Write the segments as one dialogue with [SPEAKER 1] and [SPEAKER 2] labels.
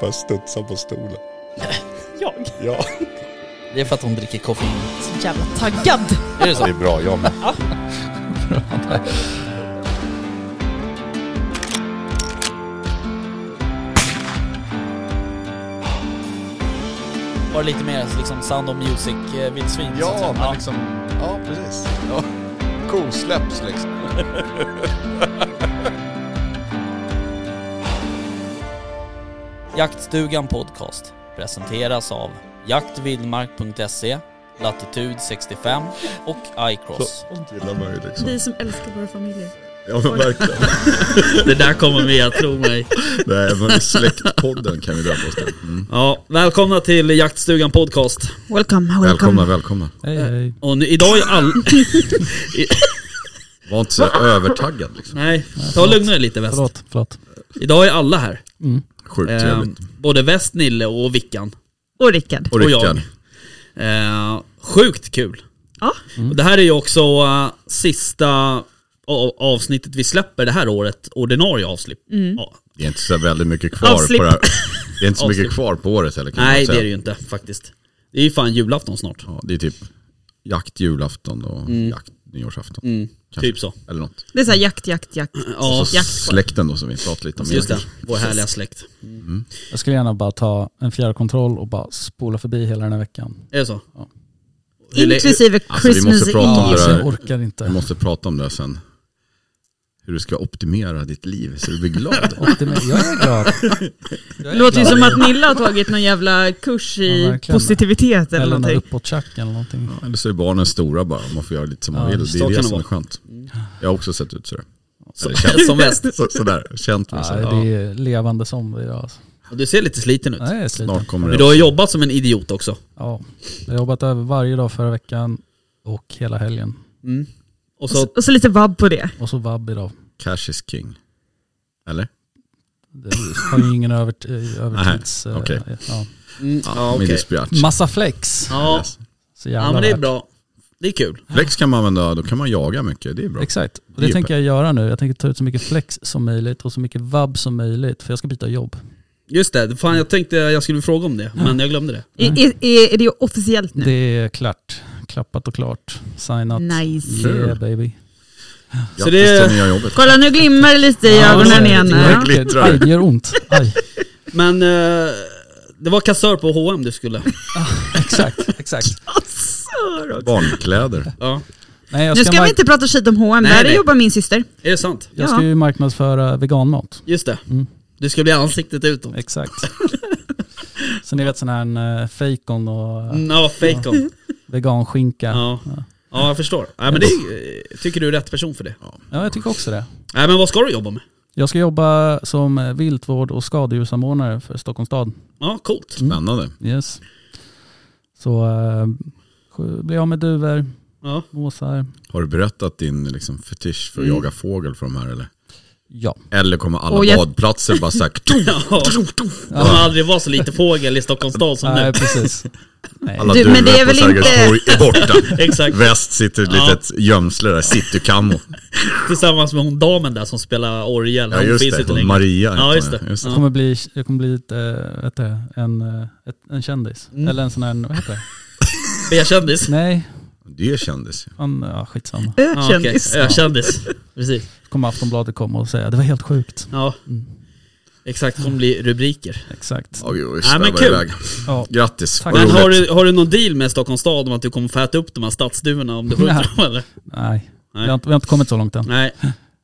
[SPEAKER 1] Bara studsa på stolen.
[SPEAKER 2] Jag.
[SPEAKER 1] Ja,
[SPEAKER 3] Det är för att hon dricker koffein.
[SPEAKER 2] Så jävla taggad.
[SPEAKER 3] Är det
[SPEAKER 1] det
[SPEAKER 3] så?
[SPEAKER 1] är bra. Jag med.
[SPEAKER 3] Var det lite mer liksom Sound of eh, Music-vildsvin?
[SPEAKER 1] Ja, men liksom... Ja, precis. Ja. Kosläpps liksom.
[SPEAKER 3] Jaktstugan Podcast presenteras av jaktvildmark.se, Latitude 65 och iCross.
[SPEAKER 1] Sånt gillar man ju liksom.
[SPEAKER 4] Vi som älskar våra familjer.
[SPEAKER 1] Ja, men verkligen.
[SPEAKER 3] Det där kommer med, tro mig.
[SPEAKER 1] Nej, men släktpodden kan vi döpa oss till. Mm.
[SPEAKER 3] Ja, välkomna till Jaktstugan Podcast.
[SPEAKER 4] Welcome, welcome.
[SPEAKER 1] Välkomna, välkomna.
[SPEAKER 5] Hej hej.
[SPEAKER 3] Och nu, idag är all...
[SPEAKER 1] Var inte så övertaggad liksom.
[SPEAKER 3] Nej, ta och lugna er lite väst.
[SPEAKER 5] Förlåt, förlåt.
[SPEAKER 3] Idag är alla här.
[SPEAKER 1] Sjukt
[SPEAKER 3] Eh,
[SPEAKER 1] trevligt.
[SPEAKER 3] både väst, Nille och Vickan.
[SPEAKER 4] Och Rickard.
[SPEAKER 1] Och
[SPEAKER 3] och jag.
[SPEAKER 1] Rickard.
[SPEAKER 3] Eh, sjukt kul.
[SPEAKER 4] Ja.
[SPEAKER 3] Och det här är ju också eh, sista a- avsnittet vi släpper det här året, ordinarie avsnitt. Mm. Ja.
[SPEAKER 1] Det är inte så väldigt mycket kvar
[SPEAKER 4] Avslipp.
[SPEAKER 1] på det här. Det är inte så mycket
[SPEAKER 3] Avslipp.
[SPEAKER 1] kvar på året heller kan man
[SPEAKER 3] Nej, det
[SPEAKER 1] säga.
[SPEAKER 3] är det ju inte faktiskt. Det är ju fan julafton snart.
[SPEAKER 1] Ja, det är typ jakt julafton och jakt nyårsafton. Kanske.
[SPEAKER 3] Mm. Typ så.
[SPEAKER 1] Eller något.
[SPEAKER 4] Det är såhär jakt, jakt, jakt.
[SPEAKER 3] Ja,
[SPEAKER 1] Och så
[SPEAKER 4] jakt.
[SPEAKER 1] släkten då som vi pratade lite om.
[SPEAKER 3] Just det,
[SPEAKER 1] innan.
[SPEAKER 3] vår härliga släkt.
[SPEAKER 5] Jag skulle gärna bara ta en fjärrkontroll och bara spola förbi hela den här veckan.
[SPEAKER 3] Är det så?
[SPEAKER 5] Ja.
[SPEAKER 3] Hur lä-
[SPEAKER 4] Inklusive
[SPEAKER 1] Alltså, vi måste
[SPEAKER 4] Christmas
[SPEAKER 1] prata om
[SPEAKER 4] Eve.
[SPEAKER 1] det
[SPEAKER 5] Alltså,
[SPEAKER 1] där.
[SPEAKER 5] jag orkar inte.
[SPEAKER 1] Vi måste prata om det här sen. Hur du ska optimera ditt liv så du blir glad.
[SPEAKER 5] Optimi- Jag är glad.
[SPEAKER 4] Det låter ju som att Nilla har tagit någon jävla kurs
[SPEAKER 5] Ja,
[SPEAKER 4] i
[SPEAKER 5] verkligen.
[SPEAKER 4] positivitet eller
[SPEAKER 5] Eller någon
[SPEAKER 4] någonting.
[SPEAKER 5] uppåtchack eller någonting.
[SPEAKER 1] Eller så är barnen stora bara, man får göra lite som man
[SPEAKER 5] Ja,
[SPEAKER 1] vill. Det
[SPEAKER 3] så
[SPEAKER 1] är det
[SPEAKER 3] kan
[SPEAKER 1] som
[SPEAKER 3] det Mm.
[SPEAKER 1] är skönt. Jag har också sett ut sådär.
[SPEAKER 3] Så-
[SPEAKER 1] Eller känt,
[SPEAKER 3] Som väst.
[SPEAKER 1] så, sådär, känt mig
[SPEAKER 5] Nej,
[SPEAKER 1] sådär.
[SPEAKER 5] det är levande zombie idag alltså.
[SPEAKER 3] Du ser lite sliten ut.
[SPEAKER 5] Nej, jag är sliten.
[SPEAKER 1] Snart kommer
[SPEAKER 3] Men du har
[SPEAKER 1] det.
[SPEAKER 3] jobbat som en idiot också.
[SPEAKER 5] Ja. Jag har jobbat över varje dag förra veckan och hela helgen.
[SPEAKER 3] Och
[SPEAKER 4] Och
[SPEAKER 3] så
[SPEAKER 4] så- Och så lite vabb på det.
[SPEAKER 5] Och så vabb idag.
[SPEAKER 1] Cash is king. Eller?
[SPEAKER 5] Det har ju ingen övert, eh, övertids...
[SPEAKER 1] Nej,
[SPEAKER 5] eh,
[SPEAKER 1] okej.
[SPEAKER 5] ja.
[SPEAKER 3] Mm, ja, okej.
[SPEAKER 1] Med dispatch.
[SPEAKER 5] Massa flex.
[SPEAKER 3] Ja,
[SPEAKER 5] Så
[SPEAKER 3] ja,
[SPEAKER 5] jävla
[SPEAKER 3] men det är
[SPEAKER 5] värt.
[SPEAKER 3] bra. Det är kul.
[SPEAKER 1] Flex kan man använda, då kan man jaga mycket. Det är bra.
[SPEAKER 5] Exakt. Och
[SPEAKER 1] Det är
[SPEAKER 5] det
[SPEAKER 1] ju
[SPEAKER 5] tänker jag göra nu. Jag tänker ta ut så mycket flex som möjligt och så mycket vabb som möjligt. För jag ska byta jobb.
[SPEAKER 3] Just det, fan jag tänkte jag skulle fråga om det, men jag glömde det.
[SPEAKER 4] Är, är, är, är det officiellt nu?
[SPEAKER 5] Det är klart. Klappat och klart. Signat.
[SPEAKER 4] Nice.
[SPEAKER 5] Yeah baby.
[SPEAKER 1] Grattis
[SPEAKER 3] Så det-
[SPEAKER 1] till nya jobbet.
[SPEAKER 4] Kolla nu glimmar det lite i ögonen igen.
[SPEAKER 1] det är
[SPEAKER 4] Ja.
[SPEAKER 1] verkligen- glittrar.
[SPEAKER 5] Aj, det gör ont. Aj,
[SPEAKER 3] Men eh, det var kassör på H&M du skulle.
[SPEAKER 5] exakt, exakt.
[SPEAKER 1] Barnkläder.
[SPEAKER 3] Ja,
[SPEAKER 5] Nej, jag
[SPEAKER 4] Nu
[SPEAKER 5] ska,
[SPEAKER 4] ska vi
[SPEAKER 5] mark-
[SPEAKER 4] inte prata skit om H&M.
[SPEAKER 3] Nej,
[SPEAKER 4] där
[SPEAKER 3] nej.
[SPEAKER 4] jobbar min syster.
[SPEAKER 3] är det sant?
[SPEAKER 5] jag ska ju marknadsföra veganmat.
[SPEAKER 3] Just det.
[SPEAKER 5] Mm.
[SPEAKER 3] Du ska bli ansiktet utåt.
[SPEAKER 5] Exakt. Så ni vet sån här en eh, fejkon och eh,
[SPEAKER 3] Mm, Ja, fejkon.
[SPEAKER 5] veganskinka. Ja.
[SPEAKER 3] Ja. ja, jag förstår. Nej, men det är, eh, tycker du är rätt person för det.
[SPEAKER 5] jag tycker också det.
[SPEAKER 3] Nej, men vad ska du jobba med?
[SPEAKER 5] Jag ska jobba som eh, viltvård och skadedjurssamordnare för Stockholms stad.
[SPEAKER 3] Ja, coolt.
[SPEAKER 1] Spännande.
[SPEAKER 5] Yes. Så eh, blir av med duvor,
[SPEAKER 3] Ja.
[SPEAKER 5] måsar.
[SPEAKER 1] Har du berättat din liksom, fetisch för att
[SPEAKER 3] Mm.
[SPEAKER 1] jaga fågel för de här eller?
[SPEAKER 5] Ja.
[SPEAKER 1] Eller kommer alla
[SPEAKER 4] Och jag-
[SPEAKER 1] badplatser bara såhär,
[SPEAKER 3] Ja. Det kommer aldrig vara så lite fågel i Stockholms stad som
[SPEAKER 5] Nej,
[SPEAKER 3] nu.
[SPEAKER 5] precis.
[SPEAKER 1] alla
[SPEAKER 4] Du,
[SPEAKER 1] duvor
[SPEAKER 4] men det är
[SPEAKER 1] på
[SPEAKER 4] väl
[SPEAKER 1] Sergels
[SPEAKER 4] inte-
[SPEAKER 1] torg är borta.
[SPEAKER 3] Exakt.
[SPEAKER 1] Väst sitter ett
[SPEAKER 3] Ja.
[SPEAKER 1] litet gömsle där, citykammo.
[SPEAKER 3] Tillsammans med hon damen där som spelar orgel.
[SPEAKER 1] Ja
[SPEAKER 3] Hon
[SPEAKER 1] just
[SPEAKER 3] finns inte
[SPEAKER 1] det,
[SPEAKER 3] längre.
[SPEAKER 1] Maria. heter
[SPEAKER 3] Ja, just
[SPEAKER 1] hon,
[SPEAKER 3] det.
[SPEAKER 5] Jag kommer bli, jag kommer bli ett, eh, vet du, en, eh, ett, en kändis.
[SPEAKER 3] Mm.
[SPEAKER 5] Eller en sån här, vad heter det?
[SPEAKER 3] B-kändis.
[SPEAKER 5] Nej,
[SPEAKER 1] Det är kändis.
[SPEAKER 5] fan, ja, skitsamma.
[SPEAKER 3] Ja, okej.
[SPEAKER 4] Ö-kändis.
[SPEAKER 3] Ja, kändis. Precis.
[SPEAKER 5] Så kommer Aftonbladet komma och säga det var helt sjukt.
[SPEAKER 3] Ja. Exakt, det kommer bli rubriker.
[SPEAKER 5] Exakt.
[SPEAKER 1] Ja, vi
[SPEAKER 3] Ja, men
[SPEAKER 1] svävar
[SPEAKER 3] kul.
[SPEAKER 1] iväg.
[SPEAKER 5] Ja.
[SPEAKER 1] Grattis,
[SPEAKER 5] Tack.
[SPEAKER 1] vad
[SPEAKER 3] Men har
[SPEAKER 1] roligt.
[SPEAKER 3] du, har du någon deal med Stockholms stad om att du kommer få äta upp de här stadsduvorna om du skjuter
[SPEAKER 5] Nej.
[SPEAKER 3] dem eller?
[SPEAKER 5] Nej, vi
[SPEAKER 3] Nej.
[SPEAKER 5] har, inte, vi har inte kommit så långt än.
[SPEAKER 3] Nej,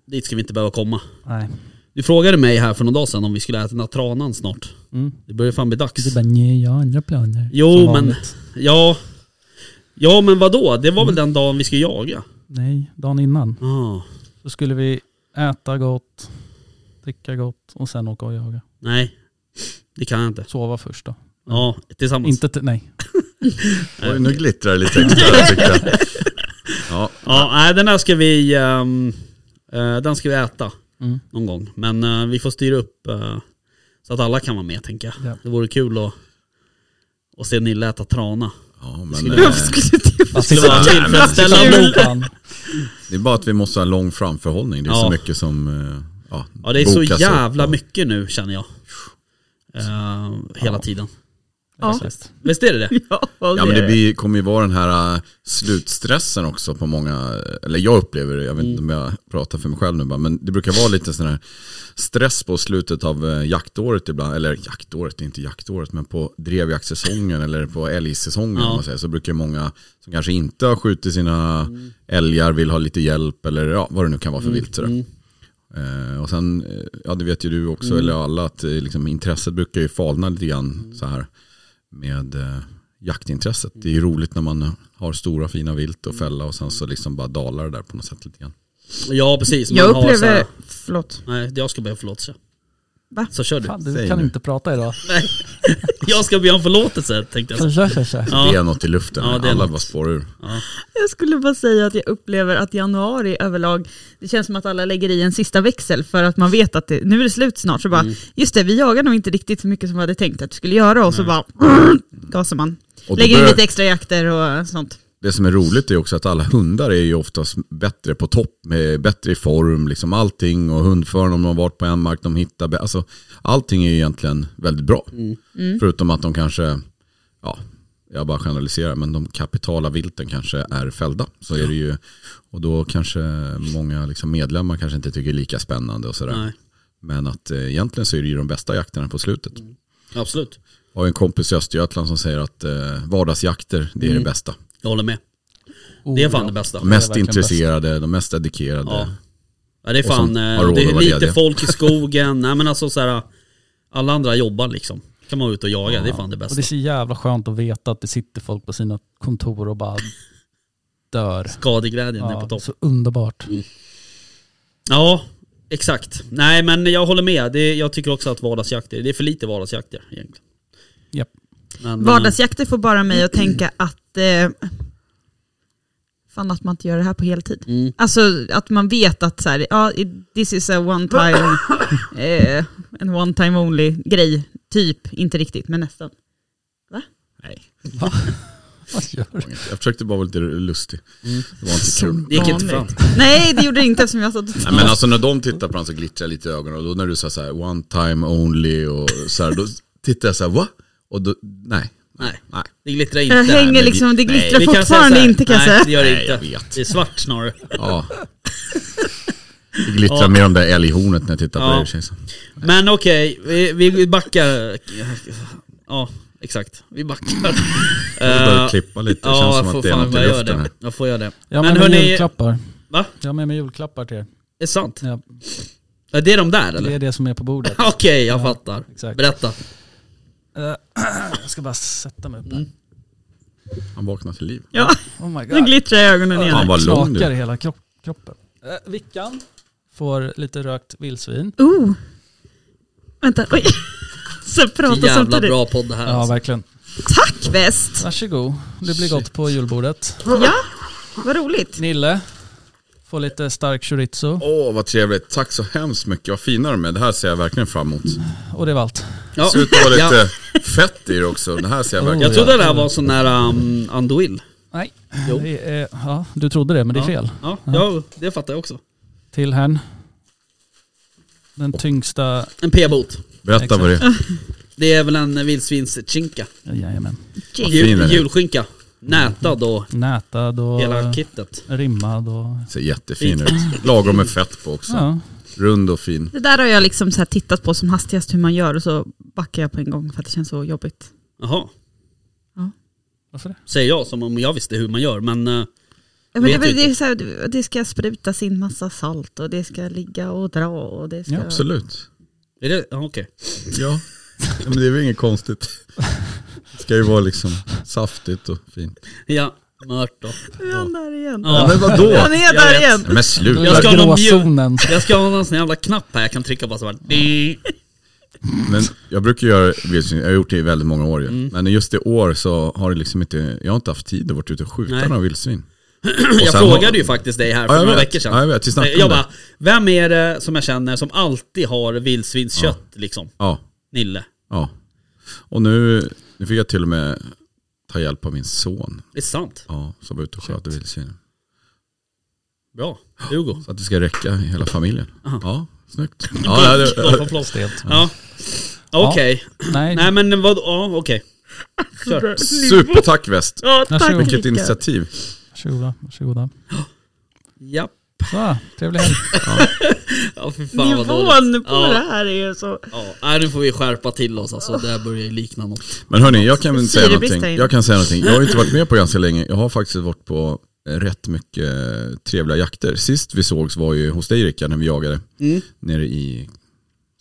[SPEAKER 3] dit ska vi inte behöva komma.
[SPEAKER 5] Nej.
[SPEAKER 3] Du frågade mig här för någon dag sedan om vi skulle äta den här tranan snart.
[SPEAKER 5] Mm.
[SPEAKER 3] Det börjar fan bli dags.
[SPEAKER 5] Du bara nej, jag har andra planer.
[SPEAKER 3] Jo,
[SPEAKER 5] Som
[SPEAKER 3] men-
[SPEAKER 5] vanligt.
[SPEAKER 3] Ja. Ja men vadå? Det var väl den dagen vi skulle jaga?
[SPEAKER 5] Nej, dagen innan.
[SPEAKER 3] Ah,
[SPEAKER 5] Då skulle vi äta gott, dricka gott och sen åka och jaga.
[SPEAKER 3] nej. Det kan jag inte.
[SPEAKER 5] Sova först då.
[SPEAKER 3] Ja, tillsammans.
[SPEAKER 5] Inte till, nej.
[SPEAKER 1] Oj, nu glittrar det lite extra där, tyckte jag. Ja,
[SPEAKER 3] Ja, nej den här ska vi... ehm, eh, den ska vi äta
[SPEAKER 5] Mm.
[SPEAKER 3] någon gång. Men eh, vi får styra upp eh, så att alla kan vara med tänker jag.
[SPEAKER 5] Ja.
[SPEAKER 3] Det vore kul att, att se Nille äta trana.
[SPEAKER 1] ja men,
[SPEAKER 3] Skulle
[SPEAKER 1] eh,
[SPEAKER 4] Varför skulle du
[SPEAKER 5] Det
[SPEAKER 3] skulle vara tillfredsställande.
[SPEAKER 1] det är bara att vi måste ha lång framförhållning. Det är
[SPEAKER 3] Ja.
[SPEAKER 1] så mycket som eh, Ja,
[SPEAKER 3] Ja, det är så
[SPEAKER 1] bokas upp
[SPEAKER 3] jävla
[SPEAKER 1] och-
[SPEAKER 3] mycket nu känner jag. Eh, hela tiden.
[SPEAKER 4] Ja.
[SPEAKER 5] Faktiskt.
[SPEAKER 3] Visst är det det?
[SPEAKER 4] Ja,
[SPEAKER 1] Ja men det blir, kommer ju vara den här äh, slutstressen också på många, eller jag upplever det, jag vet inte om jag pratar för mig själv nu bara, men det brukar vara lite sån här stress på slutet av äh, jaktåret ibland, eller jaktåret, det är inte jaktåret, men på drevjaktsäsongen eller på älgsäsongen
[SPEAKER 3] Ja.
[SPEAKER 1] om man säger, så brukar många som kanske inte har skjutit sina älgar vill ha lite hjälp eller ja, vad det nu kan vara för vilt sådär. Eh, och sen, eh, ja det vet ju du också, eller alla, att eh, liksom, intresset brukar ju falna lite grann så här med eh, jaktintresset. Det är ju roligt när man eh, har stora fina vilt och fälla och sen så liksom bara dalar det där på något sätt lite grann.
[SPEAKER 3] Ja, precis. Man har
[SPEAKER 4] Jag
[SPEAKER 3] så här-
[SPEAKER 4] upplever... Förlåt.
[SPEAKER 3] Nej, jag ska be om förlåtelse.
[SPEAKER 4] Va?
[SPEAKER 3] Så kör du.
[SPEAKER 5] Fan, du
[SPEAKER 1] Säg
[SPEAKER 5] kan
[SPEAKER 1] nu.
[SPEAKER 5] inte prata idag.
[SPEAKER 3] Jag ska be om förlåtelse tänkte jag
[SPEAKER 5] Så
[SPEAKER 3] säga.
[SPEAKER 5] kör, kör, kör.
[SPEAKER 1] Det
[SPEAKER 3] Ja,
[SPEAKER 1] är något i luften,
[SPEAKER 3] Ja, det är
[SPEAKER 1] alla
[SPEAKER 3] något.
[SPEAKER 1] bara spårar ur.
[SPEAKER 4] Jag skulle bara säga att jag upplever att januari överlag, det känns som att alla lägger i en sista växel för att man vet att det, nu är det slut snart. Så bara,
[SPEAKER 1] Mm.
[SPEAKER 4] just det, vi jagar nog inte riktigt så mycket som vi hade tänkt att vi skulle göra och så bara gasar man.
[SPEAKER 1] Och då
[SPEAKER 4] lägger in
[SPEAKER 1] börjar-
[SPEAKER 4] lite extra jakter och sånt.
[SPEAKER 1] Det som är roligt är också att alla hundar är ju oftast bättre på topp, med bättre i form, liksom allting och hundföraren om de har varit på en mark, de hittar, bä- alltså allting är ju egentligen väldigt bra. Förutom att de kanske, ja, jag bara generaliserar, men de kapitala vilten kanske är fällda. Så är det ju, och då kanske många liksom medlemmar kanske inte tycker det är lika spännande och sådär.
[SPEAKER 3] Nej,
[SPEAKER 1] Men att eh, egentligen så är det ju de bästa jakterna på slutet.
[SPEAKER 3] absolut.
[SPEAKER 1] Jag har ju en kompis i Östergötland som säger att eh, vardagsjakter, det är det bästa.
[SPEAKER 3] Jag håller med.
[SPEAKER 5] Oh,
[SPEAKER 3] Det är fan
[SPEAKER 5] ja.
[SPEAKER 3] det bästa.
[SPEAKER 1] De mest
[SPEAKER 5] verkligen
[SPEAKER 1] intresserade, de mest dedikerade.
[SPEAKER 3] Ja. Ja, det är
[SPEAKER 1] Och som
[SPEAKER 3] fan, eh,
[SPEAKER 1] har råd
[SPEAKER 3] det
[SPEAKER 1] att
[SPEAKER 3] är
[SPEAKER 1] vara
[SPEAKER 3] lite
[SPEAKER 1] lediga.
[SPEAKER 3] folk i skogen. Nej men alltså så här, alla andra jobbar liksom. Kan man vara ute och jaga, det är fan det
[SPEAKER 5] Och
[SPEAKER 3] bästa.
[SPEAKER 5] det är så jävla skönt att veta att det sitter folk på sina kontor och bara dör.
[SPEAKER 3] Skadeglädjen är på
[SPEAKER 5] Ja,
[SPEAKER 3] topp. Mm.
[SPEAKER 5] så underbart.
[SPEAKER 3] Ja, exakt. Nej men jag håller med. Det, jag tycker också att vardagsjakter, det är för lite vardagsjakter egentligen.
[SPEAKER 5] Japp.
[SPEAKER 3] Men,
[SPEAKER 1] Mm.
[SPEAKER 3] eh,
[SPEAKER 4] Vardagsjakter får bara mig att tänka att eh, fan att man inte gör det här på heltid.
[SPEAKER 3] Mm.
[SPEAKER 4] Alltså att man vet att så här, ja, i- this is a one time, eh, en one time only grej. Typ, inte riktigt, men nästan.
[SPEAKER 5] Vad gör du?
[SPEAKER 1] Jag försökte bara vara lite lustig.
[SPEAKER 3] Mm.
[SPEAKER 1] Det var inte kul.
[SPEAKER 4] Som
[SPEAKER 3] Det gick inte fram.
[SPEAKER 4] vanligt. Nej, det gjorde det inte eftersom jag satt och
[SPEAKER 1] Nej, men alltså när de tittar på honom så glittrar jag lite i ögonen och då när du sa så här one time only och så här, då tittar jag så här va? Och då, nej.
[SPEAKER 3] Nej.
[SPEAKER 1] nej.
[SPEAKER 3] Det glittrar inte.
[SPEAKER 4] Jag
[SPEAKER 1] men
[SPEAKER 4] hänger
[SPEAKER 1] vi-
[SPEAKER 4] liksom, det
[SPEAKER 1] nej,
[SPEAKER 4] glittrar
[SPEAKER 3] Vi kan säga
[SPEAKER 4] fortfarande
[SPEAKER 3] så här,
[SPEAKER 4] inte kan jag
[SPEAKER 3] nej,
[SPEAKER 4] säga.
[SPEAKER 3] det gör det
[SPEAKER 1] Nej,
[SPEAKER 3] inte.
[SPEAKER 1] jag vet.
[SPEAKER 3] Det är svart snarare.
[SPEAKER 1] Ja. Det glittrar mer om det där älghornet när jag tittar
[SPEAKER 3] Ja.
[SPEAKER 1] på det. känns som.
[SPEAKER 3] Men okej, vi, vi backar. Ja, exakt. Vi backar.
[SPEAKER 1] Jag börjar
[SPEAKER 3] Eh,
[SPEAKER 1] klippa lite, det känns
[SPEAKER 3] ja, jag
[SPEAKER 1] som
[SPEAKER 3] får
[SPEAKER 1] att det är
[SPEAKER 3] fan
[SPEAKER 1] något i
[SPEAKER 3] jag gör det.
[SPEAKER 1] luften.
[SPEAKER 3] Jag får göra det.
[SPEAKER 5] Jag har
[SPEAKER 3] men
[SPEAKER 5] med mig
[SPEAKER 3] hörni,
[SPEAKER 5] julklappar.
[SPEAKER 3] va?
[SPEAKER 5] Jag har med mig julklappar till er.
[SPEAKER 3] Är det sant?
[SPEAKER 5] Ja,
[SPEAKER 3] Ja, det är de där eller?
[SPEAKER 5] det är det som är på bordet.
[SPEAKER 3] Okej, jag fattar.
[SPEAKER 5] exakt.
[SPEAKER 3] Berätta.
[SPEAKER 5] Eh, Jag ska bara sätta mig upp här.
[SPEAKER 3] Mm.
[SPEAKER 1] Han vaknar till liv.
[SPEAKER 4] Ja,
[SPEAKER 5] Oh my god.
[SPEAKER 4] nu glittrar jag i ögonen igen.
[SPEAKER 1] Han var lugn
[SPEAKER 5] knakar i
[SPEAKER 1] nu.
[SPEAKER 5] hela kropp, kroppen. Eh, Vickan får lite rökt vildsvin.
[SPEAKER 4] Oh. Vänta, oj. Så prata
[SPEAKER 3] Jävla
[SPEAKER 4] samtidigt.
[SPEAKER 3] bra podd det här.
[SPEAKER 5] Ja,
[SPEAKER 3] alltså.
[SPEAKER 5] verkligen.
[SPEAKER 4] Tack väst!
[SPEAKER 5] Varsågod. Det blir gott på julbordet.
[SPEAKER 4] Ja, vad roligt.
[SPEAKER 5] Nille får lite stark chorizo.
[SPEAKER 1] Åh vad trevligt, tack så hemskt mycket, vad fina de är. Det här ser jag verkligen fram emot.
[SPEAKER 5] Och det var allt.
[SPEAKER 3] Ja.
[SPEAKER 1] Ser ut att vara
[SPEAKER 3] Ja.
[SPEAKER 1] lite fett i det också, det här ser jag
[SPEAKER 5] Oh.
[SPEAKER 1] verkligen
[SPEAKER 3] Jag trodde det här var sån där um, Anduil.
[SPEAKER 5] Nej,
[SPEAKER 3] Jo.
[SPEAKER 5] det är, ja, du trodde det men det är fel.
[SPEAKER 3] Ja, ja, det fattar jag också.
[SPEAKER 5] Till herrn. Den tyngsta...
[SPEAKER 3] En p-bot.
[SPEAKER 1] Berätta vad det är.
[SPEAKER 3] Det är väl en vildsvinschinka.
[SPEAKER 5] Jajamän.
[SPEAKER 1] fin den
[SPEAKER 3] Jul,
[SPEAKER 1] är.
[SPEAKER 3] julskinka. Nätad och
[SPEAKER 5] Nätad och
[SPEAKER 3] hela kittet.
[SPEAKER 5] rimmad och...
[SPEAKER 1] Ser jättefin ut. Lagom med fett på också.
[SPEAKER 5] Ja.
[SPEAKER 1] Rund och fin.
[SPEAKER 4] Det där har jag liksom så här tittat på som hastigast hur man gör och så backar jag på en gång för att det känns så jobbigt.
[SPEAKER 3] Jaha,
[SPEAKER 5] Varför det?
[SPEAKER 3] säger jag som om jag visste hur man gör. Men eh,
[SPEAKER 4] Ja, men det,
[SPEAKER 3] Vet
[SPEAKER 4] var-
[SPEAKER 3] inte.
[SPEAKER 4] det, är så här, det ska sprutas in massa salt och det ska ligga och dra och det ska...
[SPEAKER 5] Ja,
[SPEAKER 1] Absolut.
[SPEAKER 3] är det, ja, okej.
[SPEAKER 1] Ja. Men det är väl inget konstigt. Det ska ju vara liksom saftigt och fint.
[SPEAKER 3] Ja, mört och...
[SPEAKER 4] Nu är han där igen.
[SPEAKER 1] Ja,
[SPEAKER 3] Ja.
[SPEAKER 1] men vadå?
[SPEAKER 4] Han är
[SPEAKER 3] Jag vet.
[SPEAKER 4] där igen.
[SPEAKER 1] Men sluta.
[SPEAKER 3] Jag ska ha någon mjuk-
[SPEAKER 5] Gråzonen.
[SPEAKER 3] Jag ska ha en sån jävla knapp här jag kan trycka på så här. Di.
[SPEAKER 1] Men jag brukar göra vildsvin, jag har gjort det i väldigt många år ju.
[SPEAKER 3] Mm.
[SPEAKER 1] Men just i år så har det liksom inte, jag har inte haft tid att vara ute och skjuta
[SPEAKER 3] Nej.
[SPEAKER 1] några vildsvin.
[SPEAKER 3] Jag
[SPEAKER 1] sen
[SPEAKER 3] frågade
[SPEAKER 1] har-
[SPEAKER 3] ju faktiskt dig här
[SPEAKER 1] Ja,
[SPEAKER 3] för
[SPEAKER 1] jag
[SPEAKER 3] några
[SPEAKER 1] vet.
[SPEAKER 3] veckor sedan.
[SPEAKER 1] Ja, jag vet. Vi snackade om
[SPEAKER 3] jag
[SPEAKER 1] det.
[SPEAKER 3] bara, vem är det som jag känner som alltid har vildsvinskött liksom?
[SPEAKER 1] Ja,
[SPEAKER 3] Nille.
[SPEAKER 1] ja. Och nu, nu fick jag till och med ta hjälp av min son.
[SPEAKER 3] Det är sant.
[SPEAKER 1] Ja, som var ute och sköt vildsvin.
[SPEAKER 3] Bra. Hugo.
[SPEAKER 1] Så att det ska räcka i hela familjen.
[SPEAKER 3] Aha.
[SPEAKER 1] Ja, Snyggt. Ja, det,
[SPEAKER 3] Förlåt, förlåt, förlåt.
[SPEAKER 5] Stelt.
[SPEAKER 3] Ja. Okej.
[SPEAKER 5] Nej,
[SPEAKER 3] Nej men vad, ja okej. Kör.
[SPEAKER 1] supertack väst.
[SPEAKER 4] Ja, tack
[SPEAKER 5] Varsågod.
[SPEAKER 1] Vilket
[SPEAKER 4] Rickard.
[SPEAKER 1] initiativ.
[SPEAKER 5] varsågoda. varsågoda.
[SPEAKER 3] Japp.
[SPEAKER 5] Så, trevlig helg.
[SPEAKER 6] Ja, för fan vad
[SPEAKER 4] Nivån
[SPEAKER 6] dåligt.
[SPEAKER 4] på
[SPEAKER 6] ja,
[SPEAKER 4] det här är så...
[SPEAKER 6] Ja, nej, nu får vi skärpa till oss alltså. Det här börjar ju likna något.
[SPEAKER 1] Men hörni, jag kan väl säga
[SPEAKER 4] Syrebrist
[SPEAKER 1] någonting.
[SPEAKER 4] där inne.
[SPEAKER 1] Jag kan säga någonting. Jag har ju inte varit med på ganska länge. Jag har faktiskt varit på eh, rätt mycket eh, trevliga jakter. Sist vi sågs var ju hos dig Rickard när vi jagade
[SPEAKER 3] Mm.
[SPEAKER 1] nere i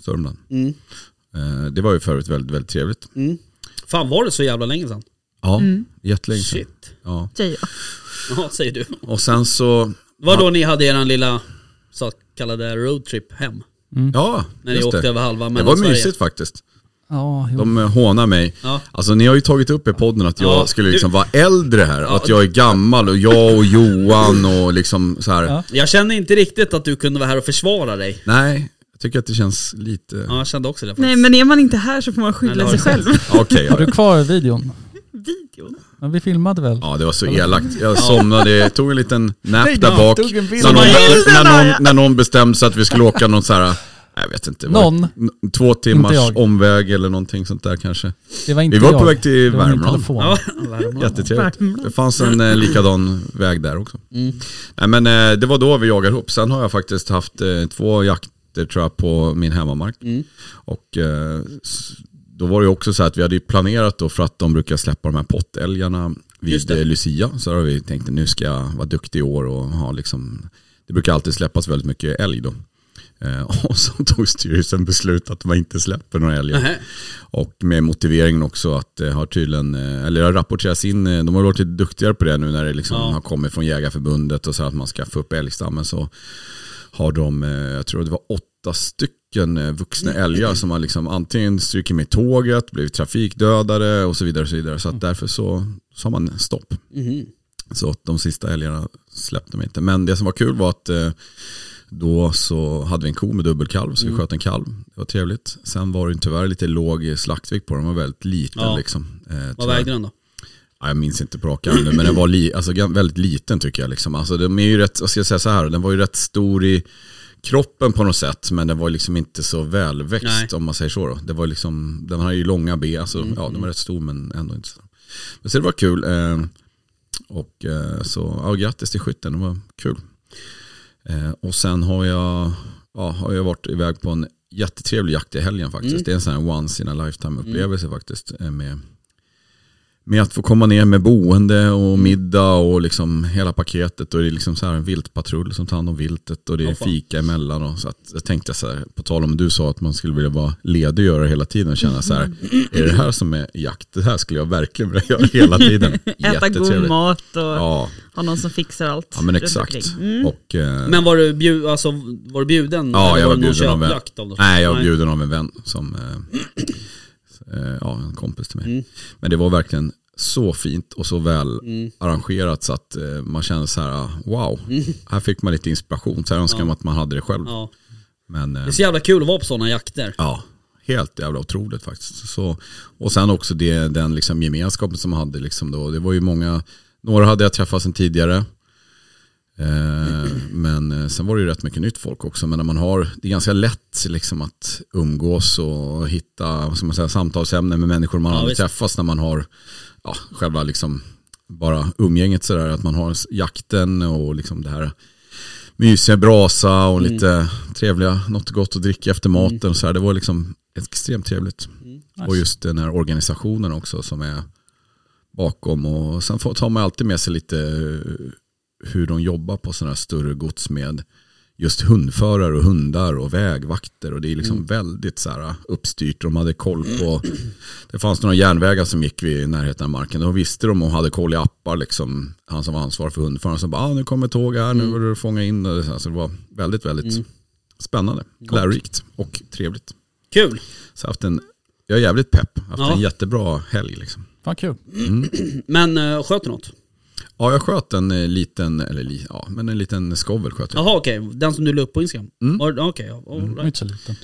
[SPEAKER 1] Sörmland.
[SPEAKER 3] Mm.
[SPEAKER 1] Eh, Det var ju förut väldigt, väldigt trevligt.
[SPEAKER 3] Mm. Fan var det så jävla länge sedan?
[SPEAKER 1] Ja,
[SPEAKER 4] Mm.
[SPEAKER 1] jättelänge sedan.
[SPEAKER 3] Shit.
[SPEAKER 1] Ja.
[SPEAKER 4] Tjejer.
[SPEAKER 3] Ja säger du.
[SPEAKER 1] Och sen så,
[SPEAKER 3] Var då ni hade eran lilla så kallade roadtrip hem?
[SPEAKER 1] ja,
[SPEAKER 3] När ni
[SPEAKER 1] just
[SPEAKER 3] åkte
[SPEAKER 1] det.
[SPEAKER 3] över halva alltså,
[SPEAKER 1] Det
[SPEAKER 3] Mellansverige?
[SPEAKER 1] var mysigt faktiskt.
[SPEAKER 5] Ja, jo.
[SPEAKER 1] De eh, hånar mig.
[SPEAKER 3] Ja.
[SPEAKER 1] Alltså ni har ju tagit upp i podden att jag
[SPEAKER 3] Ja,
[SPEAKER 1] skulle
[SPEAKER 3] du-
[SPEAKER 1] liksom vara äldre här. Att jag är gammal och jag och Johan och liksom så här.
[SPEAKER 5] Ja.
[SPEAKER 3] Jag kände inte riktigt att du kunde vara här och försvara dig.
[SPEAKER 1] Nej, jag tycker att det känns lite...
[SPEAKER 3] Ja, jag kände också det faktiskt.
[SPEAKER 4] Nej men är man inte här så får man
[SPEAKER 3] Nej, det
[SPEAKER 4] skylla
[SPEAKER 3] har
[SPEAKER 4] sig
[SPEAKER 3] du
[SPEAKER 4] själv.
[SPEAKER 1] Okej,
[SPEAKER 5] Har
[SPEAKER 1] ja.
[SPEAKER 5] du kvar videon?
[SPEAKER 4] Videon.
[SPEAKER 5] Ja, vi filmade väl?
[SPEAKER 1] ja det var så elakt. Jag somnade, jag tog en liten nap
[SPEAKER 5] Nej,
[SPEAKER 1] där
[SPEAKER 5] jag
[SPEAKER 1] bak.
[SPEAKER 5] tog en bild.
[SPEAKER 1] När någon, när,
[SPEAKER 4] Bilderna, ja.
[SPEAKER 1] någon, när någon bestämde sig att vi skulle åka någon så här, jag vet inte. var det
[SPEAKER 5] Någon?
[SPEAKER 1] n- Två timmars
[SPEAKER 5] jag.
[SPEAKER 1] omväg eller någonting sånt där kanske.
[SPEAKER 5] Det var inte
[SPEAKER 1] Vi var
[SPEAKER 5] jag.
[SPEAKER 1] på väg till
[SPEAKER 5] Det var min
[SPEAKER 1] Värmland.
[SPEAKER 5] telefon.
[SPEAKER 3] Ja, Värmland.
[SPEAKER 1] Jättetrevligt. Det fanns en eh, likadan väg där också.
[SPEAKER 3] Mm.
[SPEAKER 1] Nej, men eh, det var då vi jagade ihop. Sen har jag faktiskt haft eh, två jakter tror jag på min hemmamark.
[SPEAKER 3] Mm.
[SPEAKER 1] Och eh, s- då var det ju också så här att vi hade ju planerat då för att de brukar släppa de här pottälgarna
[SPEAKER 3] Just
[SPEAKER 1] vid
[SPEAKER 3] det.
[SPEAKER 1] eh, Lucia. Så har vi tänkt nu ska jag vara duktig i år och ha liksom, det brukar alltid släppas väldigt mycket älg då. Eh, Och så tog styrelsen beslut att man inte släpper några älgar.
[SPEAKER 3] Nähä.
[SPEAKER 1] Och med motiveringen också att det har tydligen, eh, eller det har rapporterats in, eh, de har varit lite duktigare på det nu när det liksom
[SPEAKER 3] Ja.
[SPEAKER 1] har kommit från Jägarförbundet och så att man ska få upp älgstammen så har de, eh, jag tror det var åtta stycken eh, vuxna älgar som har liksom antingen strukit med tåget, blivit trafikdödade och så vidare. Och så vidare. så att därför så sa man stopp.
[SPEAKER 3] Mhm.
[SPEAKER 1] Så att de sista älgarna släppte de inte. Men det som var kul var att eh, då så hade vi en ko med dubbelkalv så vi
[SPEAKER 3] Mm.
[SPEAKER 1] sköt en kalv. Det var trevligt. Sen var det ju tyvärr lite låg slaktvikt på den, den var väldigt liten
[SPEAKER 3] Ja.
[SPEAKER 1] liksom. Eh,
[SPEAKER 3] Vad
[SPEAKER 1] tyvärr.
[SPEAKER 3] vägde den då?
[SPEAKER 1] Ja, jag minns inte på rak arm nu, men den var li, alltså, gan- väldigt liten tycker jag. Liksom. Alltså, de är ju rätt, jag ska säga så här, den var ju rätt stor i kroppen på något sätt, men den var liksom inte så välväxt
[SPEAKER 3] Nej.
[SPEAKER 1] om man säger så. Då. Det var liksom, den hade ju långa ben, alltså, ja, den var rätt stor men ändå inte så. Men så det var kul. Eh, och eh, så, ja, grattis till skytten, det var kul. Eh, och sen har jag, ja, har jag varit iväg på en jättetrevlig jakt i helgen faktiskt.
[SPEAKER 4] Mm.
[SPEAKER 1] Det är en sån här once in a lifetime upplevelse faktiskt. eh, Med, med att få komma ner med boende och
[SPEAKER 4] Mm.
[SPEAKER 1] middag och liksom hela paketet. Och det är liksom så här en viltpatrull som tar hand om viltet och det är
[SPEAKER 3] Åh, fan.
[SPEAKER 1] fika emellan. Och så att, jag tänkte så här, på tal om du sa att man skulle vilja vara ledig och göra hela tiden. Känna så här, är det här som är jakt? Det här skulle jag verkligen vilja göra hela tiden.
[SPEAKER 4] Äta god
[SPEAKER 1] Jättetrevligt.
[SPEAKER 4] mat och
[SPEAKER 1] Ja,
[SPEAKER 4] ha någon som fixar allt.
[SPEAKER 1] ja men
[SPEAKER 4] runt
[SPEAKER 1] exakt.
[SPEAKER 4] omkring.
[SPEAKER 1] Och, eh,
[SPEAKER 3] Men var du, bjud, alltså, var du bjuden?
[SPEAKER 1] Ja,
[SPEAKER 3] Eller
[SPEAKER 1] jag var
[SPEAKER 3] det någon
[SPEAKER 1] bjuden av en,
[SPEAKER 3] köpjakt något slag?
[SPEAKER 1] nej, jag var bjuden av en vän som, eh, eh, ja, en kompis till mig.
[SPEAKER 3] Mm.
[SPEAKER 1] Men det var verkligen så fint och så väl
[SPEAKER 3] Mm.
[SPEAKER 1] arrangerat så att eh, man kände så här, ah, wow, här fick man lite inspiration. Så här önskar man att man hade det själv.
[SPEAKER 3] Ja.
[SPEAKER 1] Men, eh,
[SPEAKER 3] Det är så jävla kul att vara på sådana jakter.
[SPEAKER 1] Ja, helt jävla otroligt faktiskt. Så, och sen också det, den liksom gemenskapen som man hade. Liksom då. Det var ju många, några hade jag träffat sedan tidigare. Eh, men eh, sen var det ju rätt mycket nytt folk också. Men när man har, det är ganska lätt liksom att umgås och hitta vad ska man säga, samtalsämnen med människor man
[SPEAKER 3] Ja,
[SPEAKER 1] aldrig
[SPEAKER 3] visst.
[SPEAKER 1] träffas när man har ja, själva liksom bara umgänget sådär. Att man har jakten och liksom det här mysiga brasa och lite trevliga, något gott att dricka efter maten och så här. Det var liksom extremt trevligt. Och just den här organisationen också som är bakom och sen får- tar man alltid med sig lite eh, hur de jobbar på sådana här större gods med just hundförare och hundar och vägvakter och det är liksom väldigt så här uppstyrt. De hade koll på, det fanns några järnvägar som gick vid närheten av marken. Då visste de och hade koll i appar, liksom, han som var ansvarig för hundföraren. Så bara, ah, nu kommer ett tåg här, nu borde du fånga in. Och så här. Så det var väldigt, väldigt spännande, lärorikt och trevligt.
[SPEAKER 3] Kul!
[SPEAKER 1] Så jag, har haft en, jag är jävligt pepp, Jag har haft
[SPEAKER 3] Ja.
[SPEAKER 1] en jättebra helg. Liksom.
[SPEAKER 5] Fan kul.
[SPEAKER 3] Men uh, sköt du något?
[SPEAKER 1] Ja, jag sköt en eh, liten, eller li, ja, men en liten skovel sköt jag.
[SPEAKER 3] Jaha okej, den som du la upp på Instagram?
[SPEAKER 1] Mm.
[SPEAKER 3] Var- Okej, ja. all
[SPEAKER 5] Den var
[SPEAKER 3] right.
[SPEAKER 5] inte så liten.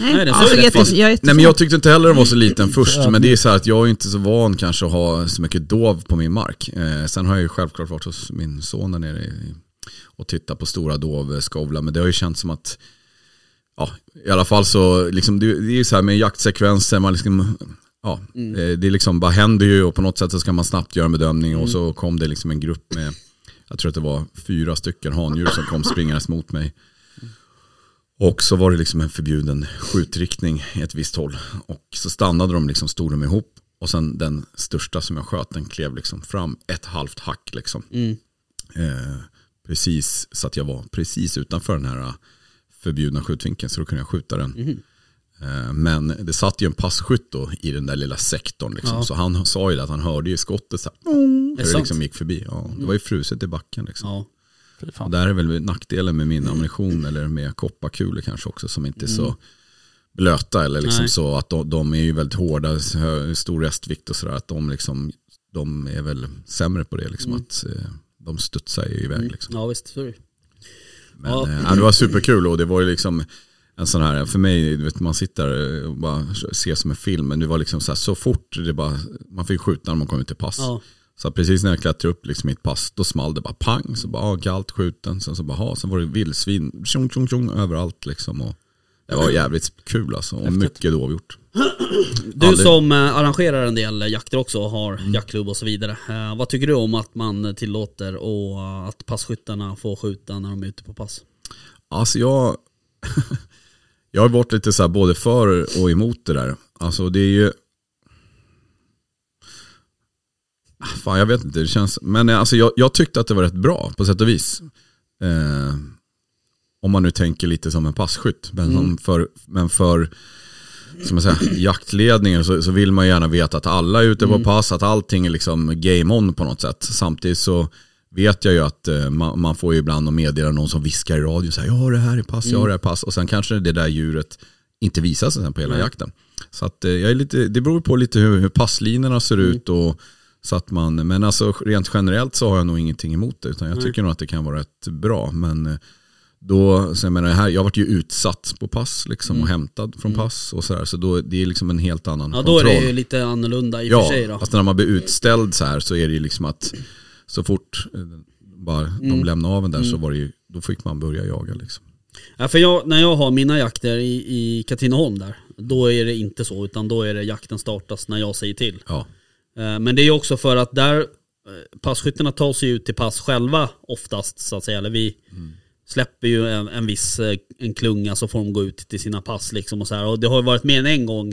[SPEAKER 3] Nej,
[SPEAKER 4] Nej, Alltså,
[SPEAKER 3] det
[SPEAKER 4] jag
[SPEAKER 3] såg
[SPEAKER 4] är
[SPEAKER 3] rätt
[SPEAKER 4] jätte-
[SPEAKER 3] fint.
[SPEAKER 4] jag är
[SPEAKER 1] Nej
[SPEAKER 4] jätte-
[SPEAKER 1] men jag tyckte inte heller den var så liten först, men det är så här att jag är inte så van kanske att ha så mycket dov på min mark. Eh, sen har jag ju självklart varit hos min son där nere i, och tittat på stora dovskovlar, men det har ju känts som att ja, i alla fall så, liksom, det, det är ju så här med jaktsekvenser, man liksom, ja, eh, det är liksom bara händer ju och på något sätt så ska man snabbt göra en bedömning och så kom det liksom en grupp med, jag tror att det var fyra stycken handjur som kom springandes mot mig. Och så var det liksom en förbjuden skjutriktning i ett visst håll. Och så stannade de liksom, stod de ihop. Och sen den största som jag sköt, den klev liksom fram ett halvt hack liksom.
[SPEAKER 3] Mm.
[SPEAKER 1] Eh, precis så att jag var precis utanför den här eh, förbjudna skjutvinkeln så då kunde jag skjuta den.
[SPEAKER 3] Mhm.
[SPEAKER 1] Eh, Men det satt ju en passkytt då i den där lilla sektorn liksom. Så han sa ju att han hörde ju skottet så här.
[SPEAKER 3] Det
[SPEAKER 1] Hur det liksom gick förbi. Ja, det var ju fruset i backen liksom.
[SPEAKER 3] Ja.
[SPEAKER 5] Fy
[SPEAKER 1] Och
[SPEAKER 5] fan.
[SPEAKER 1] där är väl nackdelen med min ammunition eller med kopparkulor kanske också som inte är så blöta eller liksom
[SPEAKER 3] Nej.
[SPEAKER 1] så att de, de är ju väldigt hårda, så hö- stor restvikt och sådär att de liksom, de är väl sämre på det liksom att eh, de studsar
[SPEAKER 3] Mm.
[SPEAKER 1] ju iväg liksom.
[SPEAKER 3] ja visst, så är det.
[SPEAKER 1] Men
[SPEAKER 3] Ja.
[SPEAKER 1] eh, ja, det var superkul och det var ju liksom en sån här, för mig, du vet man sitter eh, och bara ser som en film men det var liksom så här så fort det bara, man fick skjuta när man kom ut till pass.
[SPEAKER 3] Ja.
[SPEAKER 1] Så precis när jag klättrade upp liksom mitt pass, då small det bara pang. Så bara, ah, kallt skjuten. Sen så bara, ha, sen var det vildsvin, tjong, tjong, tjong överallt liksom. Och det var jävligt kul alltså. Och mycket dovhjort.
[SPEAKER 3] Du
[SPEAKER 1] Aldrig.
[SPEAKER 3] som eh, arrangerar en del jakter också och har
[SPEAKER 1] Mm.
[SPEAKER 3] jaktklubb och så vidare. Eh, vad tycker du om att man tillåter och eh, att passkyttarna får skjuta när de är ute på pass?
[SPEAKER 1] Alltså jag, jag har varit lite så här både för och emot det där. Alltså det är ju... Ah, Fan jag vet inte, det känns... Men eh, alltså jag, jag tyckte att det var rätt bra på sätt och vis. Eh, om man nu tänker lite som en passkytt. Men, som för, men för som jag säger, jaktledningen så, så vill man ju gärna veta att alla är ute på pass, att allting är liksom game on på något sätt. Samtidigt så vet jag ju att eh, man, man får ju ibland att meddela någon som viskar i radio så här, jag har det här i pass, jag har det här i pass. Och sen kanske det där djuret inte visar sig sen på hela jakten. Så att eh, jag är lite, det beror på lite hur, hur passlinorna ser ut och så att man, men alltså rent generellt så har jag nog ingenting emot det utan jag tycker nog att det kan vara rätt bra. Men eh, då, så jag menar, här, jag vart ju utsatt på pass liksom, och hämtad från pass och sådär. Så då, det är liksom en helt annan
[SPEAKER 3] Mm. Ja då
[SPEAKER 1] kontroll.
[SPEAKER 3] är det ju lite annorlunda i och för sig då.
[SPEAKER 1] fast när man blir utställd så här så är det ju liksom att så fort eh, bara
[SPEAKER 3] Mm.
[SPEAKER 1] de lämnade av en där så var det ju, då fick man börja jaga liksom.
[SPEAKER 3] Ja, för jag, när jag har mina jakter i, i Katrineholm där, då är det inte så utan då är det jakten startas när jag säger till.
[SPEAKER 1] Ja,
[SPEAKER 3] Eh, Men det är ju också för att där eh, passkyttarna tar sig ut till pass själva oftast så att säga. Eller vi släpper ju en, en viss eh, en klunga så får de gå ut till sina pass liksom och så här. Och det har ju varit mer än en gång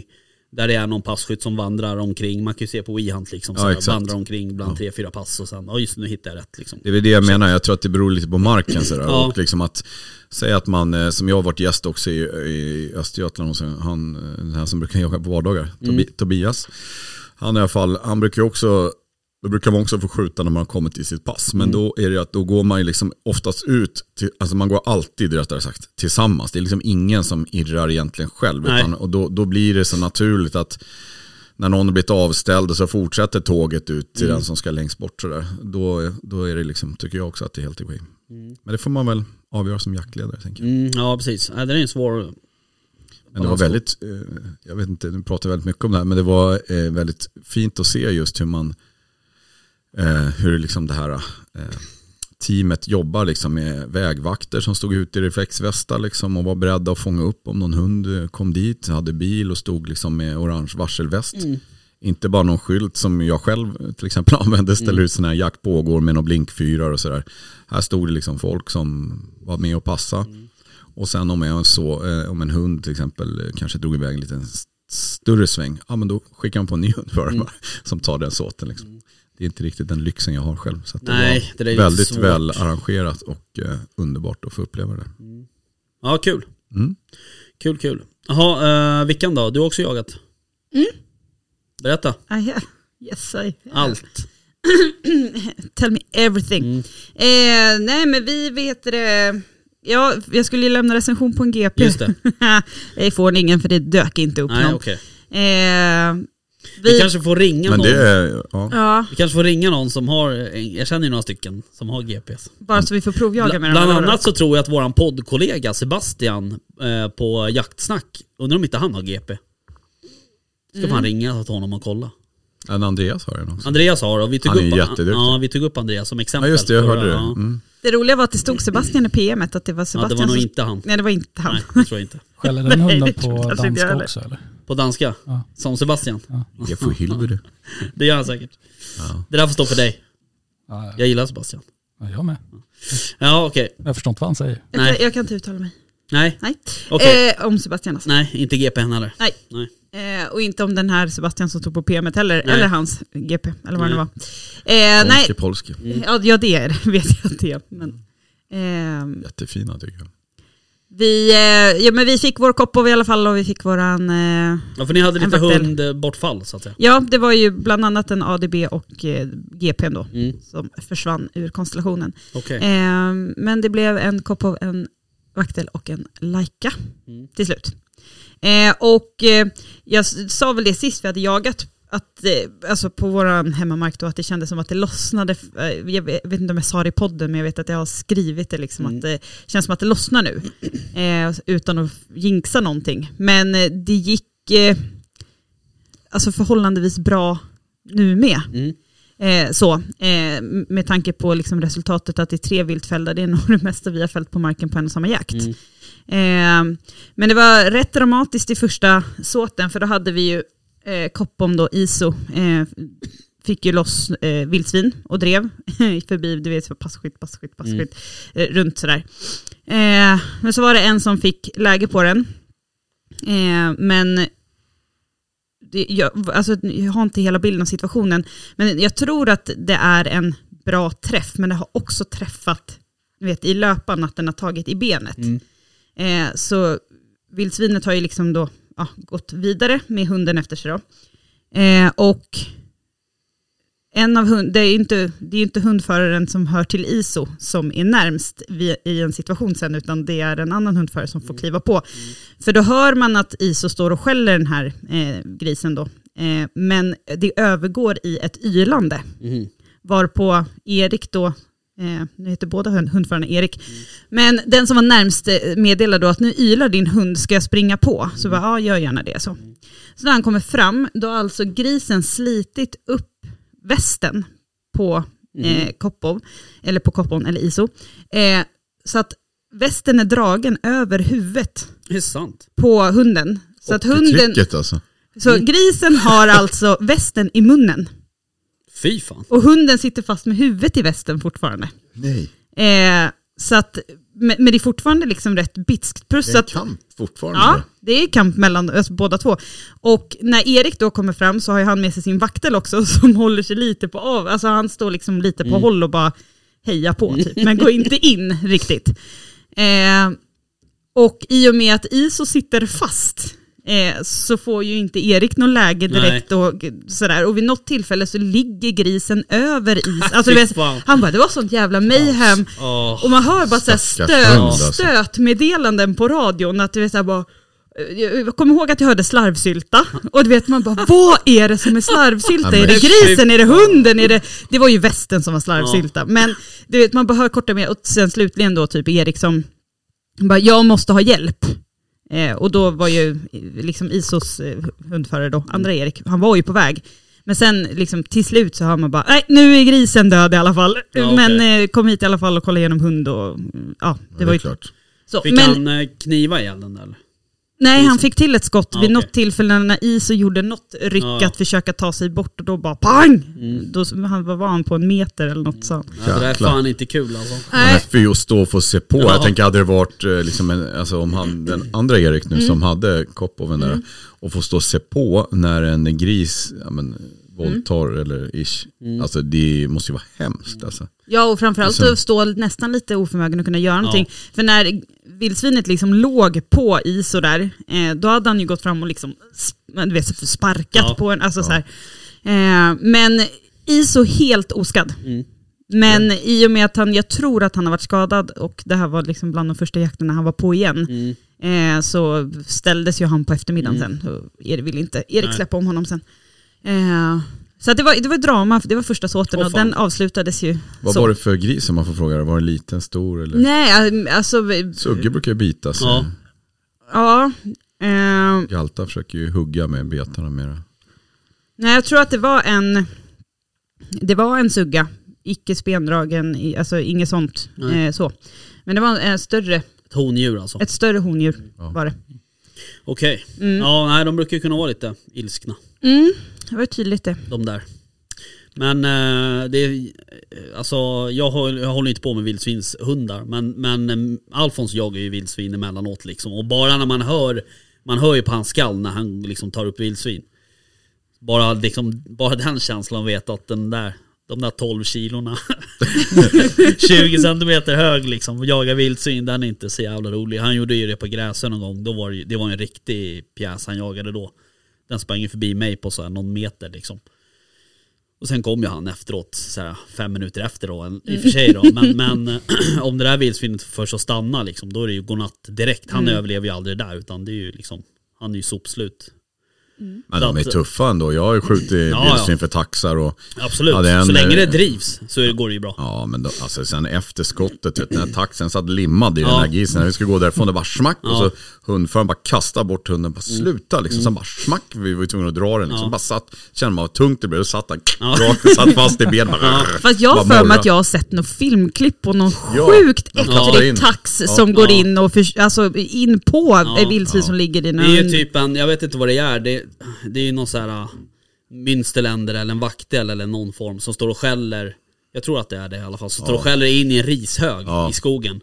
[SPEAKER 3] där det är någon passkytt som vandrar omkring. Man kan ju se på WeHunt liksom. Så
[SPEAKER 1] Ja,
[SPEAKER 3] här,
[SPEAKER 1] exakt.
[SPEAKER 3] vandrar omkring bland tre, fyra pass och sen, ja just nu hittar jag rätt liksom.
[SPEAKER 1] det är väl det jag menar. Jag tror att det beror lite på marken sådär.
[SPEAKER 3] Ja.
[SPEAKER 1] Och liksom att, säga att man, eh, som jag har varit gäst också i, i Östergötland hos en- han, eh, den här som brukar jaga på vardagar, Tobi,
[SPEAKER 3] Mm.
[SPEAKER 1] Tobias. Han i alla fall, han brukar ju också Då brukar man också få skjuta när man har kommit till sitt pass. Men då är det ju att då går man ju liksom oftast ut, till, alltså man går alltid rättare sagt tillsammans. Det är liksom ingen som irrar egentligen själv.
[SPEAKER 3] Nej.
[SPEAKER 1] Utan, och då, då blir det så naturligt att när någon har blivit avställd så fortsätter tåget ut till den som ska längst bort. Sådär. Då, då är det liksom, tycker jag också att det är helt okej. Men det får man väl avgöra som jaktledare tänker jag.
[SPEAKER 3] Mm, ja precis, ja, det är en svår...
[SPEAKER 1] Men det var väldigt, eh, jag vet inte, nu pratar jag väldigt mycket om det här, men det var eh, väldigt fint att se just hur man, eh, hur liksom det här eh, teamet jobbar liksom med vägvakter som stod ute i reflexvästar liksom och var beredda att fånga upp om någon hund eh, kom dit, hade bil och stod liksom med orange varselväst. Inte bara någon skylt som jag själv eh, till exempel använde, ställer
[SPEAKER 3] Mm.
[SPEAKER 1] ut sådana här jakt pågår med någon blinkfyrar och sådär. Här stod det liksom folk som var med och passa.
[SPEAKER 3] Mm.
[SPEAKER 1] Och sen om, jag så, eh, om en hund till exempel eh, kanske drog iväg en liten st- större sväng, ja men då skickar man på en ny hund för mm. som tar den såten. Liksom. Det är inte riktigt den lyxen jag har själv. Så att det
[SPEAKER 3] Mm. Nej,
[SPEAKER 1] var
[SPEAKER 3] det där är ju
[SPEAKER 1] väldigt
[SPEAKER 3] svårt.
[SPEAKER 1] väl arrangerat och eh, underbart att få uppleva det.
[SPEAKER 3] Ja kul.
[SPEAKER 1] Mm.
[SPEAKER 3] Kul kul. Jaha, eh, Vickan då? Du har också jagat? Berätta.
[SPEAKER 4] I ha- Ah, yes, I have.
[SPEAKER 3] Allt.
[SPEAKER 4] Tell me everything.
[SPEAKER 3] Mm.
[SPEAKER 4] Eh, nej men vi vet det. Ja, jag skulle ju lämna recension på en GP.
[SPEAKER 3] Just det.
[SPEAKER 4] jag får ingen för det dök inte upp
[SPEAKER 3] Nej,
[SPEAKER 4] någon.
[SPEAKER 3] okej.
[SPEAKER 4] Eh,
[SPEAKER 3] Vi
[SPEAKER 4] vi,
[SPEAKER 3] kanske får ringa
[SPEAKER 1] Men
[SPEAKER 3] någon.
[SPEAKER 1] det är, ja.
[SPEAKER 4] ja,
[SPEAKER 3] Vi kanske får ringa någon som har, jag känner ju några stycken som har GPS.
[SPEAKER 4] bara så vi får provjaga med
[SPEAKER 3] Bla,
[SPEAKER 4] den
[SPEAKER 3] bland
[SPEAKER 4] här
[SPEAKER 3] annat så tror jag att våran poddkollega Sebastian eh, på
[SPEAKER 4] Mm.
[SPEAKER 3] Jaktsnack, undrar om inte han har GP. Ska fan ringa till honom och kolla.
[SPEAKER 1] En Andreas har jag någon.
[SPEAKER 3] Andreas har och vi tog,
[SPEAKER 1] Han är
[SPEAKER 3] upp,
[SPEAKER 1] jätteduktig.
[SPEAKER 3] ja, vi tog upp Andreas som
[SPEAKER 1] Ja
[SPEAKER 3] exempel.
[SPEAKER 1] just det, jag
[SPEAKER 3] för-
[SPEAKER 1] hörde det.
[SPEAKER 3] Ja.
[SPEAKER 1] Mm.
[SPEAKER 4] Det roliga var att det stod Sebastian i PMet att det var
[SPEAKER 3] Ja,
[SPEAKER 4] Sebastian
[SPEAKER 3] det var nog
[SPEAKER 4] som-
[SPEAKER 3] inte han.
[SPEAKER 4] Nej, det var inte han.
[SPEAKER 3] Nej, det tror jag inte.
[SPEAKER 5] Skäller den hunden
[SPEAKER 4] det tror jag
[SPEAKER 5] på
[SPEAKER 4] kanske inte jag
[SPEAKER 5] danska
[SPEAKER 4] heller.
[SPEAKER 5] också eller?
[SPEAKER 3] På danska?
[SPEAKER 5] Ja.
[SPEAKER 3] Som Sebastian?
[SPEAKER 1] Jag får helvete.
[SPEAKER 3] Det gör han säkert.
[SPEAKER 1] Ja.
[SPEAKER 3] Det där får stå för dig.
[SPEAKER 5] Ja,
[SPEAKER 3] Jag gillar Sebastian.
[SPEAKER 5] ja, jag med.
[SPEAKER 3] Ja, okej.
[SPEAKER 5] Jag förstår inte vad han säger.
[SPEAKER 4] Jag,
[SPEAKER 3] Nej.
[SPEAKER 4] kan- jag kan inte uttala mig.
[SPEAKER 3] Nej.
[SPEAKER 4] Nej.
[SPEAKER 3] Okej.
[SPEAKER 4] Eh, om Sebastian alltså.
[SPEAKER 3] Nej, inte GPN heller.
[SPEAKER 4] Nej.
[SPEAKER 3] Nej.
[SPEAKER 4] Eh, och inte om den här Sebastian som stod på PMet heller,
[SPEAKER 3] Nej. Mm.
[SPEAKER 4] eller hans GP, eller vad det
[SPEAKER 3] Nej.
[SPEAKER 4] var. Eh, nej,
[SPEAKER 1] Polske, polske.
[SPEAKER 4] ja, ja det är det, vet jag att det är. Men, ehm,
[SPEAKER 1] Jättefina tycker jag.
[SPEAKER 4] vi, eh, ja, men vi fick vår kopp av i alla fall och vi fick våran... Eh,
[SPEAKER 3] Ja, för ni hade
[SPEAKER 4] En
[SPEAKER 3] lite
[SPEAKER 4] vaktel.
[SPEAKER 3] hundbortfall så att säga.
[SPEAKER 4] ja, det var ju bland annat en ADB och eh, GP då,
[SPEAKER 3] Mm.
[SPEAKER 4] som försvann ur konstellationen.
[SPEAKER 3] Okej.
[SPEAKER 4] Ehm, men det blev en kopp av en vaktel och en Laika
[SPEAKER 3] Mm.
[SPEAKER 4] till slut. Eh, och eh, jag s- sa väl det sist vi hade jagat, att, eh, alltså på vår hemmamark då, att det kändes som att det lossnade. f- Eh, jag vet jag vet inte om jag sa det i podden, men jag vet att jag har skrivit det liksom,
[SPEAKER 3] Mm.
[SPEAKER 4] att det känns som att det lossnar nu. Eh, utan att jinxa någonting. Men eh, det gick eh, alltså förhållandevis bra nu med.
[SPEAKER 3] Mm.
[SPEAKER 4] Eh, så, eh, med tanke på liksom resultatet att det är tre viltfällda, det är nog det mesta vi har fällt på marken på en och samma jakt. Eh, men det var rätt dramatiskt i första såten, för då hade vi ju eh, Koppom då, ISO, eh, fick ju loss eh, vildsvin och drev förbi, du vet, så passkytt, passkytt, passkytt, eh, runt sådär. Eh, men så var det en som fick läge på den. Eh, men det, jag, alltså, jag har inte hela bilden av situationen, men jag tror att det är en bra träff, men det har också träffat du vet, i löpan, att den har tagit i benet. Eh, så vildsvinet har ju liksom då ja, gått vidare med hunden efter sig. Då. Eh, och en av hund, det är ju inte, det är ju inte hundföraren som hör till ISO som är närmst vi, i en situation sen, utan det är en annan hundförare som får kliva på. För då hör man att ISO står och skäller den här eh, grisen då. Eh, men det övergår i ett ylande.
[SPEAKER 3] Mhm.
[SPEAKER 4] Varpå Erik då, eh, nu heter båda hund, hundförarna Erik, men den som var närmst eh, meddelade då att nu ylar din hund, ska jag springa på? Så bara, ja gör gärna det. Så. så när han kommer fram, då har alltså grisen slitit upp västen på eh, Koppov, eller på Koppon eller ISO. Eh, så att västen är dragen över huvudet
[SPEAKER 3] Det är sant.
[SPEAKER 4] på hunden. Så att hunden,
[SPEAKER 1] Trycket alltså.
[SPEAKER 4] så grisen har alltså västen i munnen
[SPEAKER 3] Fy fan.
[SPEAKER 4] och hunden sitter fast med huvudet i västen fortfarande.
[SPEAKER 1] Nej,
[SPEAKER 4] Eh, så att, men, men det är fortfarande liksom rätt bitskt. Plus
[SPEAKER 1] det är en
[SPEAKER 4] att,
[SPEAKER 1] kamp fortfarande.
[SPEAKER 4] ja, det är kamp mellan alltså, båda två. Och när Erik då kommer fram så har ju han med sig sin vaktel också som håller sig lite på av. Alltså han står liksom lite på håll och bara hejar på typ, men går inte in riktigt. Eh, och i och med att ISO sitter fast eh, så får ju inte Erik något läge direkt och g- sådär. Och vid något tillfälle så ligger grisen över is. Alltså, du vet,
[SPEAKER 3] fan.
[SPEAKER 4] han bara, det var sånt jävla mayhem.
[SPEAKER 3] Åh.
[SPEAKER 4] Och man hör bara såhär
[SPEAKER 1] Stackars
[SPEAKER 4] stöt,
[SPEAKER 1] hund, alltså.
[SPEAKER 4] stötmeddelanden på radion. Att du vet såhär bara, jag kommer ihåg att jag hörde slarvsylta och du vet man bara vad är det som är slarvsylta?
[SPEAKER 1] Ja,
[SPEAKER 4] Är
[SPEAKER 1] men typ-
[SPEAKER 4] det grisen? Är det hunden? Är det, det var ju västen som var slarvsylta. Men du vet man bara hör korta med och sen slutligen då typ Erik som bara jag måste ha hjälp. Eh, och då var ju eh, liksom Isos eh, hundförare
[SPEAKER 1] Mm.
[SPEAKER 4] då, andra Erik, han var ju på väg. Men sen liksom, till slut så hör man bara, nej nu är grisen död i alla fall.
[SPEAKER 3] Ja,
[SPEAKER 4] Men
[SPEAKER 3] okej.
[SPEAKER 4] eh, kom hit i alla fall och kolla igenom hund och mm, ja, det,
[SPEAKER 1] Det,
[SPEAKER 4] var
[SPEAKER 1] är
[SPEAKER 4] ju
[SPEAKER 1] klart.
[SPEAKER 4] så.
[SPEAKER 3] Fick
[SPEAKER 4] Men,
[SPEAKER 3] han eh, kniva ihjäl den där eller?
[SPEAKER 4] nej han fick till ett skott
[SPEAKER 3] Ja,
[SPEAKER 4] vid
[SPEAKER 3] okej.
[SPEAKER 4] något tillfälle när Iso gjorde något ryck
[SPEAKER 3] Ja, ja.
[SPEAKER 4] att försöka ta sig bort och då bara pang! Då, han, vad var han på en meter eller något sånt?
[SPEAKER 3] Nej, det där är
[SPEAKER 1] Jäklar.
[SPEAKER 3] fan inte kul alltså.
[SPEAKER 1] Nej. För just då få se på. Jag tänker hade det varit eh, liksom en, alltså om han, den andra Erik
[SPEAKER 4] Mm.
[SPEAKER 1] nu som hade Koppoven där och få stå och se på när en gris ja,
[SPEAKER 4] Mm.
[SPEAKER 1] men, våldtar eller ish.
[SPEAKER 3] Mm.
[SPEAKER 1] Alltså det måste ju vara hemskt alltså.
[SPEAKER 4] Ja, och framförallt
[SPEAKER 1] Och sen-
[SPEAKER 4] att stå nästan lite oförmögen och kunna göra någonting.
[SPEAKER 3] Ja.
[SPEAKER 4] För när vildsvinet liksom låg på is och där, eh, då hade han ju gått fram och liksom sp- du vet, så sparkat
[SPEAKER 3] Ja.
[SPEAKER 4] på en. Alltså så här. Eh, men Iso helt oskadd.
[SPEAKER 3] Mm.
[SPEAKER 4] Men i och med att han, jag tror att han har varit skadad och det här var liksom bland de första jakterna han var på igen,
[SPEAKER 3] Mm.
[SPEAKER 4] eh, så ställdes ju han på eftermiddagen sen. Och Erik ville inte Erik
[SPEAKER 3] Nej.
[SPEAKER 4] släppa om honom sen. Eh, så att det var, det var drama, det var första såten
[SPEAKER 3] Åh,
[SPEAKER 4] och
[SPEAKER 3] fan.
[SPEAKER 4] den avslutades ju
[SPEAKER 1] Vad
[SPEAKER 4] så.
[SPEAKER 1] var det för gris om man får fråga? det? Var det liten, stor eller?
[SPEAKER 4] Nej, alltså,
[SPEAKER 1] Sugge brukar ju bita sig.
[SPEAKER 3] Ja.
[SPEAKER 4] ja. Eh,
[SPEAKER 1] Galta försöker ju hugga med betarna mera.
[SPEAKER 4] Nej, jag tror att det var en, det var en sugga. Icke spendragen, i- alltså inget sånt.
[SPEAKER 3] Nej.
[SPEAKER 4] Eh, så. Men det var en eh, större,
[SPEAKER 3] Ett hondjur alltså.
[SPEAKER 4] ett större hondjur
[SPEAKER 1] Ja.
[SPEAKER 4] var det.
[SPEAKER 3] Okej.
[SPEAKER 4] Mm.
[SPEAKER 3] Ja, nej, de brukar ju kunna vara lite ilskna,
[SPEAKER 4] Mm, det var ju tydligt det.
[SPEAKER 3] de där. Men eh, det, är- alltså, jag, håller, jag håller inte på med vildsvinshundar, men, men eh, Alfons jagar ju vildsvin emellanåt liksom. Och bara när man hör, man hör ju på hans skall när han liksom tar upp vildsvin. Bara, liksom, bara den känslan vet att den där, de där 12 kilorna, 20 centimeter hög liksom, och jagar vildsvin, den är inte så jävla rolig. Han gjorde ju det på Gräsön någon gång, då var det, ju- det var en riktig pjäs han jagade då. Den sprang ju förbi mig på så här någon meter liksom. Och sen kom ju han efteråt, så här, fem minuter efter då, en- i och för sig då. Men, men om det där vildsvinet först att stanna liksom, då är det ju godnatt direkt. Han överlever ju aldrig det där, utan det är ju liksom, han är ju sopslut.
[SPEAKER 1] Men de är
[SPEAKER 3] att-
[SPEAKER 1] tuffa ändå. Jag har ju skjutit
[SPEAKER 3] ja.
[SPEAKER 1] vildsvin för taxar och
[SPEAKER 3] Absolut,
[SPEAKER 1] Ja, det är en-
[SPEAKER 3] så länge det drivs så är det- går det ju bra.
[SPEAKER 1] Ja men då, alltså, sen efter skottet, vet, du, den här taxen satt limmad i den
[SPEAKER 3] Ja.
[SPEAKER 1] här grisen. När vi skulle gå därifrån, det bara smack. Och så hundföraren bara kastade bort hunden, bara sluta liksom. Sen bara smack, vi var ju tvungna att dra den liksom.
[SPEAKER 3] Mm. Ja.
[SPEAKER 1] Bara satt, kände man hur tungt det blev. Då satt han,
[SPEAKER 3] Ja.
[SPEAKER 1] rakt, satt fast i benet. bara.
[SPEAKER 4] Fast jag har
[SPEAKER 1] Bara
[SPEAKER 4] för mig
[SPEAKER 1] morra.
[SPEAKER 4] att jag har sett något filmklipp på någon
[SPEAKER 1] Ja,
[SPEAKER 4] sjukt
[SPEAKER 1] de kastar
[SPEAKER 4] äcklig
[SPEAKER 1] in.
[SPEAKER 4] tax
[SPEAKER 1] Ja.
[SPEAKER 4] som går in och för, alltså in på ja, vildsvin som ligger i
[SPEAKER 3] Det är ju
[SPEAKER 4] någon...
[SPEAKER 3] typ en, jag vet inte vad det är, det, det är ju någon så här äh, mynsterländer eller en vaktel eller någon form som står och skäller, jag tror att det är det i alla fall, som står och skäller in i en rishög
[SPEAKER 1] Ja.
[SPEAKER 3] i skogen.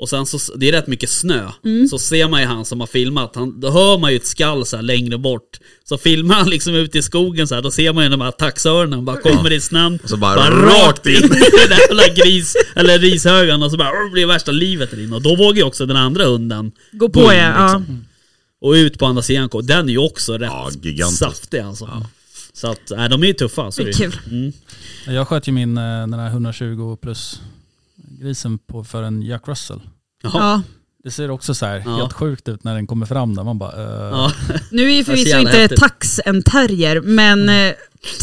[SPEAKER 3] Och sen så, det är rätt mycket snö, så ser man ju han som har filmat, han, då hör man ju ett skall så här längre bort. Så filmar han liksom ute i skogen så här, då ser man ju de här taxörerna bara kommer i snön,
[SPEAKER 1] Och så bara rakt in.
[SPEAKER 3] i den där jävla gris, eller rishögen och så bara "Åh, det blir värsta livet där inne. Och då vågar ju också den andra hunden
[SPEAKER 4] Gå på
[SPEAKER 3] in,
[SPEAKER 4] ja. ja.
[SPEAKER 3] liksom. och ut på andra sidan kom. Den är ju också rätt
[SPEAKER 1] Ja, gigantisk.
[SPEAKER 3] saftig alltså. Så att, nej, de är ju tuffa. Så
[SPEAKER 4] Det är kul.
[SPEAKER 3] Mm.
[SPEAKER 5] Jag sköt ju min eh, den här 120 plus grisen på, för en Jack Russell.
[SPEAKER 3] Jaha.
[SPEAKER 4] Ja.
[SPEAKER 5] Det ser också så här
[SPEAKER 3] Ja.
[SPEAKER 5] helt sjukt ut när den kommer fram där. Man bara, eh,
[SPEAKER 3] Ja.
[SPEAKER 4] Nu är
[SPEAKER 3] ser
[SPEAKER 4] ju förvisso
[SPEAKER 3] jävla
[SPEAKER 4] inte
[SPEAKER 3] häftigt. Mm.
[SPEAKER 4] tax en terrier, men eh,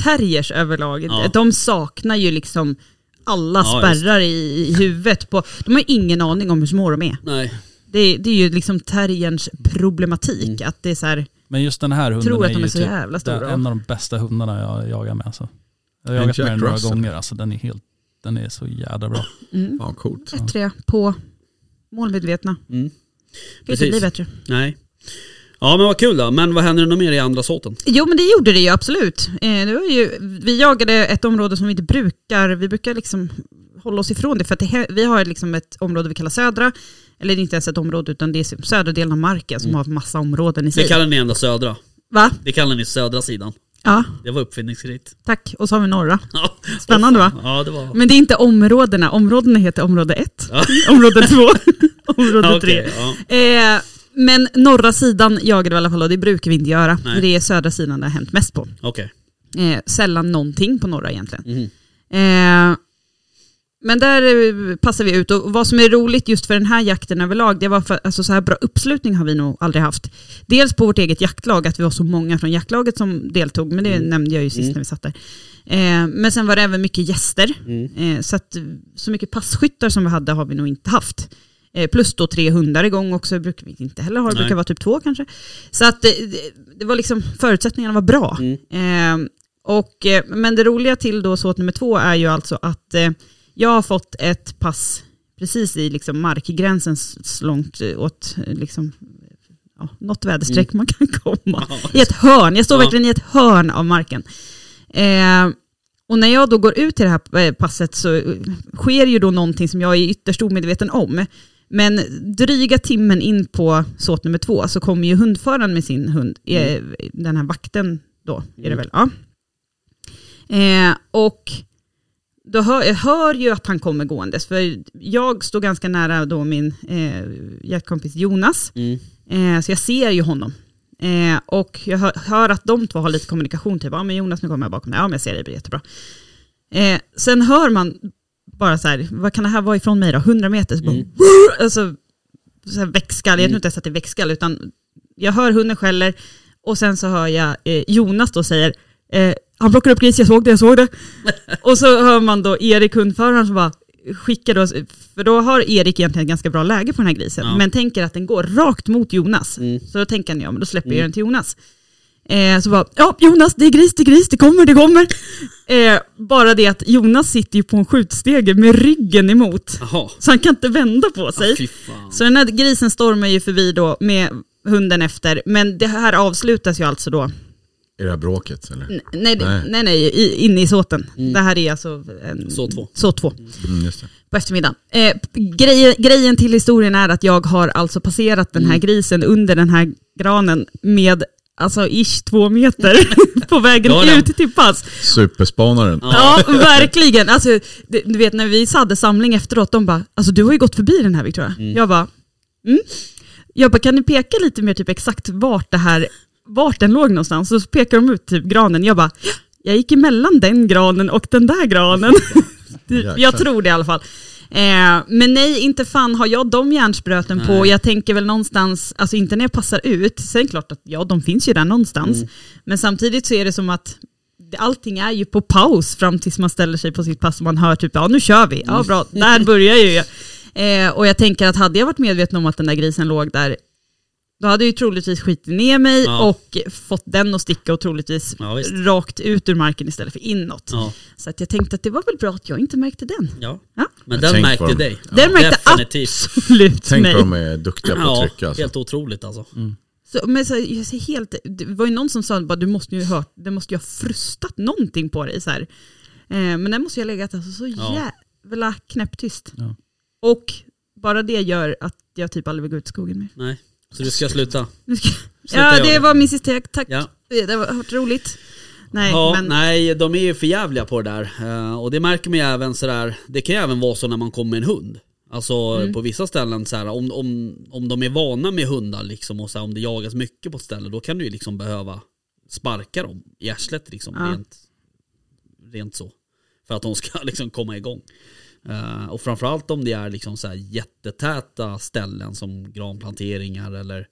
[SPEAKER 4] terriers överlag, eh,
[SPEAKER 3] Ja.
[SPEAKER 4] de saknar ju liksom alla
[SPEAKER 3] Ja,
[SPEAKER 4] spärrar i, i huvudet. På, de har ju ingen aning om hur små de är.
[SPEAKER 3] Nej.
[SPEAKER 4] Det, är- det är ju liksom terrierns problematik,
[SPEAKER 3] Mm.
[SPEAKER 4] att det är så här,
[SPEAKER 5] Men just den här hunden
[SPEAKER 4] Tror att
[SPEAKER 5] är
[SPEAKER 4] de är
[SPEAKER 5] ju
[SPEAKER 4] så
[SPEAKER 5] typ
[SPEAKER 4] jävla stora,
[SPEAKER 5] den-
[SPEAKER 4] va?
[SPEAKER 5] en av de bästa hundarna jag jagar med. Alltså. Jag har
[SPEAKER 1] En
[SPEAKER 5] jagat med
[SPEAKER 1] Jack
[SPEAKER 5] den några
[SPEAKER 1] Russell.
[SPEAKER 5] gånger, alltså, den, är helt, den är så jädra bra.
[SPEAKER 4] mm,
[SPEAKER 1] Fan coolt.
[SPEAKER 4] bättre på målmedvetna.
[SPEAKER 3] Mm.
[SPEAKER 4] Kan ju inte
[SPEAKER 3] Precis.
[SPEAKER 4] bli bättre.
[SPEAKER 3] nej. Ja men vad kul då. Men vad händer nog mer i andra såten?
[SPEAKER 4] Jo men det gjorde det ju absolut. Eh, det var ju, vi jagade ett område som vi inte brukar, vi brukar liksom hålla oss ifrån det för att det, hä- vi har liksom ett område vi kallar södra, eller det är inte ens ett område utan det är typ södra delen av marken som har massa områden i sig.
[SPEAKER 3] Det Mm. kallar ni ändå södra.
[SPEAKER 4] Va?
[SPEAKER 3] Det kallar ni södra sidan.
[SPEAKER 4] Ja,
[SPEAKER 3] Det var uppfinningsrikt.
[SPEAKER 4] tack. Och så har vi norra.
[SPEAKER 3] Ja.
[SPEAKER 4] Spännande va?
[SPEAKER 3] Ja det var...
[SPEAKER 4] Men det är inte områdena, områdena heter område 1,
[SPEAKER 3] Ja.
[SPEAKER 4] område 2, område
[SPEAKER 3] Ja,
[SPEAKER 4] 3.
[SPEAKER 3] okej, ja.
[SPEAKER 4] Eh, men norra sidan jagade vi i alla fall och det brukar vi inte göra.
[SPEAKER 3] Nej.
[SPEAKER 4] Det är södra sidan det har hänt mest på.
[SPEAKER 3] Okej.
[SPEAKER 4] Eh, sällan någonting på norra egentligen.
[SPEAKER 3] Mm.
[SPEAKER 4] Eh, men där eh, passar vi ut och vad som är roligt just för den här jakten överlag, det var för, alltså så här bra uppslutning har vi nog aldrig haft. Dels på vårt eget jaktlag, att vi var så många från jaktlaget som deltog, men det nämnde jag ju sist när vi satt där. Eh, men sen var det även mycket gäster, eh, så att eh, så mycket passskyttar som vi hade har vi nog inte haft. Eh, plus då tre hundar igång också, brukar vi inte heller ha, det
[SPEAKER 3] Nej.
[SPEAKER 4] brukar vara typ två kanske. Så att eh, det, det var liksom, förutsättningarna var bra. Eh, och, eh, men det roliga till då såt nummer två är ju alltså att eh, jag har fått ett pass precis i liksom markgränsen s- s- långt eh, åt eh, liksom, ja, något väderstreck man kan komma. I ett hörn, jag står
[SPEAKER 3] Ja.
[SPEAKER 4] verkligen i ett hörn av marken. Eh, och när jag då går ut till det här eh, passet så eh, sker ju då någonting som jag är ytterst omedveten om. Men dryga timmen in på såt nummer två så kommer ju hundföraren med sin hund, eh, den här vakten då, är det väl? Ja. Eh, och då hör, jag hör ju att han kommer gåendes, för jag står ganska nära då min eh, jaktkompis Jonas,
[SPEAKER 3] Mm.
[SPEAKER 4] eh, så jag ser ju honom. Eh, och jag hör, hör att de två har lite kommunikation, typ, ja men Jonas nu kommer jag bakom dig, ja men jag ser dig, det blir jättebra. Eh, sen hör man bara så här, vad kan det här vara ifrån mig då, 100 meter, så bara, alltså, så här väckskall,
[SPEAKER 3] Mm.
[SPEAKER 4] jag tror inte ens att det är väckskall, utan jag hör hunden skäller och sen så hör jag eh, Jonas då säger, eh, han plockar upp gris, jag såg det, jag såg det. och så hör man då Erik, hundföraren, som bara skickar då, för då har Erik egentligen ett ganska bra läge på den här grisen,
[SPEAKER 3] Ja.
[SPEAKER 4] men tänker att den går rakt mot Jonas.
[SPEAKER 3] Mm.
[SPEAKER 4] Så då tänker han, ja men då släpper jag den till Jonas. Eh, så bara, ja Jonas det är gris, det är gris, det kommer, det kommer. Eh, bara det att Jonas sitter ju på en skjutstege med ryggen emot.
[SPEAKER 3] Jaha.
[SPEAKER 4] Så han kan inte vända på sig.
[SPEAKER 6] Fy fan.
[SPEAKER 4] Så den här grisen stormar ju förbi då med hunden efter. Men det här avslutas ju alltså då.
[SPEAKER 1] I det här bråket eller?
[SPEAKER 4] N- Nej, nej,
[SPEAKER 1] Nej.
[SPEAKER 4] nej, nej i, inne i såten. Det här är alltså en,
[SPEAKER 3] Så två.
[SPEAKER 4] så två
[SPEAKER 1] Mm, just det.
[SPEAKER 4] på eftermiddagen. Eh, grejen, grejen till historien är att jag har alltså passerat den här grisen under den här granen med alltså ish två meter på vägen
[SPEAKER 3] Ja, ja.
[SPEAKER 4] ut till pass.
[SPEAKER 1] Superspanaren.
[SPEAKER 4] Ja, verkligen. Alltså, det, du vet när vi hade samling efteråt, de bara, alltså du har ju gått förbi den här Victoria. Jag bara, mm. Jag bara, kan ni peka lite mer typ exakt vart det här, vart den låg någonstans? Och så pekar de ut typ granen. Jag bara, jag gick emellan den granen och den där granen. Typ,
[SPEAKER 1] Jäklar.
[SPEAKER 4] jag tror det i alla fall. Eh, men nej, inte fan har jag de hjärnspröten på. Jag tänker väl någonstans, alltså inte när jag passar ut, sen är det klart att ja, de finns ju där någonstans.
[SPEAKER 3] Mm.
[SPEAKER 4] Men samtidigt så är det som att det- allting är ju på paus fram tills man ställer sig på sitt pass och man hör typ, ja nu kör vi,
[SPEAKER 3] Mm.
[SPEAKER 4] ja bra, där börjar ju jag. Eh, och jag tänker att hade jag varit medveten om att den där grisen låg där, då hade jag ju troligtvis skitit ner mig
[SPEAKER 3] Ja.
[SPEAKER 4] och fått den att sticka och troligtvis
[SPEAKER 3] Ja, visst.
[SPEAKER 4] rakt ut ur marken istället för inåt.
[SPEAKER 3] Ja.
[SPEAKER 4] Så att jag tänkte att det var väl bra att jag inte märkte den.
[SPEAKER 3] ja.
[SPEAKER 4] Ja.
[SPEAKER 3] Men
[SPEAKER 1] Tänk
[SPEAKER 3] den
[SPEAKER 1] på
[SPEAKER 3] märkte
[SPEAKER 1] dem.
[SPEAKER 3] dig.
[SPEAKER 4] Den märkte
[SPEAKER 3] Definitivt.
[SPEAKER 4] absolut
[SPEAKER 1] Tänk
[SPEAKER 4] mig.
[SPEAKER 1] vad de är duktiga på att trycka.
[SPEAKER 3] Ja,
[SPEAKER 1] Alltså.
[SPEAKER 3] helt otroligt alltså.
[SPEAKER 4] Mm. Så, men så, jag ser helt, det var ju någon som sa att du måste ju ha hört, det måste ju ha frustat någonting på dig. Så här. Eh, men den måste ju ha legat alltså, så
[SPEAKER 3] Ja.
[SPEAKER 4] jävla knäpptyst.
[SPEAKER 5] Ja.
[SPEAKER 4] Och bara det gör att jag typ aldrig vill gå ut i skogen mer.
[SPEAKER 3] Nej. Så du ska sluta?
[SPEAKER 4] Nu ska,
[SPEAKER 3] Sluta
[SPEAKER 4] ja,
[SPEAKER 3] göra
[SPEAKER 4] det
[SPEAKER 3] det.
[SPEAKER 4] var min sista jack. Tack. Eh,
[SPEAKER 3] Ja.
[SPEAKER 4] Det var varit roligt. Nej,
[SPEAKER 3] ja,
[SPEAKER 4] men
[SPEAKER 3] nej, de är ju för jävliga på det där. Eh, och det märker man ju även sådär, det kan ju även vara så när man kommer med en hund. Alltså
[SPEAKER 4] Mm.
[SPEAKER 3] på vissa ställen, så här, om, om, om de är vana med hundar liksom, och så här, om det jagas mycket på ett ställe, då kan du ju liksom behöva sparka dem i arslet liksom,
[SPEAKER 4] Ja.
[SPEAKER 3] rent, rent så. För att de ska liksom komma igång. Eh, och framförallt om det är liksom så här jättetäta ställen som granplanteringar eller,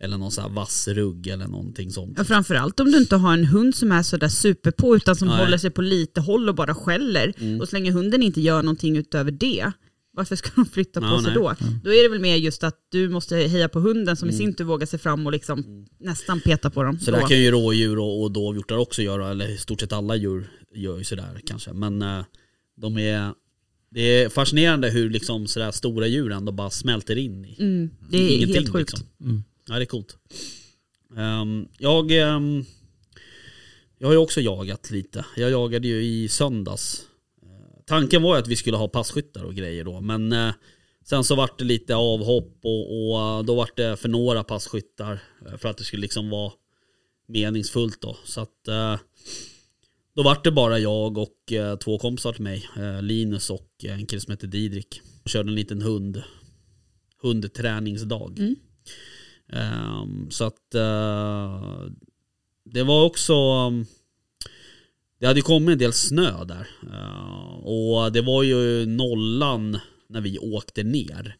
[SPEAKER 3] eller någon så här vass rugg eller någonting sånt.
[SPEAKER 4] ja, framförallt om du inte har en hund som är sådär superpå utan som
[SPEAKER 3] Nej. Mm.
[SPEAKER 4] håller sig på lite håll och bara skäller. Och så länge hunden inte gör någonting utöver det, varför ska de flytta på
[SPEAKER 3] Ja,
[SPEAKER 4] sig
[SPEAKER 3] nej. Mm.
[SPEAKER 4] då? Då är det väl mer just att du måste heja på hunden som i sin tur vågar sig fram och liksom nästan peta på dem.
[SPEAKER 3] Så
[SPEAKER 4] Mm, då.
[SPEAKER 3] där kan ju rådjur och, och dovhjortar också göra, eller i stort sett alla djur gör ju sådär kanske. Men eh, de är, det är fascinerande hur liksom sådär stora djur ändå bara smälter in i
[SPEAKER 4] mm, det är
[SPEAKER 3] ingenting.
[SPEAKER 4] helt sjukt.
[SPEAKER 3] Liksom. Ja det är coolt. Ehm, jag, ehm, jag har ju också jagat lite. Jag jagade ju i söndags. Eh, tanken var ju att vi skulle ha passkyttar och grejer då men eh, sen så vart det lite avhopp och, och eh, då vart det för några passkyttar eh, för att det skulle liksom vara meningsfullt då. Så att eh, då vart det bara jag och eh, två kompisar till mig. Eh, Linus och eh, en kille som heter Didrik. Körde en liten hund. Hundträningsdag. Ehm, så att eh, det var också um, Det hade ju kommit en del snö där. Eh, och det var ju nollan när vi åkte ner.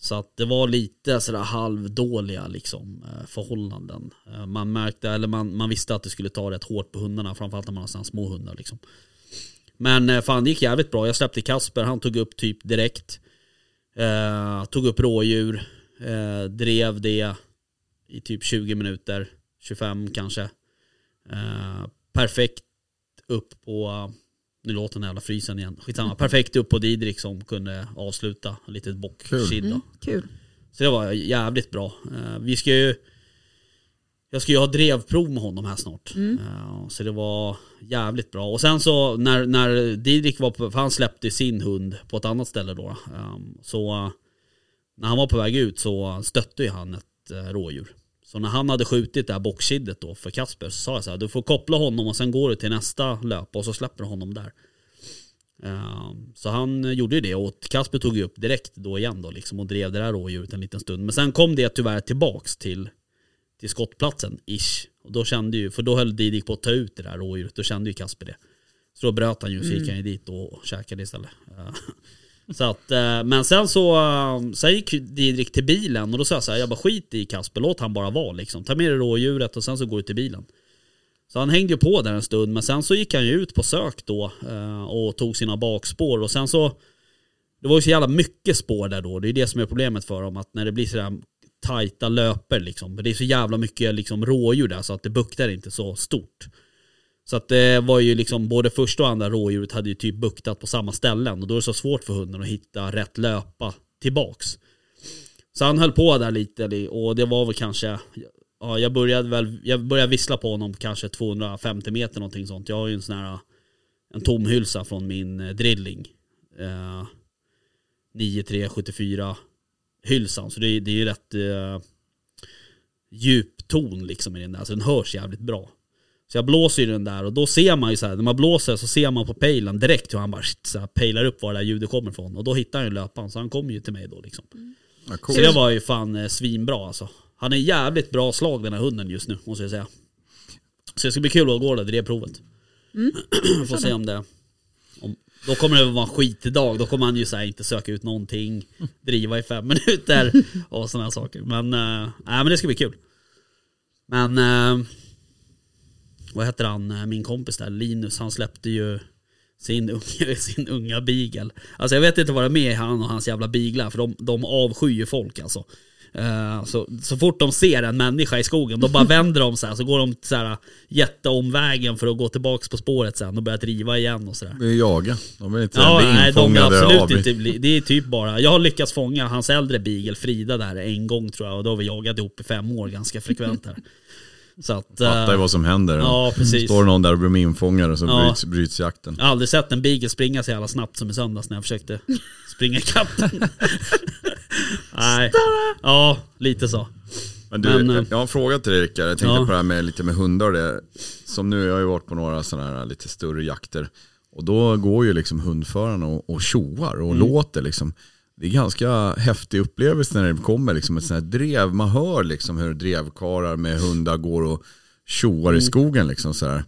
[SPEAKER 3] Så att det var lite sådär halvdåliga liksom, eh, förhållanden. Eh, Man märkte, eller man, man visste att det skulle ta rätt hårt på hundarna, framförallt när man har sådana små hundar liksom. Men eh, fan det gick jävligt bra. Jag släppte Kasper, han tog upp typ direkt. Eh, tog upp rådjur, eh, drev det i typ 20 minuter, 25 kanske. Eh, perfekt upp på, nu låter den här jävla frysen igen, skitsamma. Perfekt upp på Didrik som kunde avsluta, litet bockkid då.
[SPEAKER 4] Mm, kul.
[SPEAKER 3] Så det var jävligt bra. Eh, vi ska ju... Jag ska ju ha drevprov med honom här snart. Eh, så det var jävligt bra. Och sen så när, när Didrik var på... För han släppte sin hund på ett annat ställe då. eh, så eh, när han var på väg ut så stötte ju han ett eh, rådjur. Så när han hade skjutit det här bocksiddet då för Kasper så sa jag så här, du får koppla honom och sen går du till nästa löp och så släpper du honom där. Ehm, Så han gjorde ju det och Kasper tog ju upp direkt då igen då liksom och drev det där rådjuret en liten stund. Men sen kom det tyvärr tillbaks till, till skottplatsen, ish. Och då kände ju, för då höll Didrik på att ta ut det där rådjuret, då kände ju Kasper det. Så då bröt han ju, så gick han ju dit och käkade istället. Eh, så att, eh, men sen så, eh, sen gick Didrik till bilen och då sa jag så här, jag bara skit i Kasper, låt han bara vara liksom. Ta med dig rådjuret och sen så går du till bilen. Så han hängde ju på där en stund men sen så gick han ju ut på sök då eh, och tog sina bakspår och sen så Det var ju så jävla mycket spår där då, det är det som är problemet för dem att när det blir sådär tajta löper liksom. Men Det är så jävla mycket liksom rådjur där så att det buktar inte så stort. Så att det var ju liksom både första och andra rådjuret hade ju typ buktat på samma ställen och då är det så svårt för hunden att hitta rätt löpa tillbaks. Så han höll på där lite li- och det var väl kanske, ja jag började väl, jag började vissla på honom kanske 250 meter någonting sånt. Jag har ju en sån här, en tomhylsa från min eh, drilling. Eh, 9374 hylsan. Så det, är- det är ju rätt eh, djup ton liksom i den där. Så den hörs jävligt bra. Så jag blåser ju den där och då ser man ju så här, när man blåser så ser man på pejlen direkt hur han bara shit, så här, pejlar upp var det där ljudet kommer ifrån. Och då hittar han ju löparen så han kommer ju till mig då liksom.
[SPEAKER 1] Ja,
[SPEAKER 3] Så det var ju fan eh, svinbra alltså. Han är jävligt bra slag den här hunden just nu måste jag säga. Så det ska bli kul att gå det där provet. Får se om det... Om, då kommer det vara en skitdag. Då kommer han ju så här, inte söka ut någonting, driva i fem minuter och sådana saker. Men, äh, men det ska bli kul. Men... eh, vad heter han, eh, min kompis där, Linus, han släppte ju sin unga, sin unga beagle. Alltså jag vet inte vad det är med han och hans jävla beaglar för de, de avskyr ju folk alltså. Eh, så, så fort de ser en människa i skogen, då bara vänder de så här, så går de så här jätteomvägen för att gå tillbaks på spåret sen och börjar driva igen och sådär.
[SPEAKER 1] Det är jaga. De vill inte
[SPEAKER 3] Ja,
[SPEAKER 1] bli
[SPEAKER 3] nej, de är
[SPEAKER 1] infångade
[SPEAKER 3] absolut
[SPEAKER 1] av...
[SPEAKER 3] inte. bli- Det är typ bara, jag har lyckats fånga hans äldre beagle Frida där en gång tror jag och då har vi jagat ihop i fem år ganska frekvent här. Så att... eh,
[SPEAKER 1] Fattar ju vad som händer.
[SPEAKER 3] Ja, precis.
[SPEAKER 1] Står någon där och blir infångad och så
[SPEAKER 3] Ja.
[SPEAKER 1] bryts, bryts jakten.
[SPEAKER 3] Jag har aldrig sett en beagle springa så jävla snabbt som i söndags när jag försökte springa ikapp den. Nej. Ja, lite så.
[SPEAKER 1] Men du,
[SPEAKER 3] Men, eh,
[SPEAKER 1] jag har en fråga till dig Rickard. Jag tänkte
[SPEAKER 3] ja.
[SPEAKER 1] på det här med lite med hundar och det. Som nu, jag har ju varit på några sådana här lite större jakter. Och då går ju liksom hundförarna och, och tjoar och låter liksom. Det är ganska häftig upplevelse när det kommer liksom ett sånt här drev. Man hör liksom hur drevkarlar med hundar går och tjoar i skogen liksom så här.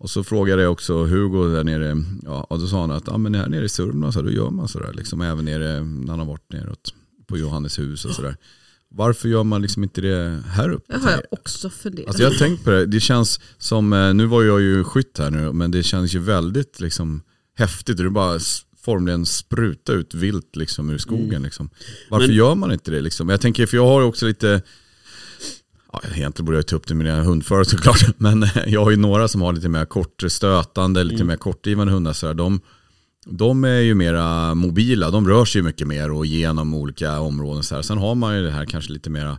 [SPEAKER 1] Och så frågade jag också Hugo där nere, ja, och då sa han att ah, men här nere i Sörmland så här, då gör man sådär, liksom, även nere när han har varit neråt på Johanneshus och sådär. Varför gör man liksom inte det här uppe?
[SPEAKER 4] Det har jag också funderat.
[SPEAKER 1] Alltså jag har tänkt på det, det känns som, eh, nu var jag ju skytt här nu, men det känns ju väldigt liksom häftigt. Det är bara s- formligen spruta ut vilt liksom ur skogen. Liksom. Varför
[SPEAKER 3] Men-
[SPEAKER 1] gör man inte det liksom? Jag tänker, för jag har ju också lite, ja, egentligen borde jag ta upp till mina hundförare såklart, men eh, jag har ju några som har lite mer kortstötande, lite mer kortdrivande hundar. Så här. De, de är ju mera mobila, de rör sig ju mycket mer och genom olika områden. Så här. Sen har man ju det här kanske lite mera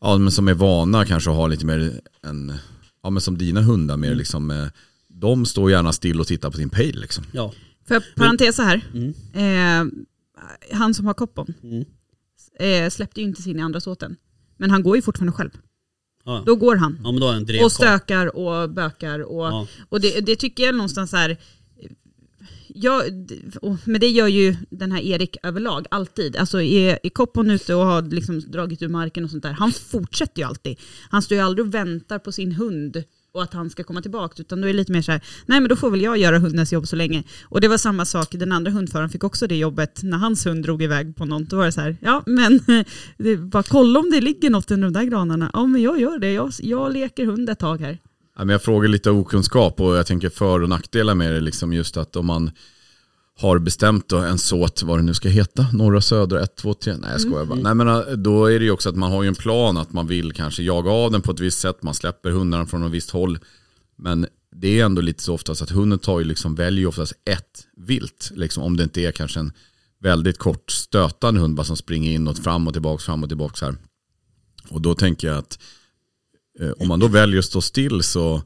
[SPEAKER 1] ja, men som är vana kanske att ha lite mer en, ja men som dina hundar mer liksom, eh, de står gärna still och tittar på sin pejl liksom.
[SPEAKER 3] Ja.
[SPEAKER 4] Får jag parentesa här? Eh, han som har koppon
[SPEAKER 3] Mm.
[SPEAKER 4] eh, släppte ju inte sin i andra såten. Men han går ju fortfarande själv.
[SPEAKER 3] Ja,
[SPEAKER 4] Då går han.
[SPEAKER 3] ja men då är en drev
[SPEAKER 4] och stökar och bökar. Och,
[SPEAKER 3] Ja.
[SPEAKER 4] och det, det tycker jag någonstans så här. Jag, d- och, men det gör ju den här Erik överlag alltid. Alltså är, är koppon ute och har liksom dragit ur marken och sånt där. Han fortsätter ju alltid. Han står ju aldrig och väntar på sin hund och att han ska komma tillbaka. Utan då är det lite mer så här, nej men då får väl jag göra hundens jobb så länge. Och det var samma sak, den andra hundföraren fick också det jobbet när hans hund drog iväg på någon. Då var det så här, ja men det, bara kolla om det ligger något under de där granarna. Ja men jag gör det, jag, jag leker hund ett tag här.
[SPEAKER 1] Ja, men jag frågar lite av okunskap och jag tänker för och nackdelar med det liksom just att om man har bestämt då en såt, vad det nu ska heta, norra, södra, ett två tre nej jag skojar bara. Nej men eh, då är det ju också att man har ju en plan att man vill kanske jaga av den på ett visst sätt, man släpper hundarna från ett visst håll. Men det är ändå lite så oftast att hunden tar ju liksom, väljer ju oftast ett vilt, liksom, om det inte är kanske en väldigt kort stötande hund bara som springer inåt, fram och tillbaka, fram och tillbaka så här. Och då tänker jag att Eh, om man då väljer att stå still så,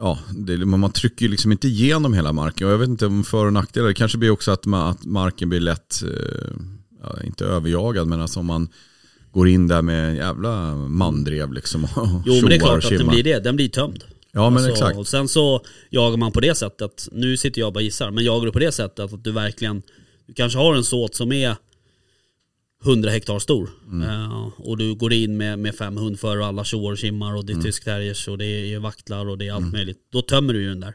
[SPEAKER 1] ja, det, men man trycker ju liksom inte igenom hela marken. Och jag vet inte om för och nackdelar, det kanske blir också att, man, att marken blir lätt, eh, ja, inte överjagad, men alltså om man går in där med en jävla mandrev liksom och
[SPEAKER 3] Jo men det är
[SPEAKER 1] tjoar och
[SPEAKER 3] klart att den
[SPEAKER 1] tjimmar.
[SPEAKER 3] blir det. Den blir tömd.
[SPEAKER 1] Ja men
[SPEAKER 3] Alltså,
[SPEAKER 1] exakt.
[SPEAKER 3] Och sen så jagar man på det sättet, nu sitter jag och bara gissar, men jagar du på det sättet att du verkligen, du kanske har en såt som är 100 hektar stor.
[SPEAKER 1] Mm.
[SPEAKER 3] Eh, och du går in med, med fem hundförare och alla tjoar och tjimmar och det är
[SPEAKER 1] Mm.
[SPEAKER 3] tysk terriers och det är vaktlar och det är allt möjligt. Då tömmer du ju den där.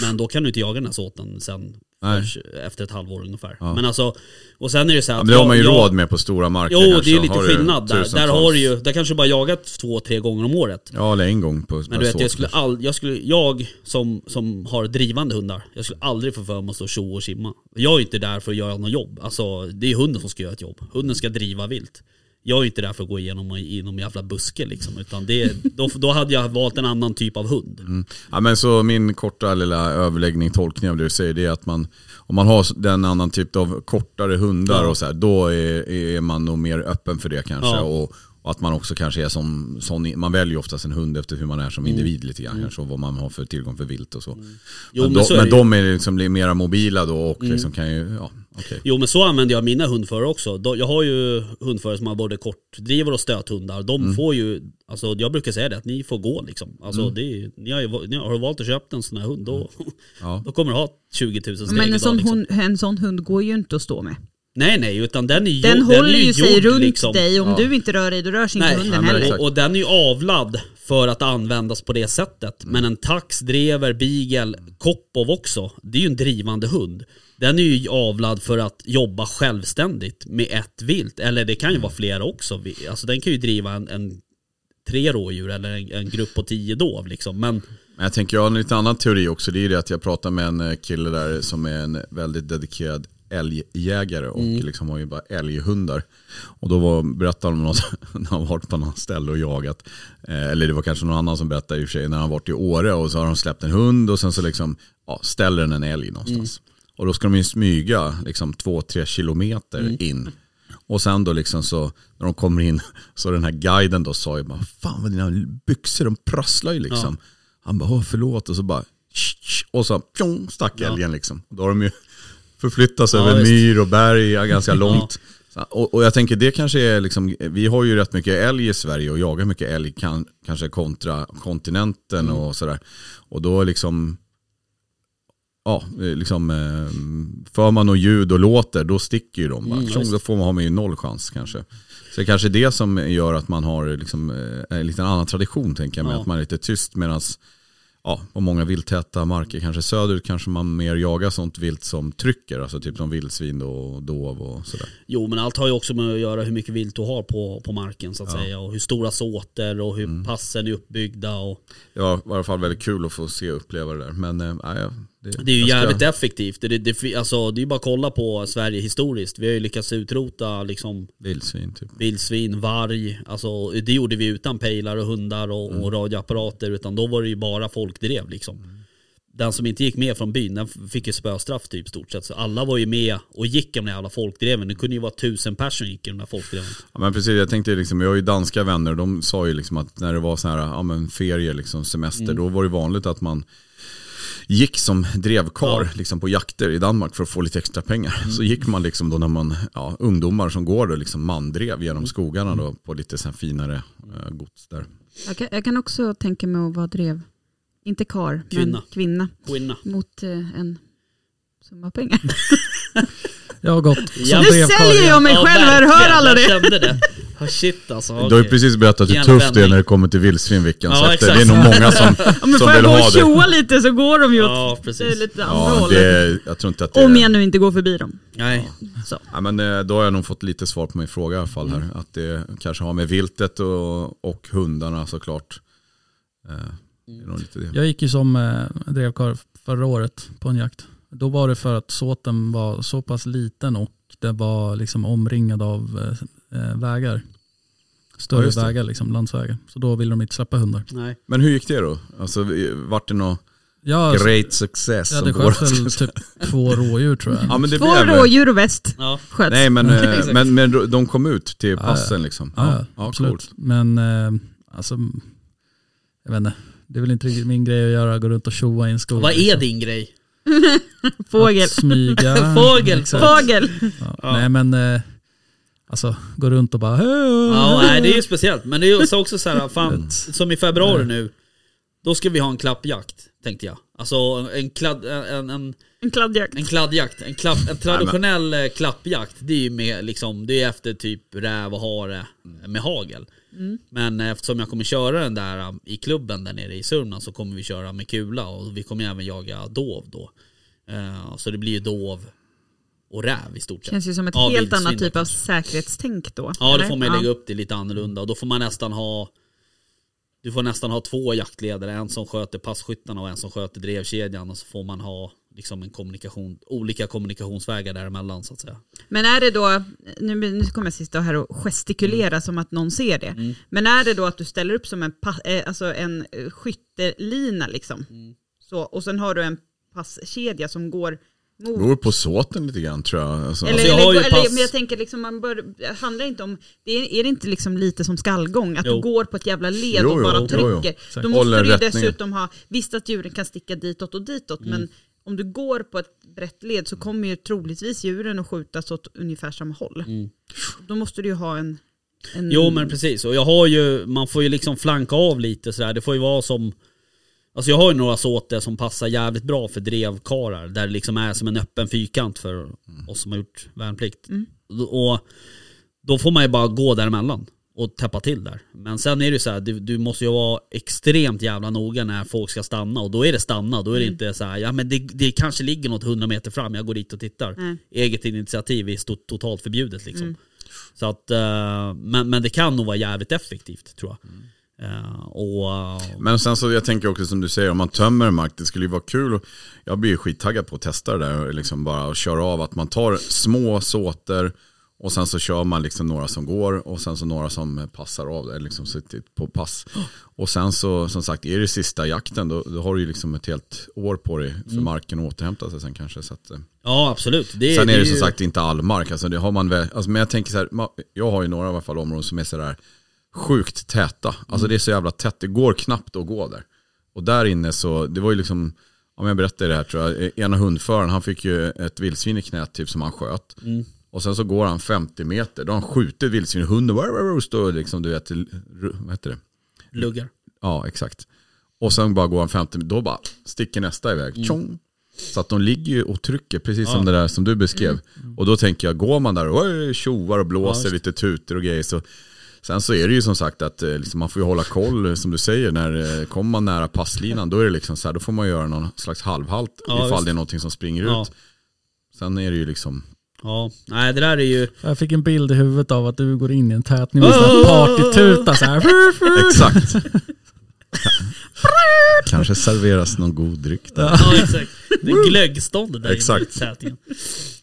[SPEAKER 3] Men då kan du inte jaga den här såten sen
[SPEAKER 1] Nej.
[SPEAKER 3] förrän efter ett halvår ungefär. Men alltså, och sen är det så här
[SPEAKER 1] Ja,
[SPEAKER 3] att
[SPEAKER 1] men det har
[SPEAKER 3] jag-
[SPEAKER 1] man ju
[SPEAKER 3] jag-
[SPEAKER 1] råd med på stora marker
[SPEAKER 3] Jo,
[SPEAKER 1] kanske.
[SPEAKER 3] det är lite
[SPEAKER 1] Har du
[SPEAKER 3] skillnad där. Där
[SPEAKER 1] tusentals-
[SPEAKER 3] har du ju, där kanske du bara jagat två, tre gånger om året.
[SPEAKER 1] Ja eller en gång på
[SPEAKER 3] Men du vet,
[SPEAKER 1] såt.
[SPEAKER 3] jag, skulle all, jag, skulle, jag som, som har drivande hundar, jag skulle aldrig få för mig att stå och tjo och simma. Jag är inte där för att göra något jobb. Alltså, det är hunden som ska göra ett jobb. Hunden ska driva vilt. Jag är inte där för att gå igenom i någon jävla buske liksom. Utan det, då, då hade jag valt en annan typ av hund.
[SPEAKER 1] Mm. Ja, men så min korta lilla överläggning, tolkning av det du säger, det är att man, om man har den annan typ av kortare hundar och så här, då är, är man nog mer öppen för det kanske.
[SPEAKER 3] Ja.
[SPEAKER 1] Och, och att man också kanske är som, sån, man väljer ju oftast en hund efter hur man är som
[SPEAKER 3] Mm.
[SPEAKER 1] individ lite grann kanske och vad man har för tillgång för vilt och så.
[SPEAKER 3] Jo,
[SPEAKER 1] men
[SPEAKER 3] men
[SPEAKER 1] de,
[SPEAKER 3] så är
[SPEAKER 1] men
[SPEAKER 3] det ju. Mm.
[SPEAKER 1] de är liksom li- mera mobila då och liksom kan ju, ja okej.
[SPEAKER 3] Jo men så använder jag mina hundförare också. Då- Jag har ju hundförare som har både kortdrivare och stöthundar. De får ju, alltså jag brukar säga det att ni får gå liksom. Alltså det är, ni har ju ni har valt att köpa en sån här hund då,
[SPEAKER 1] Ja.
[SPEAKER 3] då kommer du ha 20 000 steg
[SPEAKER 4] Men en
[SPEAKER 3] idag,
[SPEAKER 4] sån,
[SPEAKER 3] liksom.
[SPEAKER 4] hund, en sån hund går ju inte att stå med.
[SPEAKER 3] Nej nej, utan den är ju
[SPEAKER 4] Den
[SPEAKER 3] är
[SPEAKER 4] håller ju sig
[SPEAKER 3] gjord,
[SPEAKER 4] runt
[SPEAKER 3] liksom.
[SPEAKER 4] dig. Om du inte rör dig, då rör sig inte
[SPEAKER 3] Nej,
[SPEAKER 1] ja,
[SPEAKER 4] hunden
[SPEAKER 1] men
[SPEAKER 4] heller.
[SPEAKER 1] exakt.
[SPEAKER 3] Och, och den är ju avlad för att användas på det sättet. Men en tax, drever, beagle, kopov också, det är ju en drivande hund. Den är ju avlad för att jobba självständigt med ett vilt, eller det kan ju vara flera också. Vi- Alltså den kan ju driva en, en tre rådjur eller en, en grupp på tio dov liksom. Men
[SPEAKER 1] Men jag tänker, jag har en lite annan teori också. Det är ju det att jag pratar med en eh, kille där som är en väldigt dedikerad älgjägare och liksom har ju bara älghundar. Och då var, berättade han om något, när han varit på något ställe och jagat. Eh, eller det var kanske någon annan som berättade i och för sig, när han varit i Åre och så har de släppt en hund och sen så liksom, ja, ställer den en älg någonstans. Och då ska de ju smyga liksom två, tre kilometer in. Och sen då liksom så, när de kommer in, så den här guiden då sa ju bara, fan vad dina byxor de prasslar ju liksom. Han bara, "Åh, förlåt och så bara, "Tsch, tsch." och så pjong, stack älgen liksom. Och då har de ju förflyttats över
[SPEAKER 3] visst.
[SPEAKER 1] myr och berg ja, ganska långt. Så- Och, och jag tänker det kanske är liksom, vi har ju rätt mycket älg i Sverige och jagar mycket älg kan, kanske kontra kontinenten och sådär. Och då liksom, ja, eh, liksom, eh, för man och ljud och låter, då sticker ju de.
[SPEAKER 3] Mm,
[SPEAKER 1] bara. Tjong, då får man, har man ju noll chans kanske. Så det är kanske är det som gör att man har liksom, eh, en liten annan tradition, tänker jag, med
[SPEAKER 3] Ja.
[SPEAKER 1] att man är lite tyst medan Ja, på många vilttäta marker, kanske söderut, kanske man mer jagar sånt vilt som trycker, alltså typ som vildsvin då och dov och sådär.
[SPEAKER 3] Jo men allt har ju också med att göra hur mycket vilt du har på, på marken så att säga. Och hur stora såter och hur passen är uppbyggda. Och
[SPEAKER 1] Det var i alla fall väldigt kul att få se och uppleva det där. Men eh, nej, det,
[SPEAKER 3] Det är ju
[SPEAKER 1] jag ska-
[SPEAKER 3] jävligt effektivt. Det, det, det, alltså, det är ju bara att kolla på Sverige historiskt. Vi har ju lyckats utrota liksom,
[SPEAKER 1] Vildsvin typ.
[SPEAKER 3] vildsvin, varg. Alltså, det gjorde vi utan pejlar och hundar och,
[SPEAKER 1] Mm.
[SPEAKER 3] och radioapparater. Utan då var det ju bara folkdrev. Liksom. Den som inte gick med från byn den f- fick ju spöstraff typ stort sett. Så alla var ju med och gick i de där jävla folkdreven. Det kunde ju vara tusen personer som gick i de där folkdreven.
[SPEAKER 1] Ja, men precis, jag tänkte liksom, jag har ju danska vänner och de sa ju liksom att när det var så här, ja, men ferier, liksom, semester,
[SPEAKER 3] Mm.
[SPEAKER 1] då var det vanligt att man gick som drevkar liksom på jakter i Danmark för att få lite extra pengar.
[SPEAKER 3] Mm.
[SPEAKER 1] Så gick man liksom då när man, ja, ungdomar som går då liksom mandrev
[SPEAKER 3] Mm.
[SPEAKER 1] genom skogarna då på lite så här finare eh, gods där.
[SPEAKER 4] Jag, kan, jag kan också tänka mig att vara drev. Inte kar,
[SPEAKER 3] Kvinna.
[SPEAKER 4] men kvinna.
[SPEAKER 3] Skinna.
[SPEAKER 4] Mot eh, en summa pengar.
[SPEAKER 5] Jag har gått som
[SPEAKER 3] Ja.
[SPEAKER 4] Nu säljer jag mig själv här, hör
[SPEAKER 3] verkligen.
[SPEAKER 4] alla
[SPEAKER 3] Jag
[SPEAKER 4] det?
[SPEAKER 3] kände det. Oh, shit alltså.
[SPEAKER 1] Du har
[SPEAKER 3] okej.
[SPEAKER 1] ju precis berättat hur
[SPEAKER 3] Jävla
[SPEAKER 1] tufft det är
[SPEAKER 3] vändning.
[SPEAKER 1] när det kommer till vildsvin Vickan,
[SPEAKER 3] Ja,
[SPEAKER 1] så att, eh,
[SPEAKER 3] exakt.
[SPEAKER 1] det är nog många som,
[SPEAKER 4] Men
[SPEAKER 1] som
[SPEAKER 4] får jag
[SPEAKER 1] vill
[SPEAKER 4] gå
[SPEAKER 1] ha
[SPEAKER 4] och
[SPEAKER 1] det.
[SPEAKER 4] tjoa lite så går de ju åt
[SPEAKER 3] Ja, precis.
[SPEAKER 4] lite andra
[SPEAKER 1] Ja,
[SPEAKER 4] hållet.
[SPEAKER 1] det, jag tror inte att det
[SPEAKER 4] Om
[SPEAKER 1] är...
[SPEAKER 4] jag nu inte går förbi dem.
[SPEAKER 3] Nej.
[SPEAKER 1] Ja, men, eh, då har jag nog fått lite svar på min fråga i alla fall. Här.
[SPEAKER 5] Mm.
[SPEAKER 1] Att det kanske har med viltet och, och hundarna såklart. Eh, det är nog lite det.
[SPEAKER 5] Jag gick ju som eh, drevkarl förra året på en jakt. Då var det för att såten var så pass liten och det var liksom omringad av eh, eh, vägar.
[SPEAKER 1] Ja,
[SPEAKER 5] Större
[SPEAKER 1] just det.
[SPEAKER 5] vägar, liksom landsvägar. Så då ville de inte släppa hundar.
[SPEAKER 3] Nej.
[SPEAKER 1] Men hur gick det då? Alltså, vi- vart det någon
[SPEAKER 5] Ja, så-
[SPEAKER 1] great success?
[SPEAKER 5] jag hade
[SPEAKER 1] går-
[SPEAKER 5] sköt väl typ två rådjur tror jag.
[SPEAKER 1] ja, men det
[SPEAKER 4] Två
[SPEAKER 1] blev det.
[SPEAKER 4] rådjur och väst
[SPEAKER 3] Ja.
[SPEAKER 4] sköts.
[SPEAKER 1] Nej men, eh,
[SPEAKER 3] Exakt.
[SPEAKER 1] men, men de kom ut till passen liksom.
[SPEAKER 5] Ja,
[SPEAKER 1] ja,
[SPEAKER 5] absolut.
[SPEAKER 1] coolt.
[SPEAKER 5] Men eh, alltså, jag vet inte. Det är väl inte riktigt min grej att göra, gå runt och tjoa i en skog.
[SPEAKER 3] Vad är
[SPEAKER 5] liksom.
[SPEAKER 3] din grej?
[SPEAKER 4] Fågel.
[SPEAKER 5] Att smyga.
[SPEAKER 3] Fågel,
[SPEAKER 5] Exakt.
[SPEAKER 4] Fågel.
[SPEAKER 5] Ja.
[SPEAKER 3] Ja.
[SPEAKER 5] Nej men, eh, alltså gå runt och bara
[SPEAKER 3] Ja,
[SPEAKER 4] Mm.
[SPEAKER 3] nej, det är ju speciellt. Men det är ju så också så här, fan, som i
[SPEAKER 4] Mm.
[SPEAKER 3] februari nu, då ska vi ha en klappjakt, tänkte jag. Alltså en, kladd, en, en,
[SPEAKER 4] En kladdjakt.
[SPEAKER 3] en kladdjakt, en, klapp, en traditionell eh, klappjakt, det är ju med, liksom, det är efter typ räv och hare
[SPEAKER 4] Mm.
[SPEAKER 3] med hagel. Men eh, eftersom jag kommer köra den där eh, i klubben där nere i Sörmland så kommer vi köra med kula och vi kommer även jaga dov då. Eh, Så det blir ju dov och räv i stort sett.
[SPEAKER 4] Känns ju som ett
[SPEAKER 3] Ja,
[SPEAKER 4] helt
[SPEAKER 3] vildsvin
[SPEAKER 4] annat
[SPEAKER 3] då
[SPEAKER 4] typ av
[SPEAKER 3] kanske.
[SPEAKER 4] säkerhetstänk då.
[SPEAKER 3] Ja, då
[SPEAKER 4] eller?
[SPEAKER 3] får man ju lägga upp det lite annorlunda och då får man nästan ha du får nästan ha två jaktledare, en som sköter passkyttarna och en som sköter drevkedjan och så får man ha liksom en kommunikation, olika kommunikationsvägar däremellan så att säga.
[SPEAKER 4] Men är det då, nu, nu kommer jag sitta här och gestikulera som att någon ser det, men är det då att du ställer upp som en, pa- eh, alltså en eh, skyttelina liksom? Så, och sen har du en passkedja som går mot...
[SPEAKER 1] Det beror på såten lite grann tror jag. Alltså,
[SPEAKER 4] Eller,
[SPEAKER 3] Alltså, jag
[SPEAKER 4] eller,
[SPEAKER 3] har ju
[SPEAKER 4] eller,
[SPEAKER 3] pass-
[SPEAKER 4] men jag tänker liksom, man bör, det handlar inte om, det är, är det inte liksom lite som skallgång? Att
[SPEAKER 3] Jo.
[SPEAKER 4] du går på ett jävla led
[SPEAKER 1] Jo,
[SPEAKER 4] och
[SPEAKER 1] jo,
[SPEAKER 4] bara
[SPEAKER 1] jo, jo.
[SPEAKER 4] trycker.
[SPEAKER 1] Säkert.
[SPEAKER 4] Då måste
[SPEAKER 1] Håller
[SPEAKER 4] du ju
[SPEAKER 1] rättningen.
[SPEAKER 4] dessutom ha, visst att djuren kan sticka ditåt och ditåt, men om du går på ett brett led så kommer ju troligtvis djuren att skjutas åt ungefär samma håll. Då måste du ju ha en... en
[SPEAKER 3] Jo men precis, och jag har ju, man får ju liksom flanka av lite sådär. Det får ju vara som Alltså jag har ju några såter som passar jävligt bra för drevkarlar. Där det liksom är som en öppen fyrkant för oss som har gjort värnplikt. Och då får man ju bara gå däremellan och täppa till där. Men sen är det ju så här, du, du måste ju vara extremt jävla noga när folk ska stanna. Och då är det stanna, då är det inte så här, ja men det, det kanske ligger något 100 meter fram, jag går dit och tittar. Eget initiativ är stort, totalt förbjudet liksom. Så att, eh, men, men det kan nog vara jävligt effektivt tror jag.
[SPEAKER 1] Mm.
[SPEAKER 3] Eh, och,
[SPEAKER 1] Men sen så jag tänker också som du säger, om man tömmer en mark, det skulle ju vara kul. Och jag blir ju skittaggad på att testa det där och liksom bara köra av att man tar små såter och sen så kör man liksom några som går och sen så några som passar av det, liksom sitter på pass. Och sen så som sagt, är det sista jakten då, då har du ju liksom ett helt år på dig för marken att återhämta sig sen kanske. Så att, eh.
[SPEAKER 3] ja absolut. Det,
[SPEAKER 1] Sen är det som
[SPEAKER 3] ju-
[SPEAKER 1] sagt inte all mark. Alltså det har man väl, alltså men jag tänker så här, ma- jag har ju några i alla fall områden som är sådär sjukt täta. Alltså det är så jävla tätt, det går knappt att gå där. Och där inne så, det var ju liksom, om jag berättar det här tror jag, e- ena hundföraren han fick ju ett vildsvin i knät typ som han sköt. Och sen så går han 50 meter, då har han skjutit vildsvin, hunden "Wow, wow, wow", står liksom du vet, ru- vad heter det?
[SPEAKER 3] Luggar.
[SPEAKER 1] Ja, exakt. Och sen bara går han 50 då bara sticker nästa iväg.
[SPEAKER 3] Mm.
[SPEAKER 1] Tjong. Så att de ligger ju och trycker, precis som det där som du beskrev.
[SPEAKER 3] Mm.
[SPEAKER 1] Och då tänker jag, går man där och "Oj", tjoar och blåser lite tuter och grejer så Sen så är det ju som sagt att eh, liksom, man får ju hålla koll, eh, som du säger, när eh, kommer man nära passlinan då är det liksom så här, då får man göra någon slags halvhalt
[SPEAKER 3] Ja,
[SPEAKER 1] ifall
[SPEAKER 3] visst.
[SPEAKER 1] det är någonting som springer
[SPEAKER 3] Ja.
[SPEAKER 1] ut. Sen är det ju liksom,
[SPEAKER 3] Ja, nej det där är ju...
[SPEAKER 5] Jag fick en bild i huvudet av att du går in i en tätning med en
[SPEAKER 3] Oh!
[SPEAKER 5] sån här partytuta så här.
[SPEAKER 1] exakt. Kanske serveras någon god dryck där.
[SPEAKER 3] Ja exakt. Det är glöggstånd där
[SPEAKER 1] Exakt.
[SPEAKER 3] inne i sätingen.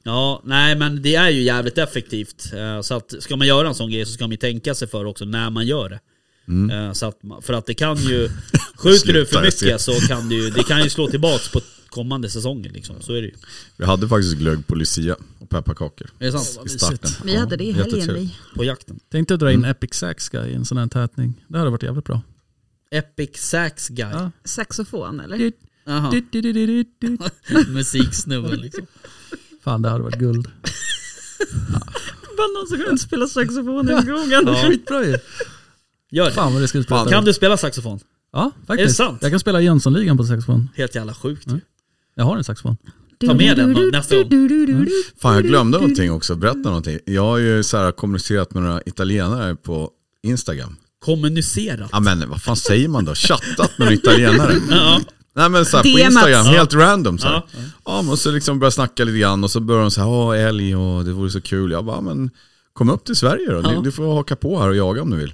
[SPEAKER 3] Ja, nej men det är ju jävligt effektivt. Eh, Så att ska man göra en sån grej så ska man ju tänka sig för också när man gör det. Eh, Så att, man- för att det kan ju... Skjuter du för
[SPEAKER 1] Sluta, jag ser.
[SPEAKER 3] mycket så kan det ju, det kan ju slå tillbaks på kommande säsonger liksom. Så är det ju.
[SPEAKER 1] Vi hade faktiskt glögg på Lucia och pepparkakor.
[SPEAKER 3] Är det sant?
[SPEAKER 1] i starten.
[SPEAKER 4] Vi hade det i helgen.
[SPEAKER 1] jättetur.
[SPEAKER 4] Vi.
[SPEAKER 3] På jakten.
[SPEAKER 5] Tänkte dra in Epic Sax Guy i en sån här tätning. Det hade varit jävligt bra.
[SPEAKER 3] Epic Sax Guy.
[SPEAKER 5] Ja.
[SPEAKER 4] Saxofon eller?
[SPEAKER 5] Du-
[SPEAKER 3] Aha.
[SPEAKER 5] du- du- du- du- du- du.
[SPEAKER 6] Musiksnubbe liksom.
[SPEAKER 5] Fan det hade varit guld.
[SPEAKER 4] Bara någon som kunde spela saxofon i skogen.
[SPEAKER 5] Skitbra ju.
[SPEAKER 3] Gör det.
[SPEAKER 5] Fan vad det skulle spela.
[SPEAKER 3] Kan du spela saxofon?
[SPEAKER 5] Ja faktiskt.
[SPEAKER 3] Är det sant?
[SPEAKER 5] Jag kan spela Jönssonligan på saxofon.
[SPEAKER 3] Helt jävla sjukt.
[SPEAKER 5] Jag har en saxofon.
[SPEAKER 3] Ta med den då, nästa gång.
[SPEAKER 1] Fan jag glömde någonting också, berätta någonting. Jag har ju så här kommunicerat med några italienare på Instagram.
[SPEAKER 3] Kommunicera.
[SPEAKER 1] Ja men vad fan säger man då? Chattat med en italienare.
[SPEAKER 3] Ja.
[SPEAKER 1] Nej men så här, på
[SPEAKER 4] DMats.
[SPEAKER 1] Instagram, helt random så här.
[SPEAKER 3] Ja.
[SPEAKER 1] Ja, men och så liksom börjar snacka lite grann och så börjar de så här, åh älg och det vore så kul. Jag bara, men kom upp till Sverige då, du, du får haka på här och jaga om du vill.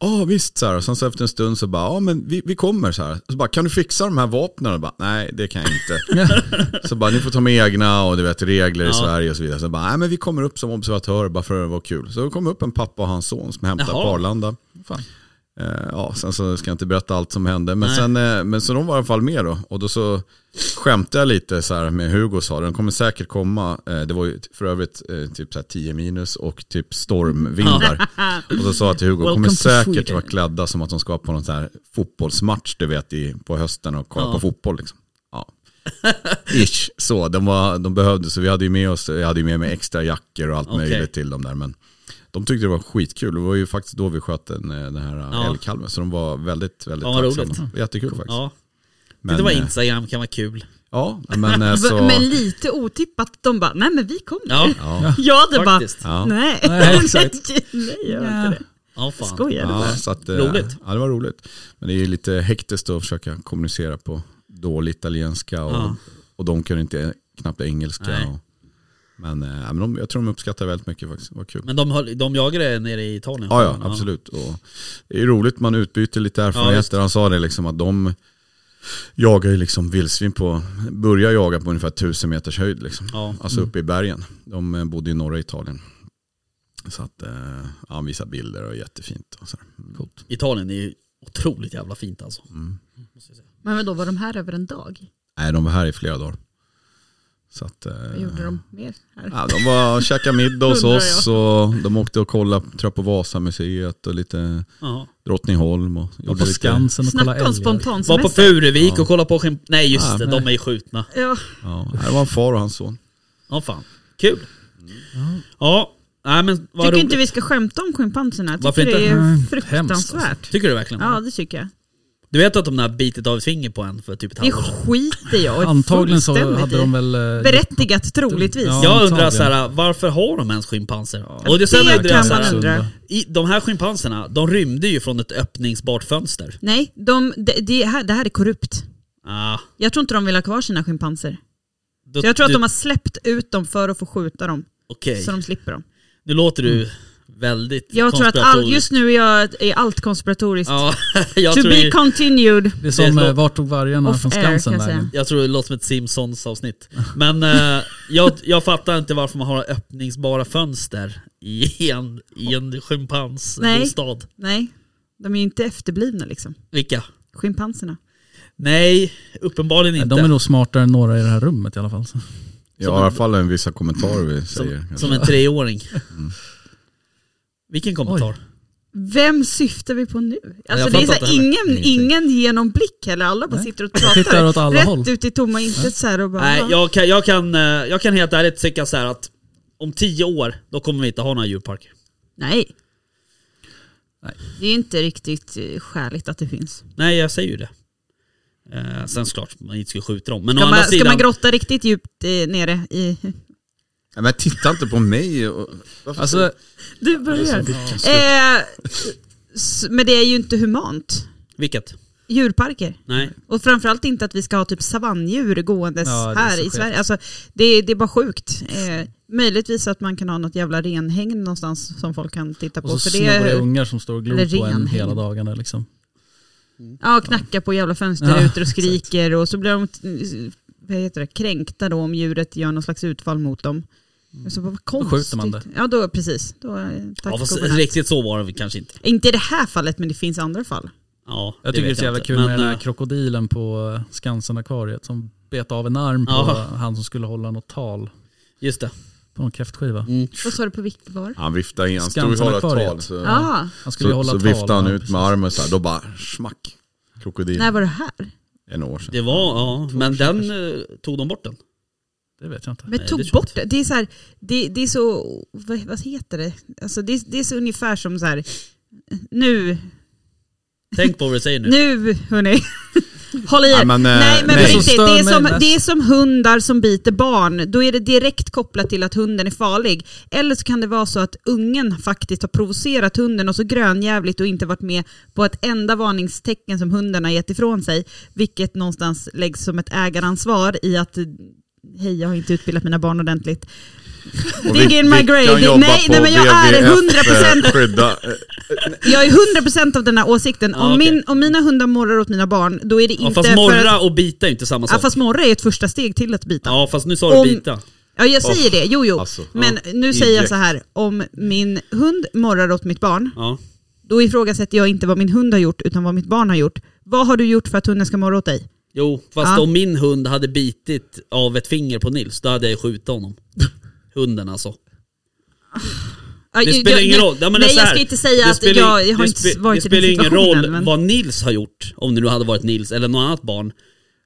[SPEAKER 1] Ja visst så här, och sen så efter en stund så bara, ja men vi, vi kommer så här. Så bara, kan du fixa de här vapnen? Och bara, nej det kan jag inte. Så bara, ni får ta med egna och du vet regler i Sverige och så vidare. Så bara, nej men vi kommer upp som observatörer bara för att vara kul. Så det kom upp en pappa och hans son som hämtade
[SPEAKER 3] Jaha.
[SPEAKER 1] på Arlanda.
[SPEAKER 5] Fan.
[SPEAKER 1] Eh, ja, sen så ska jag inte berätta allt som hände. Men,
[SPEAKER 3] Nej.
[SPEAKER 1] sen, eh, men så de var i alla fall med då. Och då så skämtade jag lite så här med Hugo och sa, den kommer säkert komma. Eh, det var ju t- för övrigt eh, typ så här 10 minus och typ stormvindar. och så sa jag till Hugo, de kommer
[SPEAKER 4] Welcome to
[SPEAKER 1] säkert
[SPEAKER 4] Sweden."
[SPEAKER 1] vara klädda som att de ska på någon så här fotbollsmatch du vet i, på hösten och kolla på fotboll. Liksom. Ja. Ish, så. De, var, de behövde, så vi hade ju med oss, jag hade ju med mig extra jackor och allt
[SPEAKER 3] Okej.
[SPEAKER 1] möjligt till dem där. Men de tyckte det var skitkul. Det var ju faktiskt då vi sköt den, eh, den här
[SPEAKER 3] Ja.
[SPEAKER 1] ja. älgkalven. Så de var väldigt, väldigt
[SPEAKER 3] Ja, vad
[SPEAKER 1] tacksamma. Mm. Jättekul faktiskt.
[SPEAKER 3] Ja.
[SPEAKER 1] Men,
[SPEAKER 3] det var
[SPEAKER 1] eh,
[SPEAKER 3] Instagram kan vara kul.
[SPEAKER 1] Ja, men eh, så...
[SPEAKER 4] Alltså, Men lite otippat, de bara, nej men vi kommer.
[SPEAKER 3] Ja,
[SPEAKER 1] Ja,
[SPEAKER 4] Jag hade bara,
[SPEAKER 3] faktiskt.
[SPEAKER 1] ja,
[SPEAKER 4] nej.
[SPEAKER 5] Nej, exakt.
[SPEAKER 4] nej, jag gör inte det.
[SPEAKER 3] Ja, fan.
[SPEAKER 4] Skojar du?
[SPEAKER 1] ja, så att, eh,
[SPEAKER 3] Roligt.
[SPEAKER 1] Ja, det var roligt. Men det är ju lite hektiskt att försöka kommunicera på dålig italienska och,
[SPEAKER 3] Ja.
[SPEAKER 1] och de kunde inte knappt engelska.
[SPEAKER 3] Nej.
[SPEAKER 1] Och, men eh, men de, jag tror de uppskattar väldigt mycket faktiskt. Det var kul.
[SPEAKER 3] Men de, höll, de jagade nere i Italien?
[SPEAKER 1] Ja, ja absolut. Och det är roligt, man utbyter lite erfarenheter.
[SPEAKER 3] visst.
[SPEAKER 1] Han sa det liksom att de, jagar ju liksom vildsvin på, börjar jaga på ungefär 1000 meters höjd. Liksom.
[SPEAKER 3] Ja.
[SPEAKER 1] Alltså uppe i bergen. De eh, bodde i norra Italien. Så att eh, han visar bilder och jättefint. Och Mm. så där.
[SPEAKER 5] Coolt.
[SPEAKER 3] Italien är ju otroligt jävla fint alltså.
[SPEAKER 4] Men vadå, var de här över en dag?
[SPEAKER 1] Mm. Nej, de var här i flera dagar. Så att, eh,
[SPEAKER 4] Vad gjorde de mer här?
[SPEAKER 1] Ja, de var och käkade middag hos
[SPEAKER 4] Undrar
[SPEAKER 1] oss och de åkte och kollade, tror jag, på Vasamuseet och lite
[SPEAKER 3] Ja.
[SPEAKER 1] Drottningholm. Och
[SPEAKER 5] Var på Skansen och kolla
[SPEAKER 4] Snacka om
[SPEAKER 5] älgar.
[SPEAKER 3] Var på
[SPEAKER 4] spontansemester.
[SPEAKER 3] Furuvik och kolla på skimp... Nej just
[SPEAKER 1] Ah,
[SPEAKER 3] det, de är ju skjutna.
[SPEAKER 4] Ja,
[SPEAKER 1] Ja, här var en far och hans son.
[SPEAKER 3] Ja fan, kul. Ja, nej men vad
[SPEAKER 4] tycker
[SPEAKER 3] roligt.
[SPEAKER 4] inte vi ska skämta om schimpanserna. Jag
[SPEAKER 3] Varför
[SPEAKER 4] tycker det
[SPEAKER 3] inte? alltså.
[SPEAKER 4] är
[SPEAKER 5] Nej, hemskt
[SPEAKER 4] fruktansvärt.
[SPEAKER 3] Tycker du verkligen
[SPEAKER 4] Ja,
[SPEAKER 3] ja.
[SPEAKER 4] det tycker jag.
[SPEAKER 3] Du vet att de där bitit av ett finger på en för typ ett
[SPEAKER 4] Det
[SPEAKER 3] halvår sedan?
[SPEAKER 4] skiter jag i
[SPEAKER 5] Antagligen så
[SPEAKER 4] fullständigt
[SPEAKER 5] hade
[SPEAKER 4] i.
[SPEAKER 5] de väl... eh,
[SPEAKER 4] Berättigat troligtvis.
[SPEAKER 5] Ja.
[SPEAKER 3] Jag undrar
[SPEAKER 5] antagligen.
[SPEAKER 3] så här, varför har de ens schimpanser? Och det, sen
[SPEAKER 4] Det
[SPEAKER 3] undrar jag
[SPEAKER 4] kan
[SPEAKER 3] så
[SPEAKER 4] man
[SPEAKER 3] här,
[SPEAKER 4] undra.
[SPEAKER 3] i, de här schimpanserna, de rymde ju från ett öppningsbart fönster.
[SPEAKER 4] Nej, de, det, det, här, det här är korrupt.
[SPEAKER 3] Ah,
[SPEAKER 4] Jag tror inte de vill ha kvar sina schimpanser.
[SPEAKER 3] då,
[SPEAKER 4] Så jag tror att
[SPEAKER 3] du,
[SPEAKER 4] de har släppt ut dem för att få skjuta dem.
[SPEAKER 3] Okej,
[SPEAKER 4] Så de slipper dem.
[SPEAKER 3] nu låter du väldigt
[SPEAKER 4] Mm. Jag tror att all,
[SPEAKER 3] konspiratorisk.
[SPEAKER 4] just nu är, jag, är allt konspiratoriskt.
[SPEAKER 3] Ja, jag,
[SPEAKER 4] to
[SPEAKER 3] tror
[SPEAKER 4] be
[SPEAKER 3] ju,
[SPEAKER 4] continued.
[SPEAKER 5] Det är som
[SPEAKER 3] Det är
[SPEAKER 5] eh, vart tog vargarna
[SPEAKER 4] Off
[SPEAKER 5] från
[SPEAKER 4] air, kan
[SPEAKER 5] Skansen
[SPEAKER 4] jag
[SPEAKER 5] vägen?
[SPEAKER 4] säga.
[SPEAKER 3] jag tror det låter som ett Simpsons-avsnitt. Men eh, jag, jag fattar inte varför man har öppningsbara fönster i en, i en
[SPEAKER 4] Nej.
[SPEAKER 3] schimpansbostad.
[SPEAKER 4] Nej, de är ju inte efterblivna liksom.
[SPEAKER 3] Vilka?
[SPEAKER 4] Schimpanserna.
[SPEAKER 3] Nej, uppenbarligen
[SPEAKER 5] Nej,
[SPEAKER 3] inte.
[SPEAKER 5] De är nog smartare än några i det här rummet i alla fall. så.
[SPEAKER 1] Ja, i alla fall en vissa kommentarer vi säger.
[SPEAKER 3] som,
[SPEAKER 1] kanske.
[SPEAKER 3] som en treåring.
[SPEAKER 5] Mm.
[SPEAKER 3] Vilken kommentar?
[SPEAKER 4] Vem syftar vi på nu? Alltså
[SPEAKER 3] jag
[SPEAKER 4] det är så
[SPEAKER 3] fattar
[SPEAKER 4] här,
[SPEAKER 3] inte
[SPEAKER 4] ingen, ingen genomblick heller. Alla bara sitter och pratar.
[SPEAKER 5] tittar åt alla
[SPEAKER 4] rätt
[SPEAKER 5] håll.
[SPEAKER 4] ut i tomma intet så här och bara...
[SPEAKER 3] Nej,
[SPEAKER 4] ja.
[SPEAKER 3] jag kan, jag, kan, eh, jag kan helt ärligt tycka så här att om tio år, då kommer vi inte ha några djurparker.
[SPEAKER 4] Nej.
[SPEAKER 5] Nej.
[SPEAKER 4] Det är inte riktigt eh, skäligt att det finns.
[SPEAKER 3] Nej, jag säger ju det. Eh, sen såklart, man inte skulle skjuta dem. Men å
[SPEAKER 4] Ska
[SPEAKER 3] andra
[SPEAKER 4] man, ska
[SPEAKER 3] sidan...
[SPEAKER 4] man grotta riktigt djupt eh, nere i...
[SPEAKER 1] Nej, men titta inte på mig. och- Varför
[SPEAKER 5] Alltså,
[SPEAKER 4] Du börjar.
[SPEAKER 1] vilken
[SPEAKER 4] Eh, s- men det är ju inte humant.
[SPEAKER 3] vilket?
[SPEAKER 4] Djurparker.
[SPEAKER 3] Nej.
[SPEAKER 4] Och framförallt inte att vi ska ha typ savanndjur gåendes
[SPEAKER 5] Ja, det är så
[SPEAKER 4] här i
[SPEAKER 5] skevt.
[SPEAKER 4] Sverige. Alltså, det, det är bara sjukt. Eh, möjligtvis att man kan ha något jävla renhägn någonstans som folk kan titta på.
[SPEAKER 5] och så
[SPEAKER 4] för det,
[SPEAKER 5] snor det ungar som står och glor
[SPEAKER 4] eller
[SPEAKER 5] på en
[SPEAKER 4] renhäng.
[SPEAKER 5] hela dagarna liksom.
[SPEAKER 4] ja, knacka på jävla fönsterrutor och skriker och så blir de vad heter det, kränkta då om djuret gör någon slags utfall mot dem. Så bara, vad konstigt.
[SPEAKER 5] Mm. skjuter man det.
[SPEAKER 4] Ja, då, precis. Då, eh, tack
[SPEAKER 3] Ja, fast
[SPEAKER 4] och godnatt.
[SPEAKER 3] riktigt så var det väl kanske inte.
[SPEAKER 4] Inte i det här fallet, men det finns andra fall.
[SPEAKER 3] Ja,
[SPEAKER 5] Jag tycker det är
[SPEAKER 3] vet
[SPEAKER 5] så jävla
[SPEAKER 3] inte.
[SPEAKER 5] kul med den här
[SPEAKER 3] eh,
[SPEAKER 5] krokodilen på eh, Skansen-akvariet som bet av en arm på
[SPEAKER 3] Ja.
[SPEAKER 5] eh, han som skulle hålla något tal
[SPEAKER 3] Just det.
[SPEAKER 5] på någon kräftskiva.
[SPEAKER 4] Vad sa du på vilket var?
[SPEAKER 1] Han viftade in, han stod och
[SPEAKER 5] Skansen
[SPEAKER 1] höll ett
[SPEAKER 5] akvariet.
[SPEAKER 1] tal. Så,
[SPEAKER 4] Ah,
[SPEAKER 5] Han skulle ju
[SPEAKER 1] så,
[SPEAKER 5] hålla
[SPEAKER 1] så
[SPEAKER 5] tal.
[SPEAKER 1] viftade han
[SPEAKER 5] ja,
[SPEAKER 1] ut
[SPEAKER 5] precis.
[SPEAKER 1] med armen så här, då bara smack. Krokodil,
[SPEAKER 4] när var det här?
[SPEAKER 1] en år sedan.
[SPEAKER 3] Det var, ja. Men den, eh, tog de bort den?
[SPEAKER 5] Eh, Det vet jag inte.
[SPEAKER 4] Men
[SPEAKER 3] Nej,
[SPEAKER 4] tog
[SPEAKER 3] det tror jag
[SPEAKER 4] bort det. Det är så, här, det, det är så vad, vad heter det? Alltså det, är- det är så ungefär som så här, nu,
[SPEAKER 3] Tänk på vad du säger nu.
[SPEAKER 4] nu hörni. Håll i er.
[SPEAKER 1] Nej, men, eh,
[SPEAKER 4] nej men
[SPEAKER 1] nej.
[SPEAKER 4] på riktigt,
[SPEAKER 5] Det som
[SPEAKER 4] det är,
[SPEAKER 5] stör
[SPEAKER 4] som,
[SPEAKER 5] mig
[SPEAKER 4] det är som hundar som biter barn. Då är det direkt kopplat till att hunden är farlig. Eller så kan det vara så att ungen faktiskt har provocerat hunden och så grönjävligt och inte varit med på ett enda varningstecken som hunden har gett ifrån sig. Vilket någonstans läggs som ett ägaransvar i att Hej, jag har inte utbildat mina barn ordentligt.
[SPEAKER 1] Och
[SPEAKER 4] dig
[SPEAKER 1] vi-
[SPEAKER 4] in my
[SPEAKER 1] vi
[SPEAKER 4] grave.
[SPEAKER 1] kan
[SPEAKER 4] Det-
[SPEAKER 1] jobba
[SPEAKER 4] nej,
[SPEAKER 1] på
[SPEAKER 4] nej, men jag är
[SPEAKER 1] WWF,
[SPEAKER 4] 100%.
[SPEAKER 1] eh, skydda, eh,
[SPEAKER 4] Jag är 100% av den här åsikten.
[SPEAKER 3] Ja,
[SPEAKER 4] om,
[SPEAKER 3] okej.
[SPEAKER 4] min, om mina hundar morrar åt mina barn, då är det
[SPEAKER 3] Ja,
[SPEAKER 4] inte
[SPEAKER 3] fast
[SPEAKER 4] för
[SPEAKER 3] morra
[SPEAKER 4] att...
[SPEAKER 3] och bita är ju inte samma
[SPEAKER 4] Ja,
[SPEAKER 3] sak.
[SPEAKER 4] fast morra är ett första steg till att bita.
[SPEAKER 3] Ja, fast nu sa du
[SPEAKER 4] Om-
[SPEAKER 3] bita.
[SPEAKER 4] Ja, jag säger det. Jo, jo.
[SPEAKER 1] alltså,
[SPEAKER 4] men nu säger jag så här. Om min hund morrar åt mitt barn,
[SPEAKER 3] Ja.
[SPEAKER 4] då ifrågasätter jag inte vad min hund har gjort, utan vad mitt barn har gjort. Vad har du gjort för att hunden ska morra åt dig?
[SPEAKER 3] Jo, fast
[SPEAKER 4] Ja.
[SPEAKER 3] om min hund hade bitit av ett finger på Nils, då hade jag skjutit honom. Hunden alltså.
[SPEAKER 4] Ja,
[SPEAKER 3] Det
[SPEAKER 4] jag-
[SPEAKER 3] spelar
[SPEAKER 4] jag-
[SPEAKER 3] ingen roll. Ja, men det är
[SPEAKER 4] nej,
[SPEAKER 3] så
[SPEAKER 4] jag
[SPEAKER 3] här.
[SPEAKER 4] ska inte säga
[SPEAKER 3] Det
[SPEAKER 4] att
[SPEAKER 3] spelar-
[SPEAKER 4] jag, jag har
[SPEAKER 3] det
[SPEAKER 4] inte
[SPEAKER 3] spe-
[SPEAKER 4] varit
[SPEAKER 3] Det
[SPEAKER 4] i den
[SPEAKER 3] spelar ju ingen
[SPEAKER 4] situationen.
[SPEAKER 3] roll
[SPEAKER 4] Men...
[SPEAKER 3] vad Nils har gjort, om det nu hade varit Nils eller något annat barn.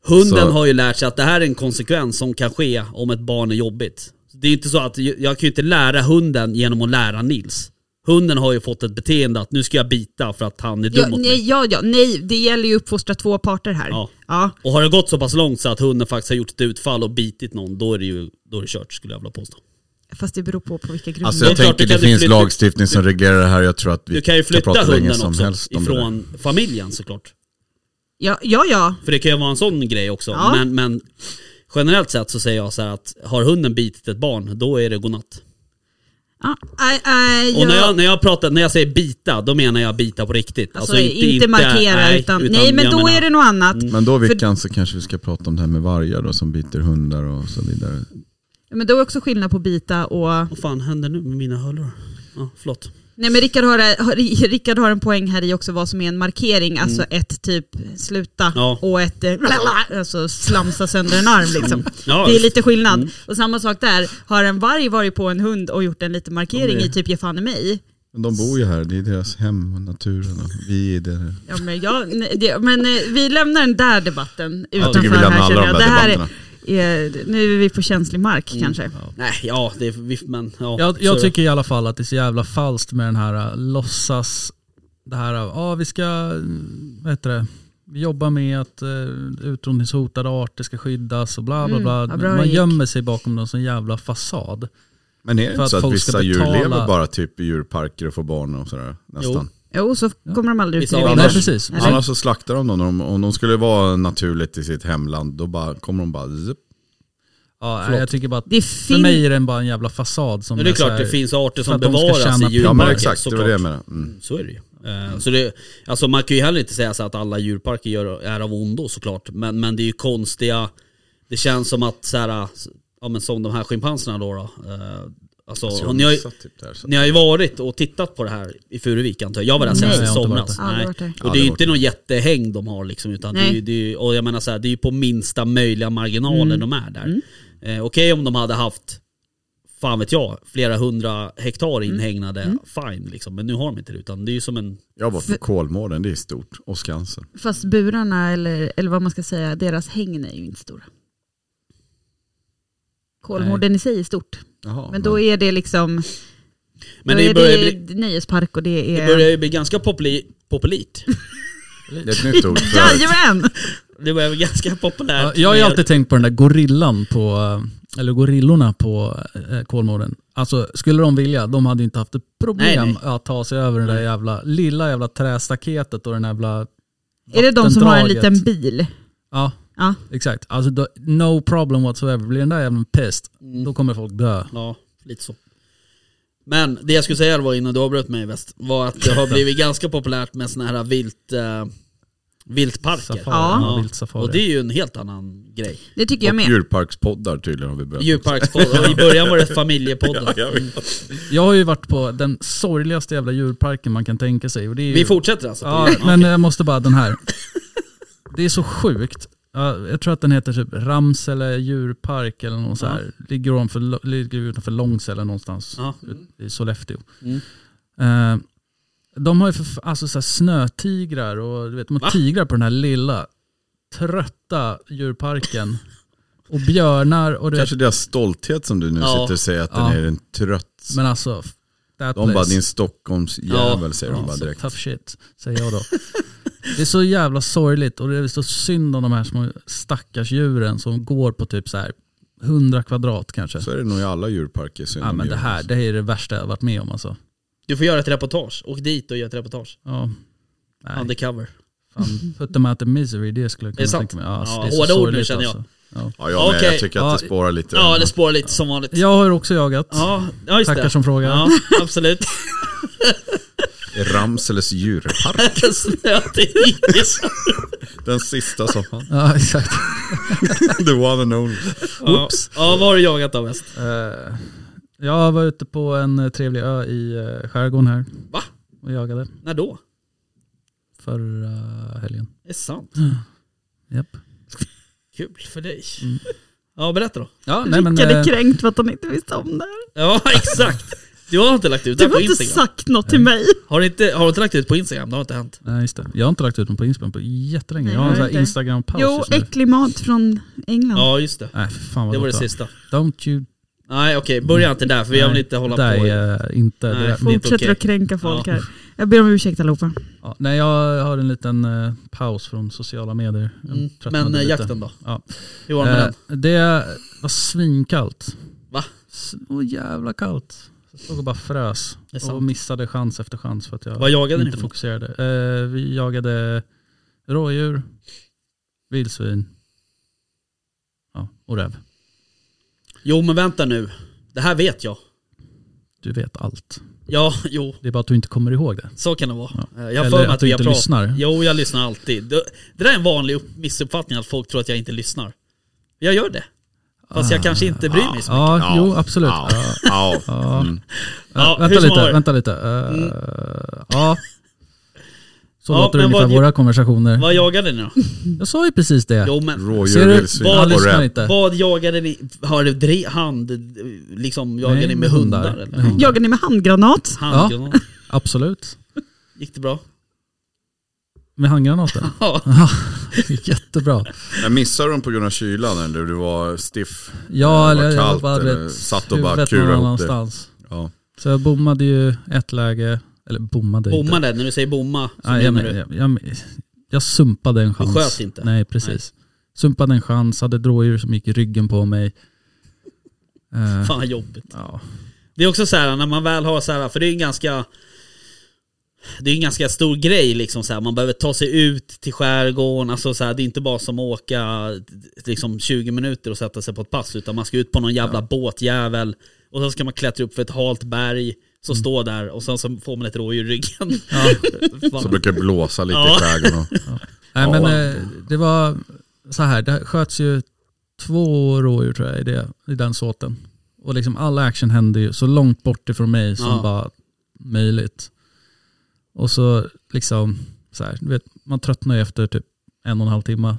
[SPEAKER 3] Hunden
[SPEAKER 1] Så-
[SPEAKER 3] har ju lärt sig att det här är en konsekvens som kan ske om ett barn är jobbigt. Det är ju inte så att jag jag kan ju inte lära hunden genom att lära Nils. Hunden har ju fått ett beteende att nu ska jag bita för att han är dum
[SPEAKER 4] Ja,
[SPEAKER 3] mot mig.
[SPEAKER 4] nej, ja, ja, nej, det gäller ju att uppfostra två parter här.
[SPEAKER 3] Ja.
[SPEAKER 4] ja.
[SPEAKER 3] Och har det gått så pass långt så att hunden faktiskt har gjort ett utfall och bitit någon, då är det ju då är det kört skulle jag vilja påstå.
[SPEAKER 4] Fast det beror på på vilka grunder.
[SPEAKER 1] Alltså
[SPEAKER 3] Det är
[SPEAKER 1] jag
[SPEAKER 3] klart,
[SPEAKER 1] tänker
[SPEAKER 3] du kan
[SPEAKER 1] det
[SPEAKER 3] ju
[SPEAKER 1] finns
[SPEAKER 3] flytta-
[SPEAKER 1] lagstiftning som reglerar det här. Jag tror att vi
[SPEAKER 3] Du kan ju flytta
[SPEAKER 1] prata länge
[SPEAKER 3] hunden
[SPEAKER 1] som
[SPEAKER 3] också
[SPEAKER 1] helst om det där.
[SPEAKER 3] ifrån familjen såklart.
[SPEAKER 4] ja, ja, ja.
[SPEAKER 3] För det kan ju vara en sån grej också.
[SPEAKER 4] Ja.
[SPEAKER 3] Men, men generellt sett så säger jag så här att har hunden bitit ett barn, då är det godnatt.
[SPEAKER 4] Ja, äh, nej, nej,
[SPEAKER 3] Och när
[SPEAKER 4] jag-
[SPEAKER 3] jag, när jag pratar, när jag säger bita, då menar jag bita på riktigt.
[SPEAKER 4] Alltså, inte, markera
[SPEAKER 3] nej,
[SPEAKER 4] utan, nej men
[SPEAKER 3] jag
[SPEAKER 4] då
[SPEAKER 3] menar- Mm.
[SPEAKER 4] är det något annat.
[SPEAKER 1] Men då
[SPEAKER 4] För-
[SPEAKER 1] Vickan så kanske vi ska prata om det här med vargar då, som biter hundar och så vidare.
[SPEAKER 4] Men då är också skillnad på bita och...
[SPEAKER 3] Vad fan händer nu med mina hörlurar? Ja, förlåt.
[SPEAKER 4] Nej men Rickard har, har, Rickard har en poäng här i också vad som är en
[SPEAKER 1] Mm.
[SPEAKER 4] markering, alltså ett typ sluta
[SPEAKER 3] Ja.
[SPEAKER 4] och ett eh, alltså slamsa sönder en arm liksom.
[SPEAKER 3] Ja,
[SPEAKER 4] Det är
[SPEAKER 3] visst.
[SPEAKER 4] lite skillnad.
[SPEAKER 1] Mm.
[SPEAKER 4] Och samma sak där, har en varg varit på en hund och gjort en liten markering i typ ge fan i mig.
[SPEAKER 1] Men de bor ju här, det är deras hem och naturen och vi är där.
[SPEAKER 4] Ja, men jag, nej, det, men eh, vi lämnar den där debatten utanför
[SPEAKER 1] tycker vi lämnar
[SPEAKER 4] här
[SPEAKER 1] alla
[SPEAKER 4] känner
[SPEAKER 1] de
[SPEAKER 4] jag.
[SPEAKER 1] där
[SPEAKER 4] Det här är,
[SPEAKER 1] debatterna. Mm.
[SPEAKER 4] är, nu är vi på känslig mark kanske.
[SPEAKER 3] Nej, ja, det är, vi- men ja.
[SPEAKER 5] Jag,
[SPEAKER 3] så är
[SPEAKER 5] jag
[SPEAKER 3] det.
[SPEAKER 5] tycker i alla fall att det är så jävla falskt med den här äh, låtsas, det här av, ja vi ska, mm, vad heter det, vi jobbar med att uh, utrotningshotade arter ska skyddas och bla bla
[SPEAKER 4] Mm,
[SPEAKER 5] bla.
[SPEAKER 4] vad bra det
[SPEAKER 5] Man
[SPEAKER 4] gick.
[SPEAKER 5] gömmer sig bakom någon sån jävla fasad.
[SPEAKER 1] Men är det
[SPEAKER 5] För
[SPEAKER 1] inte
[SPEAKER 5] att
[SPEAKER 1] så att
[SPEAKER 5] folk ska
[SPEAKER 1] vissa djur
[SPEAKER 5] betala-
[SPEAKER 1] lever bara typ i djurparker och får barn och sådär? Nästan.
[SPEAKER 4] Jo, så kommer de aldrig ut
[SPEAKER 3] Vissa
[SPEAKER 4] i
[SPEAKER 3] av
[SPEAKER 4] vilden.
[SPEAKER 3] dem.
[SPEAKER 5] Nej precis.
[SPEAKER 4] Eller?
[SPEAKER 1] Annars så slaktar de dem. Om- Om de skulle vara naturligt i sitt hemland, då bara, kommer de bara... Zup.
[SPEAKER 5] Ja, nej,
[SPEAKER 3] Förlåt.
[SPEAKER 5] jag tycker bara att
[SPEAKER 4] Det
[SPEAKER 5] för
[SPEAKER 4] fin-
[SPEAKER 5] mig är den bara en jävla fasad som
[SPEAKER 3] Men det är
[SPEAKER 5] så
[SPEAKER 3] klart
[SPEAKER 5] här-
[SPEAKER 3] det finns arter
[SPEAKER 5] för
[SPEAKER 3] som
[SPEAKER 5] att de ska
[SPEAKER 3] bevaras i
[SPEAKER 5] tjäna pengar.
[SPEAKER 1] Ja men
[SPEAKER 3] djurparker.
[SPEAKER 1] exakt, det var
[SPEAKER 3] såklart.
[SPEAKER 1] det jag menade. Mm.
[SPEAKER 3] Så är det ju. Eh, Så det, alltså man kan ju heller inte säga så att alla djurparker gör, är av ondo såklart. Men, men det är ju konstiga, det känns som att så här, ja, men som de här schimpanserna då. då eh, alltså,
[SPEAKER 1] Så jag
[SPEAKER 3] och ni, har ju,
[SPEAKER 1] missat typ det här, så-
[SPEAKER 3] ni har ju varit och tittat på det här i Furuvik antar jag. Jag var där senast i
[SPEAKER 5] Nej, jag har inte varit
[SPEAKER 3] somras.
[SPEAKER 4] där. Ja, jag har varit där.
[SPEAKER 1] Ja,
[SPEAKER 3] Och det är
[SPEAKER 1] det
[SPEAKER 3] ju
[SPEAKER 1] har
[SPEAKER 3] inte
[SPEAKER 1] varit
[SPEAKER 3] någon jättehäng de har liksom. Utan det är,
[SPEAKER 4] Nej.
[SPEAKER 3] ju- det är, ju- och jag menar så här, det är ju på minsta möjliga marginaler
[SPEAKER 5] Mm.
[SPEAKER 3] de är där. Eh, Okej om de hade haft fan vet jag, flera hundra hektar
[SPEAKER 5] Mm.
[SPEAKER 3] inhägnade, fine liksom. Men nu har de inte det utan det är ju som en...
[SPEAKER 1] Jag var på Kolmården, det är stort. Och Skansen.
[SPEAKER 4] Fast burarna, eller, eller vad man ska säga, deras hägn är ju inte stora. Kolmården i sig är stort,
[SPEAKER 1] Jaha,
[SPEAKER 4] men då är det liksom
[SPEAKER 3] Men
[SPEAKER 4] då
[SPEAKER 3] det
[SPEAKER 4] är
[SPEAKER 3] börjar,
[SPEAKER 4] det
[SPEAKER 3] bli,
[SPEAKER 4] nöjespark och det
[SPEAKER 3] det
[SPEAKER 4] är...
[SPEAKER 3] börjar ju bli ganska populi, populärt.
[SPEAKER 1] det är ett nytt ord för övrigt.
[SPEAKER 4] Jajamän!
[SPEAKER 3] Det börjar bli ganska
[SPEAKER 5] Ja,
[SPEAKER 3] populärt.
[SPEAKER 5] jag har ju
[SPEAKER 3] med-
[SPEAKER 5] alltid tänkt på den där gorillan på, eh, eller gorillorna på eh, Kolmården. Alltså skulle de vilja, de hade ju inte haft ett problem
[SPEAKER 3] Nej,
[SPEAKER 5] att ta sig över det där jävla, lilla jävla trästaketet och den där jävla
[SPEAKER 4] Är det de som har en
[SPEAKER 5] vattendraget.
[SPEAKER 4] liten bil?
[SPEAKER 5] Ja,
[SPEAKER 4] Ja.
[SPEAKER 5] exakt. Alltså då, no problem whatsoever. Blir den där jäveln pest, då kommer folk dö.
[SPEAKER 3] Ja, lite så. Men det jag skulle säga var innan du avbröt mig väst, var att det har blivit ganska populärt med såna här vilt, eh, viltparker.
[SPEAKER 5] Safari,
[SPEAKER 4] Ja.
[SPEAKER 5] ja, viltsafari.
[SPEAKER 3] Och det är ju en helt annan grej.
[SPEAKER 4] Det tycker jag
[SPEAKER 1] Och
[SPEAKER 4] med.
[SPEAKER 1] djurparkspoddar tydligen har vi börjat.
[SPEAKER 3] Djurparkspodd, och i början var det familjepoddar.
[SPEAKER 5] Jag har ju varit på den sorgligaste jävla djurparken man kan tänka sig. Och det är ju...
[SPEAKER 3] Vi fortsätter alltså? på
[SPEAKER 5] Ja,
[SPEAKER 3] djur.
[SPEAKER 5] men jag måste bara den här. Det är så sjukt. Ja, Jag tror att den heter typ Ramsele djurpark eller något så här. Ligger, ovanför, ligger utanför Långsele någonstans
[SPEAKER 3] Ja.
[SPEAKER 5] ut- i Sollefteå.
[SPEAKER 3] Mm.
[SPEAKER 5] Eh, de har ju för, alltså så här snötigrar och du vet, de har
[SPEAKER 3] Va?
[SPEAKER 5] tigrar på den här lilla trötta djurparken. Och björnar och du vet,
[SPEAKER 1] Kanske deras stolthet som du nu
[SPEAKER 3] Ja.
[SPEAKER 1] sitter och säger att
[SPEAKER 5] Ja.
[SPEAKER 1] den är en trött.
[SPEAKER 5] men alltså f- that
[SPEAKER 1] De bara,
[SPEAKER 5] place.
[SPEAKER 1] din Stockholmsjävel säger de
[SPEAKER 5] Ja,
[SPEAKER 1] bara
[SPEAKER 5] så
[SPEAKER 1] direkt.
[SPEAKER 5] Tough shit, säger jag då. Det är så jävla sorgligt och det är så synd om de här små stackars djuren som går på typ så här 100 kvadrat kanske.
[SPEAKER 1] Så är det nog i alla djurparker. synd
[SPEAKER 5] Typ. Ja
[SPEAKER 1] om alltså.
[SPEAKER 5] men det
[SPEAKER 1] djur.
[SPEAKER 5] här, det här är det värsta jag har varit med om alltså.
[SPEAKER 3] Du får göra ett reportage. Åk dit och gör ett reportage.
[SPEAKER 5] Ja. Nej,
[SPEAKER 3] Undercover.
[SPEAKER 5] fan. Put them out of misery, det skulle jag
[SPEAKER 3] Är Mm. det
[SPEAKER 5] kunna
[SPEAKER 3] sant?
[SPEAKER 5] tänka mig. Ja, alltså,
[SPEAKER 3] Ja,
[SPEAKER 5] det är så
[SPEAKER 3] hårda ord nu,
[SPEAKER 5] sorgligt
[SPEAKER 3] känner jag.
[SPEAKER 5] Alltså. Ja.
[SPEAKER 1] Ja, jag, med.
[SPEAKER 3] Okej.
[SPEAKER 1] jag tycker att det
[SPEAKER 5] Ja.
[SPEAKER 1] spårar lite.
[SPEAKER 3] Ja, det spårar lite som vanligt.
[SPEAKER 5] Jag har också jagat.
[SPEAKER 3] Ja, ja just
[SPEAKER 5] Tackar
[SPEAKER 3] det.
[SPEAKER 5] som frågar.
[SPEAKER 3] Ja, absolut.
[SPEAKER 1] Ramseles djurpark.
[SPEAKER 3] Snötigris.
[SPEAKER 1] Den sista som han.
[SPEAKER 5] Ja, exakt.
[SPEAKER 1] The one and only.
[SPEAKER 3] ja, ja, vad har du jagat då mest?
[SPEAKER 5] Eh, jag var ute på en eh, trevlig ö i eh, skärgården här.
[SPEAKER 3] Va?
[SPEAKER 5] Och jagade
[SPEAKER 3] När då?
[SPEAKER 5] förra helgen.
[SPEAKER 3] Det är sant.
[SPEAKER 5] Japp.
[SPEAKER 3] Kul för dig.
[SPEAKER 5] Mm.
[SPEAKER 3] Ja, berätta då.
[SPEAKER 5] Ja, nej, men,
[SPEAKER 4] Rickard är
[SPEAKER 5] eh,
[SPEAKER 4] kränkt för att han inte visste om det här.
[SPEAKER 3] Ja, exakt. Du har inte lagt ut
[SPEAKER 4] Du
[SPEAKER 3] den på
[SPEAKER 4] har inte
[SPEAKER 3] Instagram?
[SPEAKER 4] sagt något till mig.
[SPEAKER 3] Har du inte, har du inte lagt ut på Instagram? Det har inte hänt.
[SPEAKER 5] Nej just det. Jag har inte lagt ut dem på Instagram på jättelänge.
[SPEAKER 4] Nej,
[SPEAKER 5] jag har en
[SPEAKER 3] Mm,
[SPEAKER 4] jag
[SPEAKER 5] sån
[SPEAKER 4] vet inte.
[SPEAKER 5] här Instagram-paus
[SPEAKER 4] Jo,
[SPEAKER 5] just nu.
[SPEAKER 4] äcklig mat från England.
[SPEAKER 3] Ja, just det.
[SPEAKER 5] Nej, för fan vad
[SPEAKER 3] Det var det
[SPEAKER 5] gott
[SPEAKER 3] sista.
[SPEAKER 5] Don't you...
[SPEAKER 3] Nej, okej. Börja inte där för jag vill
[SPEAKER 5] Nej,
[SPEAKER 3] inte hålla
[SPEAKER 5] det där
[SPEAKER 3] på.
[SPEAKER 5] Är, eh, inte,
[SPEAKER 3] Nej,
[SPEAKER 5] det där,
[SPEAKER 3] får-
[SPEAKER 5] mitt,
[SPEAKER 4] Fortsätter
[SPEAKER 3] okej.
[SPEAKER 4] att kränka folk
[SPEAKER 3] Ja.
[SPEAKER 4] här. Jag ber om ursäkt allihopa.
[SPEAKER 5] ja, nej, jag har en liten eh, paus från sociala medier. Jag
[SPEAKER 3] Mm.
[SPEAKER 5] tröttnade
[SPEAKER 3] Men eh,
[SPEAKER 5] lite.
[SPEAKER 3] jakten då?
[SPEAKER 5] Ja.
[SPEAKER 3] Hur var det med
[SPEAKER 5] Eh,
[SPEAKER 3] den?
[SPEAKER 5] det var svinkallt.
[SPEAKER 3] Va?
[SPEAKER 5] Så jävla kallt. Jag stod och bara frös.
[SPEAKER 3] Det är sant.
[SPEAKER 5] Och missade chans efter chans för att jag
[SPEAKER 3] Vad jagade ni
[SPEAKER 5] inte
[SPEAKER 3] för något?
[SPEAKER 5] fokuserade. Eh, vi jagade rådjur, vildsvin ja, och räv.
[SPEAKER 3] Jo, men vänta nu. Det här vet jag.
[SPEAKER 5] du vet allt.
[SPEAKER 3] Ja, jo,
[SPEAKER 5] Det är bara att du inte kommer ihåg det.
[SPEAKER 3] så kan det vara.
[SPEAKER 5] Ja.
[SPEAKER 3] Eh, Jag har
[SPEAKER 5] Eller
[SPEAKER 3] för mig
[SPEAKER 5] att
[SPEAKER 3] att
[SPEAKER 5] du
[SPEAKER 3] vi har
[SPEAKER 5] inte
[SPEAKER 3] pratat-
[SPEAKER 5] lyssnar.
[SPEAKER 3] Jo, jag lyssnar alltid. Det, det där är en vanlig upp- missuppfattning, att folk tror att jag inte lyssnar. Jag gör det. Fast
[SPEAKER 5] Ah.
[SPEAKER 3] jag kanske inte bryr mig så mycket.
[SPEAKER 5] Ja, jo absolut.
[SPEAKER 1] Ja,
[SPEAKER 5] Ja.
[SPEAKER 1] ja. Mm.
[SPEAKER 3] Ja, hur
[SPEAKER 5] ah, vänta
[SPEAKER 3] som
[SPEAKER 5] lite,
[SPEAKER 3] har-
[SPEAKER 5] vänta lite. Eh, Ja. Så
[SPEAKER 3] Ja,
[SPEAKER 5] låter det
[SPEAKER 3] men
[SPEAKER 5] ungefär
[SPEAKER 3] vad-
[SPEAKER 5] våra konversationer.
[SPEAKER 3] Vad jagade ni då?
[SPEAKER 5] Jag sa ju precis det.
[SPEAKER 3] Jo, men
[SPEAKER 1] Rådjur,
[SPEAKER 5] Ser du?
[SPEAKER 1] vildsvin
[SPEAKER 5] Han
[SPEAKER 3] Vad-
[SPEAKER 1] och
[SPEAKER 5] lyssnar
[SPEAKER 1] räv.
[SPEAKER 5] inte.
[SPEAKER 3] vad jagade ni? Har du dre- hand... Liksom jagade
[SPEAKER 5] Nej,
[SPEAKER 3] ni med
[SPEAKER 5] med
[SPEAKER 3] hundar?
[SPEAKER 5] hundar.
[SPEAKER 3] eller?
[SPEAKER 5] Med hundar.
[SPEAKER 4] Jagar ni med handgranat?
[SPEAKER 3] Handgranat?
[SPEAKER 5] Absolut.
[SPEAKER 3] Gick det bra?
[SPEAKER 5] Med handgranaten.
[SPEAKER 3] Ja.
[SPEAKER 5] Jättebra.
[SPEAKER 1] Jag missade dem på grund av kylan eller du var stiff.
[SPEAKER 5] Ja,
[SPEAKER 1] Det
[SPEAKER 5] eller
[SPEAKER 1] var
[SPEAKER 5] jag
[SPEAKER 1] kallt,
[SPEAKER 5] bara, du
[SPEAKER 1] eller
[SPEAKER 5] vet,
[SPEAKER 1] satt och bara
[SPEAKER 5] huvudet
[SPEAKER 1] kurade
[SPEAKER 5] någon
[SPEAKER 1] ihop det.
[SPEAKER 5] annanstans.
[SPEAKER 1] Ja.
[SPEAKER 5] Så jag bommade ju ett läge, eller bommade inte.
[SPEAKER 3] Bommade? När du säger bomma så
[SPEAKER 5] Nej, jag,
[SPEAKER 3] menar
[SPEAKER 5] men-
[SPEAKER 3] du?
[SPEAKER 5] jag, jag, jag sumpade en chans.
[SPEAKER 3] sköt inte?
[SPEAKER 5] Nej, precis. Sumpade en chans, hade ett rådjur som gick i ryggen på mig. Eh,
[SPEAKER 3] Fan vad jobbigt.
[SPEAKER 5] ja.
[SPEAKER 3] Det är också så här när man väl har så här, för det är en ganska det är en ganska stor grej liksom så här. man behöver ta sig ut till skärgården, alltså så här, det är inte bara som att åka liksom 20 minuter och sätta sig på ett pass utan man ska ut på någon jävla båtjävel och så ska man klättra upp för ett halt berg, så stå där och sen så får man ett rådjur i ryggen. Fan.
[SPEAKER 1] Så brukar det blåsa lite
[SPEAKER 3] Ja.
[SPEAKER 1] i skärgården. och-
[SPEAKER 5] Nej,
[SPEAKER 1] Ja.
[SPEAKER 5] men eh, det var så här, det sköts ju två rådjur tror jag i, det, i den såten. Och liksom all action hände ju så långt bort ifrån mig som
[SPEAKER 3] Ja.
[SPEAKER 5] bara möjligt. Och så liksom, så här, du vet, man tröttnar ju efter typ en och en halv timme.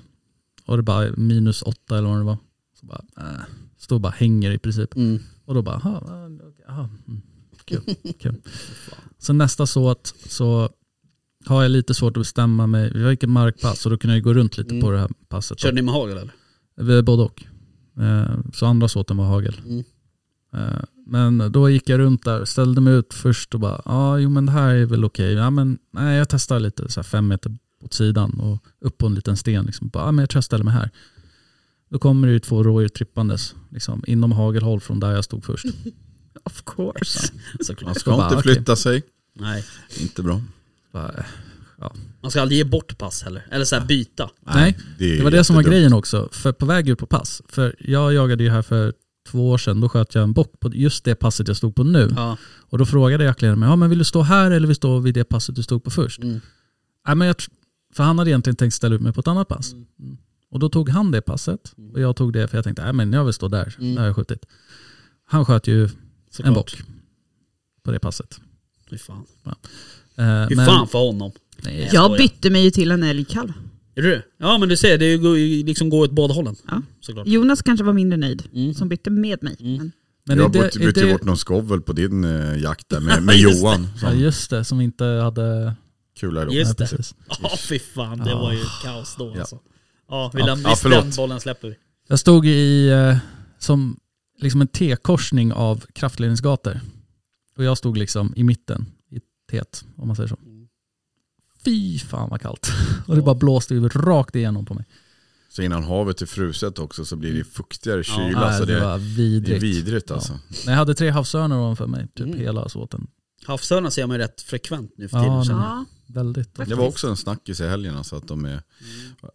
[SPEAKER 5] Och det bara minus åtta eller vad det var. Så bara, äh, står och bara hänger i princip.
[SPEAKER 3] Mm.
[SPEAKER 5] Och då bara, aha, aha, mm, kul, kul. Så nästa såt så har jag lite svårt att bestämma mig. Vi gick ett markpass och då kunde jag ju gå runt lite
[SPEAKER 3] Mm.
[SPEAKER 5] på det här passet.
[SPEAKER 3] Körde ni med hagel eller?
[SPEAKER 5] Vi- Både och. Eh, Så andra såten var hagel.
[SPEAKER 3] Mm.
[SPEAKER 5] Eh, Men då gick jag runt där, ställde mig ut först och bara, ja ah, jo men det här är väl okej. Ja, men, nej, jag testar lite så här fem meter åt sidan och upp på en liten sten. Liksom. Bara, ah, men jag tror jag ställer mig här. Då kommer det ju två rådjur trippandes liksom, inom hagelhåll från där jag stod först.
[SPEAKER 4] Of course.
[SPEAKER 1] Man
[SPEAKER 3] Såklart.
[SPEAKER 1] ska
[SPEAKER 5] bara,
[SPEAKER 1] inte
[SPEAKER 5] okej.
[SPEAKER 1] flytta sig.
[SPEAKER 3] Nej.
[SPEAKER 1] Inte bra.
[SPEAKER 5] Bara, eh,
[SPEAKER 3] Man ska aldrig ge bort pass heller, eller så här byta.
[SPEAKER 5] Nej,
[SPEAKER 1] är
[SPEAKER 5] det var det som var
[SPEAKER 1] jättedumt.
[SPEAKER 5] grejen också. För på väg ut på pass, för jag jagade ju här för två år sedan, då sköt jag en bock på just det passet jag stod på nu.
[SPEAKER 3] Ja.
[SPEAKER 5] Och då frågade jaktledaren mig, ja men vill du stå här eller vill du stå vid det passet du stod på först?
[SPEAKER 3] Mm.
[SPEAKER 5] Nej, men jag, tr- för han hade egentligen tänkt ställa ut mig på ett annat pass. Mm. Och då tog han det passet och jag tog det för jag tänkte, nej men jag vill stå där, där har jag skjutit. Han sköt ju en
[SPEAKER 3] Såklart.
[SPEAKER 5] bock på det passet.
[SPEAKER 3] Fy fan.
[SPEAKER 5] Eh,
[SPEAKER 3] Fy
[SPEAKER 5] men-
[SPEAKER 3] fan för honom.
[SPEAKER 5] Nej.
[SPEAKER 3] skojar.
[SPEAKER 4] Jag bytte mig ju till en älgkalv.
[SPEAKER 3] Är du det? Ja men du ser, det går ju liksom går åt båda hållen.
[SPEAKER 4] Ja.
[SPEAKER 3] Såklart.
[SPEAKER 4] Jonas kanske var mindre nöjd
[SPEAKER 3] Mm.
[SPEAKER 4] som bytte med mig. Men
[SPEAKER 5] Men är
[SPEAKER 1] jag
[SPEAKER 5] det-
[SPEAKER 1] bytte,
[SPEAKER 5] är
[SPEAKER 1] bytte
[SPEAKER 5] det-
[SPEAKER 1] bort någon skovel på din eh, jakt där med, med Johan.
[SPEAKER 5] Ja
[SPEAKER 1] Som
[SPEAKER 5] just det, som inte hade...
[SPEAKER 1] kula idag.
[SPEAKER 3] Just
[SPEAKER 5] Ja,
[SPEAKER 3] det.
[SPEAKER 5] precis.
[SPEAKER 3] Ja fy fan, det var ju kaos då
[SPEAKER 1] Ja.
[SPEAKER 3] alltså. Ja, vi
[SPEAKER 5] Ja.
[SPEAKER 3] lämnar
[SPEAKER 1] Ja,
[SPEAKER 3] visst,
[SPEAKER 1] förlåt.
[SPEAKER 3] den bollen släpper vi.
[SPEAKER 5] Jag stod i eh, som liksom en T-korsning av kraftledningsgator. Och jag stod liksom i mitten, i tät, om man säger så.
[SPEAKER 3] Mm.
[SPEAKER 5] Fy fan vad kallt. Och det bara blåste ju rakt igenom på mig.
[SPEAKER 1] Så innan havet är fruset också så blir det fuktigare kyla.
[SPEAKER 5] Nej,
[SPEAKER 1] så
[SPEAKER 5] det
[SPEAKER 1] det,
[SPEAKER 5] var
[SPEAKER 1] det är
[SPEAKER 5] vidrigt.
[SPEAKER 1] vidrigt alltså.
[SPEAKER 5] Men jag hade tre havsörnar ovanför mig, typ
[SPEAKER 3] Mm.
[SPEAKER 5] hela såten.
[SPEAKER 3] Havsörnar ser man ju rätt frekvent nu för
[SPEAKER 5] Ja,
[SPEAKER 3] tiden.
[SPEAKER 5] nej.
[SPEAKER 3] känner jag.
[SPEAKER 4] ja,
[SPEAKER 5] Väldigt.
[SPEAKER 1] Det var också en snackis i helgen alltså att, de är,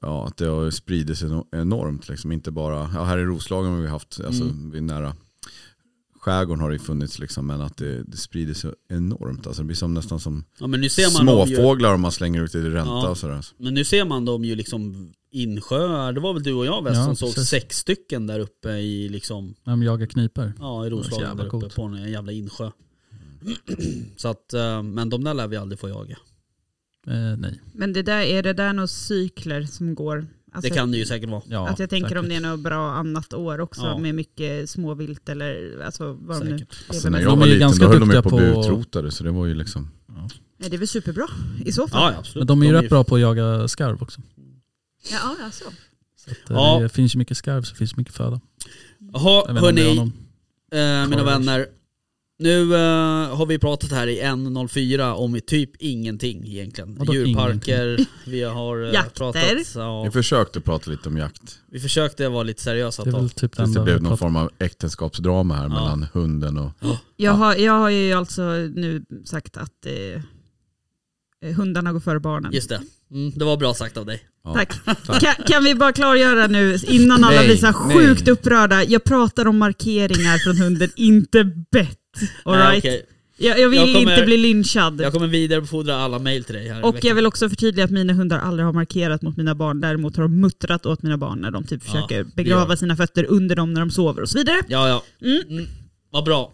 [SPEAKER 1] ja, att det har spridit sig no- enormt. Liksom. Inte bara, ja, här i Roslagen har vi haft, alltså, vi är nära skärgården har det ju funnits liksom, men att det, det sprider sig enormt. Alltså, det blir som, nästan som
[SPEAKER 3] ja men nu ser man dem ju,
[SPEAKER 1] småfåglar om man slänger ut det i ränta
[SPEAKER 3] Ja.
[SPEAKER 1] och sådär. Alltså.
[SPEAKER 3] Men nu ser man dem ju liksom insjöar. Det var väl du och jag väl
[SPEAKER 5] Ja,
[SPEAKER 3] som såg
[SPEAKER 5] precis.
[SPEAKER 3] sex stycken där uppe i liksom,
[SPEAKER 5] När de jagar kniper.
[SPEAKER 3] ja i
[SPEAKER 5] så
[SPEAKER 3] Roslagen
[SPEAKER 5] jävla
[SPEAKER 3] där uppe
[SPEAKER 5] coolt.
[SPEAKER 3] på en jävla insjö. Så att, eh, men de där lär vi aldrig få jaga.
[SPEAKER 5] Eh, nej.
[SPEAKER 4] men det där, är det där några cykler som går?
[SPEAKER 3] Det
[SPEAKER 4] Alltså,
[SPEAKER 3] kan det ju säkert vara.
[SPEAKER 5] Ja,
[SPEAKER 4] att jag tänker om det är
[SPEAKER 5] säkert.
[SPEAKER 4] något bra annat år också
[SPEAKER 3] Ja.
[SPEAKER 4] med mycket småvilt eller alltså, vad de nu
[SPEAKER 3] Säkert.
[SPEAKER 1] Alltså,
[SPEAKER 4] lever med.
[SPEAKER 1] när
[SPEAKER 5] de
[SPEAKER 1] jag
[SPEAKER 5] är
[SPEAKER 1] var
[SPEAKER 5] ju
[SPEAKER 1] liten
[SPEAKER 5] ganska
[SPEAKER 1] då höll de ju
[SPEAKER 5] duktiga
[SPEAKER 1] på att
[SPEAKER 5] på-
[SPEAKER 1] bli utrotade så det var ju liksom
[SPEAKER 4] Nej, Det är väl superbra i så fall.
[SPEAKER 3] Ja, ja, absolut.
[SPEAKER 5] Men de är ju
[SPEAKER 3] De
[SPEAKER 5] rätt bra på att jaga skarv också.
[SPEAKER 4] Ja, ja, så.
[SPEAKER 5] Så att, eh,
[SPEAKER 3] Ja.
[SPEAKER 5] Det finns ju mycket skarv så finns det mycket föda.
[SPEAKER 3] Jaha
[SPEAKER 5] Jag vet inte om det var
[SPEAKER 3] hörni,
[SPEAKER 5] någon-
[SPEAKER 3] Eh, mina
[SPEAKER 5] Korv.
[SPEAKER 3] vänner, nu eh, har vi pratat här i 1.04 om typ ingenting egentligen.
[SPEAKER 5] Vadå
[SPEAKER 3] Djurparker, vi har eh,
[SPEAKER 4] Jakter.
[SPEAKER 3] pratat. Ja,
[SPEAKER 1] Vi försökte prata lite om jakt.
[SPEAKER 3] vi försökte vara lite seriösa
[SPEAKER 5] Det
[SPEAKER 3] ett
[SPEAKER 5] är väl
[SPEAKER 3] tag.
[SPEAKER 5] typ den
[SPEAKER 1] Tills det
[SPEAKER 5] där
[SPEAKER 1] blev
[SPEAKER 5] vi
[SPEAKER 1] någon
[SPEAKER 5] pratade
[SPEAKER 1] form av äktenskapsdrama här
[SPEAKER 3] Ja.
[SPEAKER 1] mellan hunden och...
[SPEAKER 4] Jag, har, jag har ju alltså nu sagt att eh, hundarna går före barnen.
[SPEAKER 3] Just det. Mm, det var bra sagt av dig.
[SPEAKER 1] Ja.
[SPEAKER 4] Tack. Kan, kan vi bara klargöra nu innan alla
[SPEAKER 1] Nej,
[SPEAKER 4] blir så här
[SPEAKER 1] nej.
[SPEAKER 4] sjukt upprörda. Jag pratar om markeringar från hunden, inte bett. Alright.
[SPEAKER 3] Eh, okej.
[SPEAKER 4] jag, jag vill
[SPEAKER 3] Jag kommer-
[SPEAKER 4] inte bli lynchad.
[SPEAKER 3] Jag kommer vidarebefordra alla mejl till dig här i
[SPEAKER 4] Och
[SPEAKER 3] veckan.
[SPEAKER 4] jag vill också förtydliga att mina hundar aldrig har markerat mot mina barn. Däremot har de muttrat åt mina barn när de typ
[SPEAKER 3] Ja,
[SPEAKER 4] försöker
[SPEAKER 3] det
[SPEAKER 4] begrava
[SPEAKER 3] gör.
[SPEAKER 4] sina fötter under dem när de sover och så vidare.
[SPEAKER 3] Ja, ja.
[SPEAKER 4] Mm.
[SPEAKER 3] Mm. Vad bra.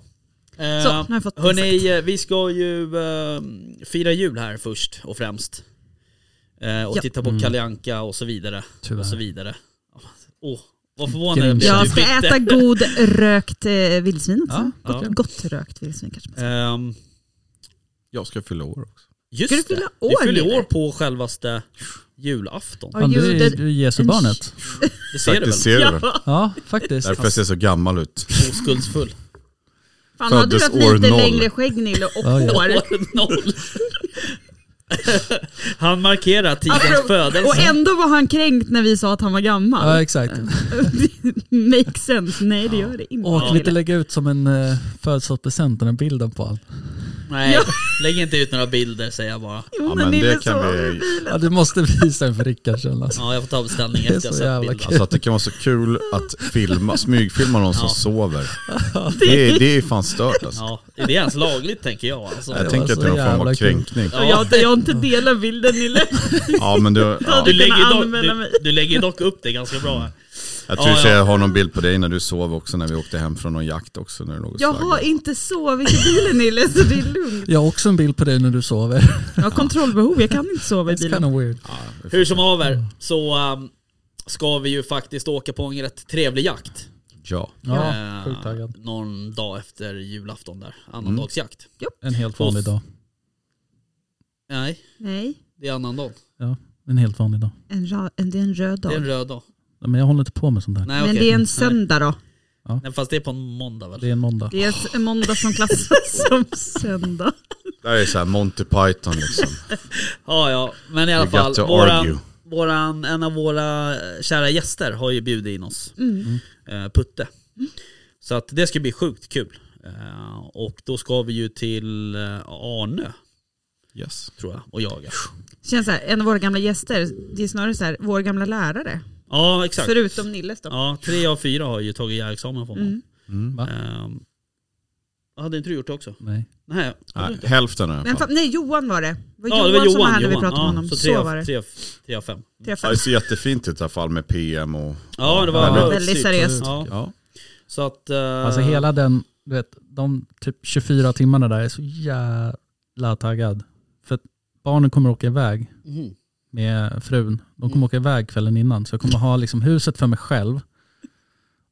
[SPEAKER 3] Eh,
[SPEAKER 4] Så, nu har jag fått det
[SPEAKER 3] hörni, eh, vi ska ju eh, fira jul här först och främst. Eh, och
[SPEAKER 4] Ja.
[SPEAKER 3] titta
[SPEAKER 5] Mm.
[SPEAKER 3] på Kalle Anka och så vidare.
[SPEAKER 5] Tyvärr.
[SPEAKER 3] Och så vidare. Åh, vad förvånad jag blev.
[SPEAKER 4] Jag ska äta god rökt eh, vildsvin också.
[SPEAKER 5] Ja,
[SPEAKER 4] gott, gott rökt vildsvin kanske. man säger.
[SPEAKER 3] Ehm,
[SPEAKER 1] Jag ska fylla år också.
[SPEAKER 3] just
[SPEAKER 4] Ska du
[SPEAKER 3] det.
[SPEAKER 4] fylla
[SPEAKER 3] Vi
[SPEAKER 4] år,
[SPEAKER 3] fyller
[SPEAKER 4] Lever?
[SPEAKER 3] år på självaste julafton.
[SPEAKER 4] Are
[SPEAKER 5] Fan,
[SPEAKER 4] you
[SPEAKER 5] du är
[SPEAKER 4] the-
[SPEAKER 5] du är Jesubarnet.
[SPEAKER 3] Det ser du väl?
[SPEAKER 1] Faktiskt ser du väl?
[SPEAKER 5] Ja, faktiskt.
[SPEAKER 1] Därför jag ser så gammal ut.
[SPEAKER 3] Oskuldsfull.
[SPEAKER 4] Fan, hade du
[SPEAKER 1] Föddes
[SPEAKER 4] haft lite
[SPEAKER 1] år noll.
[SPEAKER 4] längre skägg Nille och
[SPEAKER 5] Ja, ja.
[SPEAKER 4] hår.
[SPEAKER 3] År noll. Han markerar tidens
[SPEAKER 4] Apropå-
[SPEAKER 3] födelse.
[SPEAKER 4] Alltså, Och ändå var han kränkt när vi sa att han var
[SPEAKER 5] Ja,
[SPEAKER 4] gammal.
[SPEAKER 5] exakt.
[SPEAKER 4] Makes sense. Nej det gör det inte.
[SPEAKER 5] Och kan vi inte
[SPEAKER 4] Nille.
[SPEAKER 5] lägga ut som en eh, födelsedagspresent den här bilden på allt?
[SPEAKER 3] Nej, lägg inte ut några bilder säger jag bara.
[SPEAKER 4] Jo,
[SPEAKER 1] Ja,
[SPEAKER 4] men
[SPEAKER 1] men
[SPEAKER 4] Nille
[SPEAKER 1] det kan
[SPEAKER 4] sa-
[SPEAKER 1] vi...
[SPEAKER 5] Ja, du måste visa den för Rickard sen alltså.
[SPEAKER 3] Ja, jag får ta beställning
[SPEAKER 5] Det är
[SPEAKER 3] efter jag
[SPEAKER 5] så
[SPEAKER 3] sett
[SPEAKER 5] jävla
[SPEAKER 3] bilden.
[SPEAKER 5] kul.
[SPEAKER 1] Alltså att det kan vara så kul att filma, smygfilma någon som
[SPEAKER 3] Ja.
[SPEAKER 1] sover. Det är, det är fan stört alltså.
[SPEAKER 3] Ja, är det ens lagligt tänker jag alltså.
[SPEAKER 1] Jag
[SPEAKER 5] var
[SPEAKER 1] tänker att det är någon
[SPEAKER 5] så
[SPEAKER 1] form
[SPEAKER 5] jävla
[SPEAKER 1] av
[SPEAKER 5] kul.
[SPEAKER 1] kränkning.
[SPEAKER 4] Och Jag, jag har inte delat bilden Nille.
[SPEAKER 1] Ja men du, ja.
[SPEAKER 3] Du
[SPEAKER 4] kunna
[SPEAKER 3] lägger, ju dock,
[SPEAKER 4] anmäla
[SPEAKER 3] du,
[SPEAKER 4] mig.
[SPEAKER 3] du lägger ju dock upp det ganska bra här.
[SPEAKER 1] jag tror
[SPEAKER 3] Ja,
[SPEAKER 1] att
[SPEAKER 3] ja.
[SPEAKER 1] jag har någon bild på dig när du sov också när vi åkte hem från någon jakt också. När du låg och
[SPEAKER 4] Jag har
[SPEAKER 1] slaggade.
[SPEAKER 4] inte sovit i bilen Nille så det är lugnt.
[SPEAKER 5] Jag har också en bild på dig när du sover.
[SPEAKER 4] Jag har kontrollbehov, jag kan inte sova i
[SPEAKER 5] It's kind
[SPEAKER 4] bilen.
[SPEAKER 5] of weird.
[SPEAKER 3] Hur som haver så ehm, ska vi ju faktiskt åka på en rätt trevlig jakt.
[SPEAKER 1] Ja.
[SPEAKER 5] Ja,
[SPEAKER 3] Eh,
[SPEAKER 5] sjukt taggad.
[SPEAKER 3] Någon dag efter julafton där. Annandagsjakt.
[SPEAKER 5] En helt vanlig dag.
[SPEAKER 3] Nej,
[SPEAKER 4] Nej,
[SPEAKER 3] det är annandag.
[SPEAKER 5] Ja, en helt vanlig dag.
[SPEAKER 4] en ra- en, det är en röd
[SPEAKER 3] Det
[SPEAKER 4] dag.
[SPEAKER 3] är en röd dag.
[SPEAKER 5] Ja, Men jag håller inte på med sånt där.
[SPEAKER 3] Nej,
[SPEAKER 4] Men
[SPEAKER 3] okej.
[SPEAKER 4] det är en söndag då.
[SPEAKER 3] Nej, fast det är på en måndag väl?
[SPEAKER 5] Det är en måndag.
[SPEAKER 4] Det är en måndag som klassas som söndag.
[SPEAKER 1] Det här är så här Monty Python liksom.
[SPEAKER 3] Ja, ja. Men i alla
[SPEAKER 1] We got
[SPEAKER 3] fall.
[SPEAKER 1] to argue.
[SPEAKER 3] Våran, våran, en av våra eh, kära gäster har ju bjudit in oss. Eh, Putte. Så att det ska bli sjukt kul. Eh, och då ska vi ju till eh, Arnö,
[SPEAKER 1] Yes.
[SPEAKER 3] tror jag, och jaga.
[SPEAKER 4] Känns så här, en av våra gamla gäster, det är snarare så här, vår gamla lärare.
[SPEAKER 3] Ja, exakt.
[SPEAKER 4] Förutom Nilles då.
[SPEAKER 3] Ja, tre av fyra har ju tagit jägarexamen på honom.
[SPEAKER 5] Va?
[SPEAKER 3] Mm. hade inte du gjort det också?
[SPEAKER 5] Nej.
[SPEAKER 3] Nej.
[SPEAKER 1] Nej, hälften i alla
[SPEAKER 4] Men,
[SPEAKER 1] fall.
[SPEAKER 4] fan, nej, Johan var det. Det var
[SPEAKER 3] Ja,
[SPEAKER 4] Johan,
[SPEAKER 3] det var
[SPEAKER 4] som var här
[SPEAKER 3] Johan.
[SPEAKER 4] när vi
[SPEAKER 3] Johan.
[SPEAKER 4] pratade
[SPEAKER 3] Ja,
[SPEAKER 4] om honom.
[SPEAKER 3] så
[SPEAKER 4] Så,
[SPEAKER 3] tre,
[SPEAKER 4] var
[SPEAKER 3] av-
[SPEAKER 4] det.
[SPEAKER 3] tre, av- tre av fem.
[SPEAKER 1] Ja,
[SPEAKER 4] Träffade.
[SPEAKER 1] det ser jättefint ut i alla fall med PM och...
[SPEAKER 3] Ja, det var
[SPEAKER 5] Ja,
[SPEAKER 3] bra.
[SPEAKER 4] väldigt
[SPEAKER 3] Sykt.
[SPEAKER 4] seriöst.
[SPEAKER 3] Ja.
[SPEAKER 1] Ja.
[SPEAKER 3] Så att... eh,
[SPEAKER 5] Alltså hela den, du vet, de typ 24 timmarna där är så jävla taggad. För att barnen kommer åka iväg
[SPEAKER 3] Mhm.
[SPEAKER 5] med frun. De
[SPEAKER 4] Mm.
[SPEAKER 5] kommer åka iväg kvällen innan. Så jag kommer ha liksom huset för mig själv.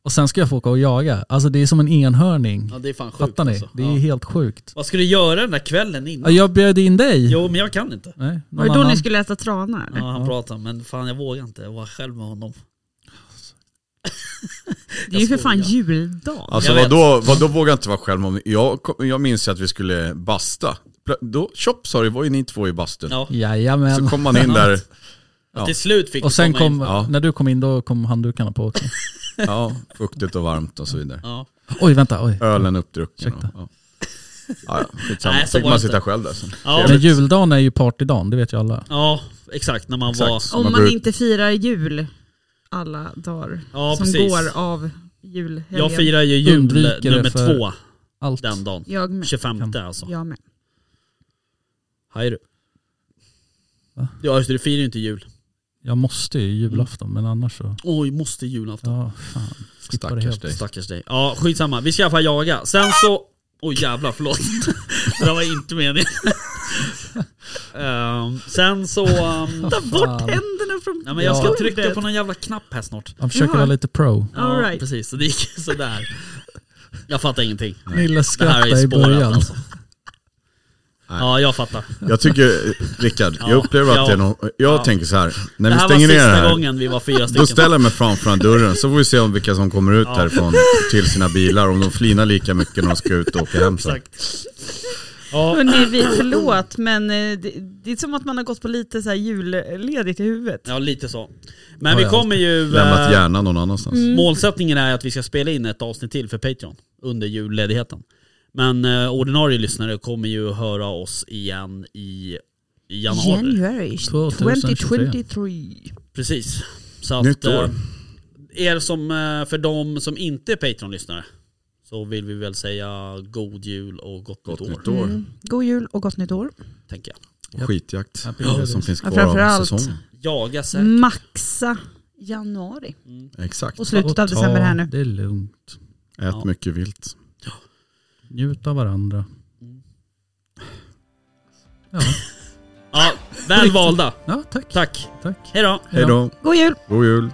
[SPEAKER 5] Och sen ska jag få åka och jaga. Alltså det är som en enhörning.
[SPEAKER 3] Ja, det är fan sjukt
[SPEAKER 5] Fattar ni?
[SPEAKER 3] Alltså.
[SPEAKER 5] Det är
[SPEAKER 3] ja.
[SPEAKER 5] helt sjukt.
[SPEAKER 3] Vad ska du göra den där kvällen
[SPEAKER 4] Mm.
[SPEAKER 5] Ja,
[SPEAKER 3] innan?
[SPEAKER 5] jag bjöd in dig.
[SPEAKER 3] Jo, men jag kan inte.
[SPEAKER 5] Nej,
[SPEAKER 4] Var
[SPEAKER 5] någon
[SPEAKER 4] det då
[SPEAKER 5] annan.
[SPEAKER 4] ni skulle äta trana eller?
[SPEAKER 3] Ja, han pratar, men fan jag vågar inte vara själv med honom.
[SPEAKER 4] det är ju för
[SPEAKER 3] jag
[SPEAKER 4] fan
[SPEAKER 3] skojar.
[SPEAKER 4] juldag.
[SPEAKER 1] Alltså
[SPEAKER 3] Jag vet.
[SPEAKER 1] vadå, vadå vågar jag inte vara själv om... Jag, kom- jag minns ju att vi skulle basta. Plö- Då, tjopp sa det, var ju ni två i bastun.
[SPEAKER 3] Ja.
[SPEAKER 5] Jajamän.
[SPEAKER 1] Så kom man in där, Ja.
[SPEAKER 3] Till slut fick
[SPEAKER 5] Och
[SPEAKER 3] vi
[SPEAKER 5] sen
[SPEAKER 3] komma in.
[SPEAKER 5] kom,
[SPEAKER 1] Ja.
[SPEAKER 5] när du kom in då kom handdukarna på också.
[SPEAKER 1] ja, fuktigt och varmt och så vidare.
[SPEAKER 3] Ja.
[SPEAKER 5] Oj vänta, oj.
[SPEAKER 1] Ölen uppdrucken. Och,
[SPEAKER 5] Ursäkta.
[SPEAKER 1] ja. Ja, ja, skitsamma.
[SPEAKER 3] Nej, så
[SPEAKER 1] fick
[SPEAKER 3] var
[SPEAKER 1] man
[SPEAKER 3] det
[SPEAKER 1] sitta
[SPEAKER 3] inte.
[SPEAKER 1] själv där sen.
[SPEAKER 3] Ja.
[SPEAKER 5] Men juldagen är ju partydagen, det vet ju alla.
[SPEAKER 3] ja, exakt. När man
[SPEAKER 1] Exakt.
[SPEAKER 3] var...
[SPEAKER 1] Så
[SPEAKER 4] Om
[SPEAKER 1] går
[SPEAKER 4] man
[SPEAKER 1] ut-
[SPEAKER 4] inte firar jul alla dagar
[SPEAKER 3] Ja,
[SPEAKER 4] som
[SPEAKER 3] precis.
[SPEAKER 4] går av julhelgen.
[SPEAKER 3] Jag firar ju jul
[SPEAKER 5] Undviker det
[SPEAKER 3] nummer
[SPEAKER 5] för-
[SPEAKER 3] två
[SPEAKER 5] Allt.
[SPEAKER 3] den dagen.
[SPEAKER 4] Jag med.
[SPEAKER 3] 25 alltså.
[SPEAKER 4] Jag med.
[SPEAKER 3] Hej du.
[SPEAKER 5] Va?
[SPEAKER 3] Ja just det, du firar ju inte jul.
[SPEAKER 5] Jag måste
[SPEAKER 4] Mm.
[SPEAKER 5] ju julafton men annars så.
[SPEAKER 3] Oj, måste julafton.
[SPEAKER 5] Ja, fan. Skippa det
[SPEAKER 1] Stackars
[SPEAKER 5] helt.
[SPEAKER 1] dig.
[SPEAKER 3] Stackars dig. Ja, skitsamma. Vi ska i alla fall jaga. Sen så... Oj jävlar, förlåt. det var inte meningen. Ehm, sen så... ehm,
[SPEAKER 4] Ta bort
[SPEAKER 5] Fan.
[SPEAKER 4] händerna från
[SPEAKER 3] nej, men jag ska
[SPEAKER 5] Ja.
[SPEAKER 3] trycka på någon jävla knapp här snart.
[SPEAKER 5] Han försöker
[SPEAKER 4] Jaha.
[SPEAKER 5] vara lite pro.
[SPEAKER 3] Ja,
[SPEAKER 4] All right.
[SPEAKER 3] precis. Så det gick ju sådär. Jag fattar ingenting.
[SPEAKER 5] Nilla
[SPEAKER 3] Det här är
[SPEAKER 5] skrattade i
[SPEAKER 3] spårat
[SPEAKER 5] början.
[SPEAKER 3] alltså. Ja, jag fattar.
[SPEAKER 1] Jag tycker, Rickard,
[SPEAKER 3] Ja.
[SPEAKER 1] jag upplever att det är
[SPEAKER 3] Ja.
[SPEAKER 1] någon, Jag tänker så här, när
[SPEAKER 3] Det
[SPEAKER 1] vi
[SPEAKER 3] här var
[SPEAKER 1] stänger ner det
[SPEAKER 3] sista
[SPEAKER 1] här,
[SPEAKER 3] gången vi var fyra
[SPEAKER 1] då
[SPEAKER 3] stycken.
[SPEAKER 1] ställer jag mig framför den här dörren, så får vi se om vilka som kommer ut härifrån till sina bilar, om de flinar lika mycket när de ska ut och åka hem sen.
[SPEAKER 3] Exakt. Ja,
[SPEAKER 4] Hörrni, vi, förlåt men eh, det, det är som att man har gått på lite så här julledigt i huvudet.
[SPEAKER 3] ja, lite så. Men
[SPEAKER 5] Ja,
[SPEAKER 3] vi
[SPEAKER 5] ja.
[SPEAKER 3] kommer ju...
[SPEAKER 1] Lämnat
[SPEAKER 3] Eh,
[SPEAKER 1] hjärnan någon annanstans.
[SPEAKER 3] målsättningen är att vi ska spela in ett avsnitt till för Patreon under julledigheten. Men eh, ordinarie lyssnare kommer ju höra oss igen i, i januari.
[SPEAKER 4] January
[SPEAKER 5] 2023.
[SPEAKER 4] 2023.
[SPEAKER 3] Precis. Så att,
[SPEAKER 1] Nytt år.
[SPEAKER 3] eh, Er som, eh, för de som inte är Patreon-lyssnare så vill vi väl säga god jul och gott,
[SPEAKER 1] Gott
[SPEAKER 3] nytt år.
[SPEAKER 1] nytt år.
[SPEAKER 4] Mm. God jul och gott nytt år.
[SPEAKER 3] Tänker jag.
[SPEAKER 1] Och skitjakt
[SPEAKER 5] Happy
[SPEAKER 1] som
[SPEAKER 5] holidays.
[SPEAKER 1] finns
[SPEAKER 4] Ja,
[SPEAKER 1] kvar av
[SPEAKER 4] framförallt.
[SPEAKER 1] säsongen.
[SPEAKER 3] Jaga Mm. säkert.
[SPEAKER 4] Mm. Maxa januari
[SPEAKER 1] Exakt.
[SPEAKER 4] och slutet
[SPEAKER 5] Och
[SPEAKER 4] av december här nu.
[SPEAKER 5] Det är lugnt.
[SPEAKER 1] Ät mycket vilt.
[SPEAKER 5] Njut av varandra. Ja,
[SPEAKER 3] Ja, väl valda.
[SPEAKER 5] ja tack.
[SPEAKER 3] Tack.
[SPEAKER 5] tack.
[SPEAKER 3] Hej då.
[SPEAKER 1] Hej då.
[SPEAKER 4] God jul!
[SPEAKER 1] God jul.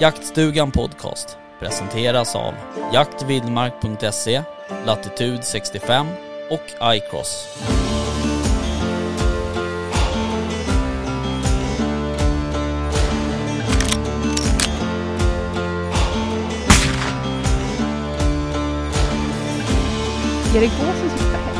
[SPEAKER 6] Jaktstugan Podcast presenteras av jaktvildmark.se, Latitude 65 och iCross.
[SPEAKER 2] Är det gåsen som ska hem?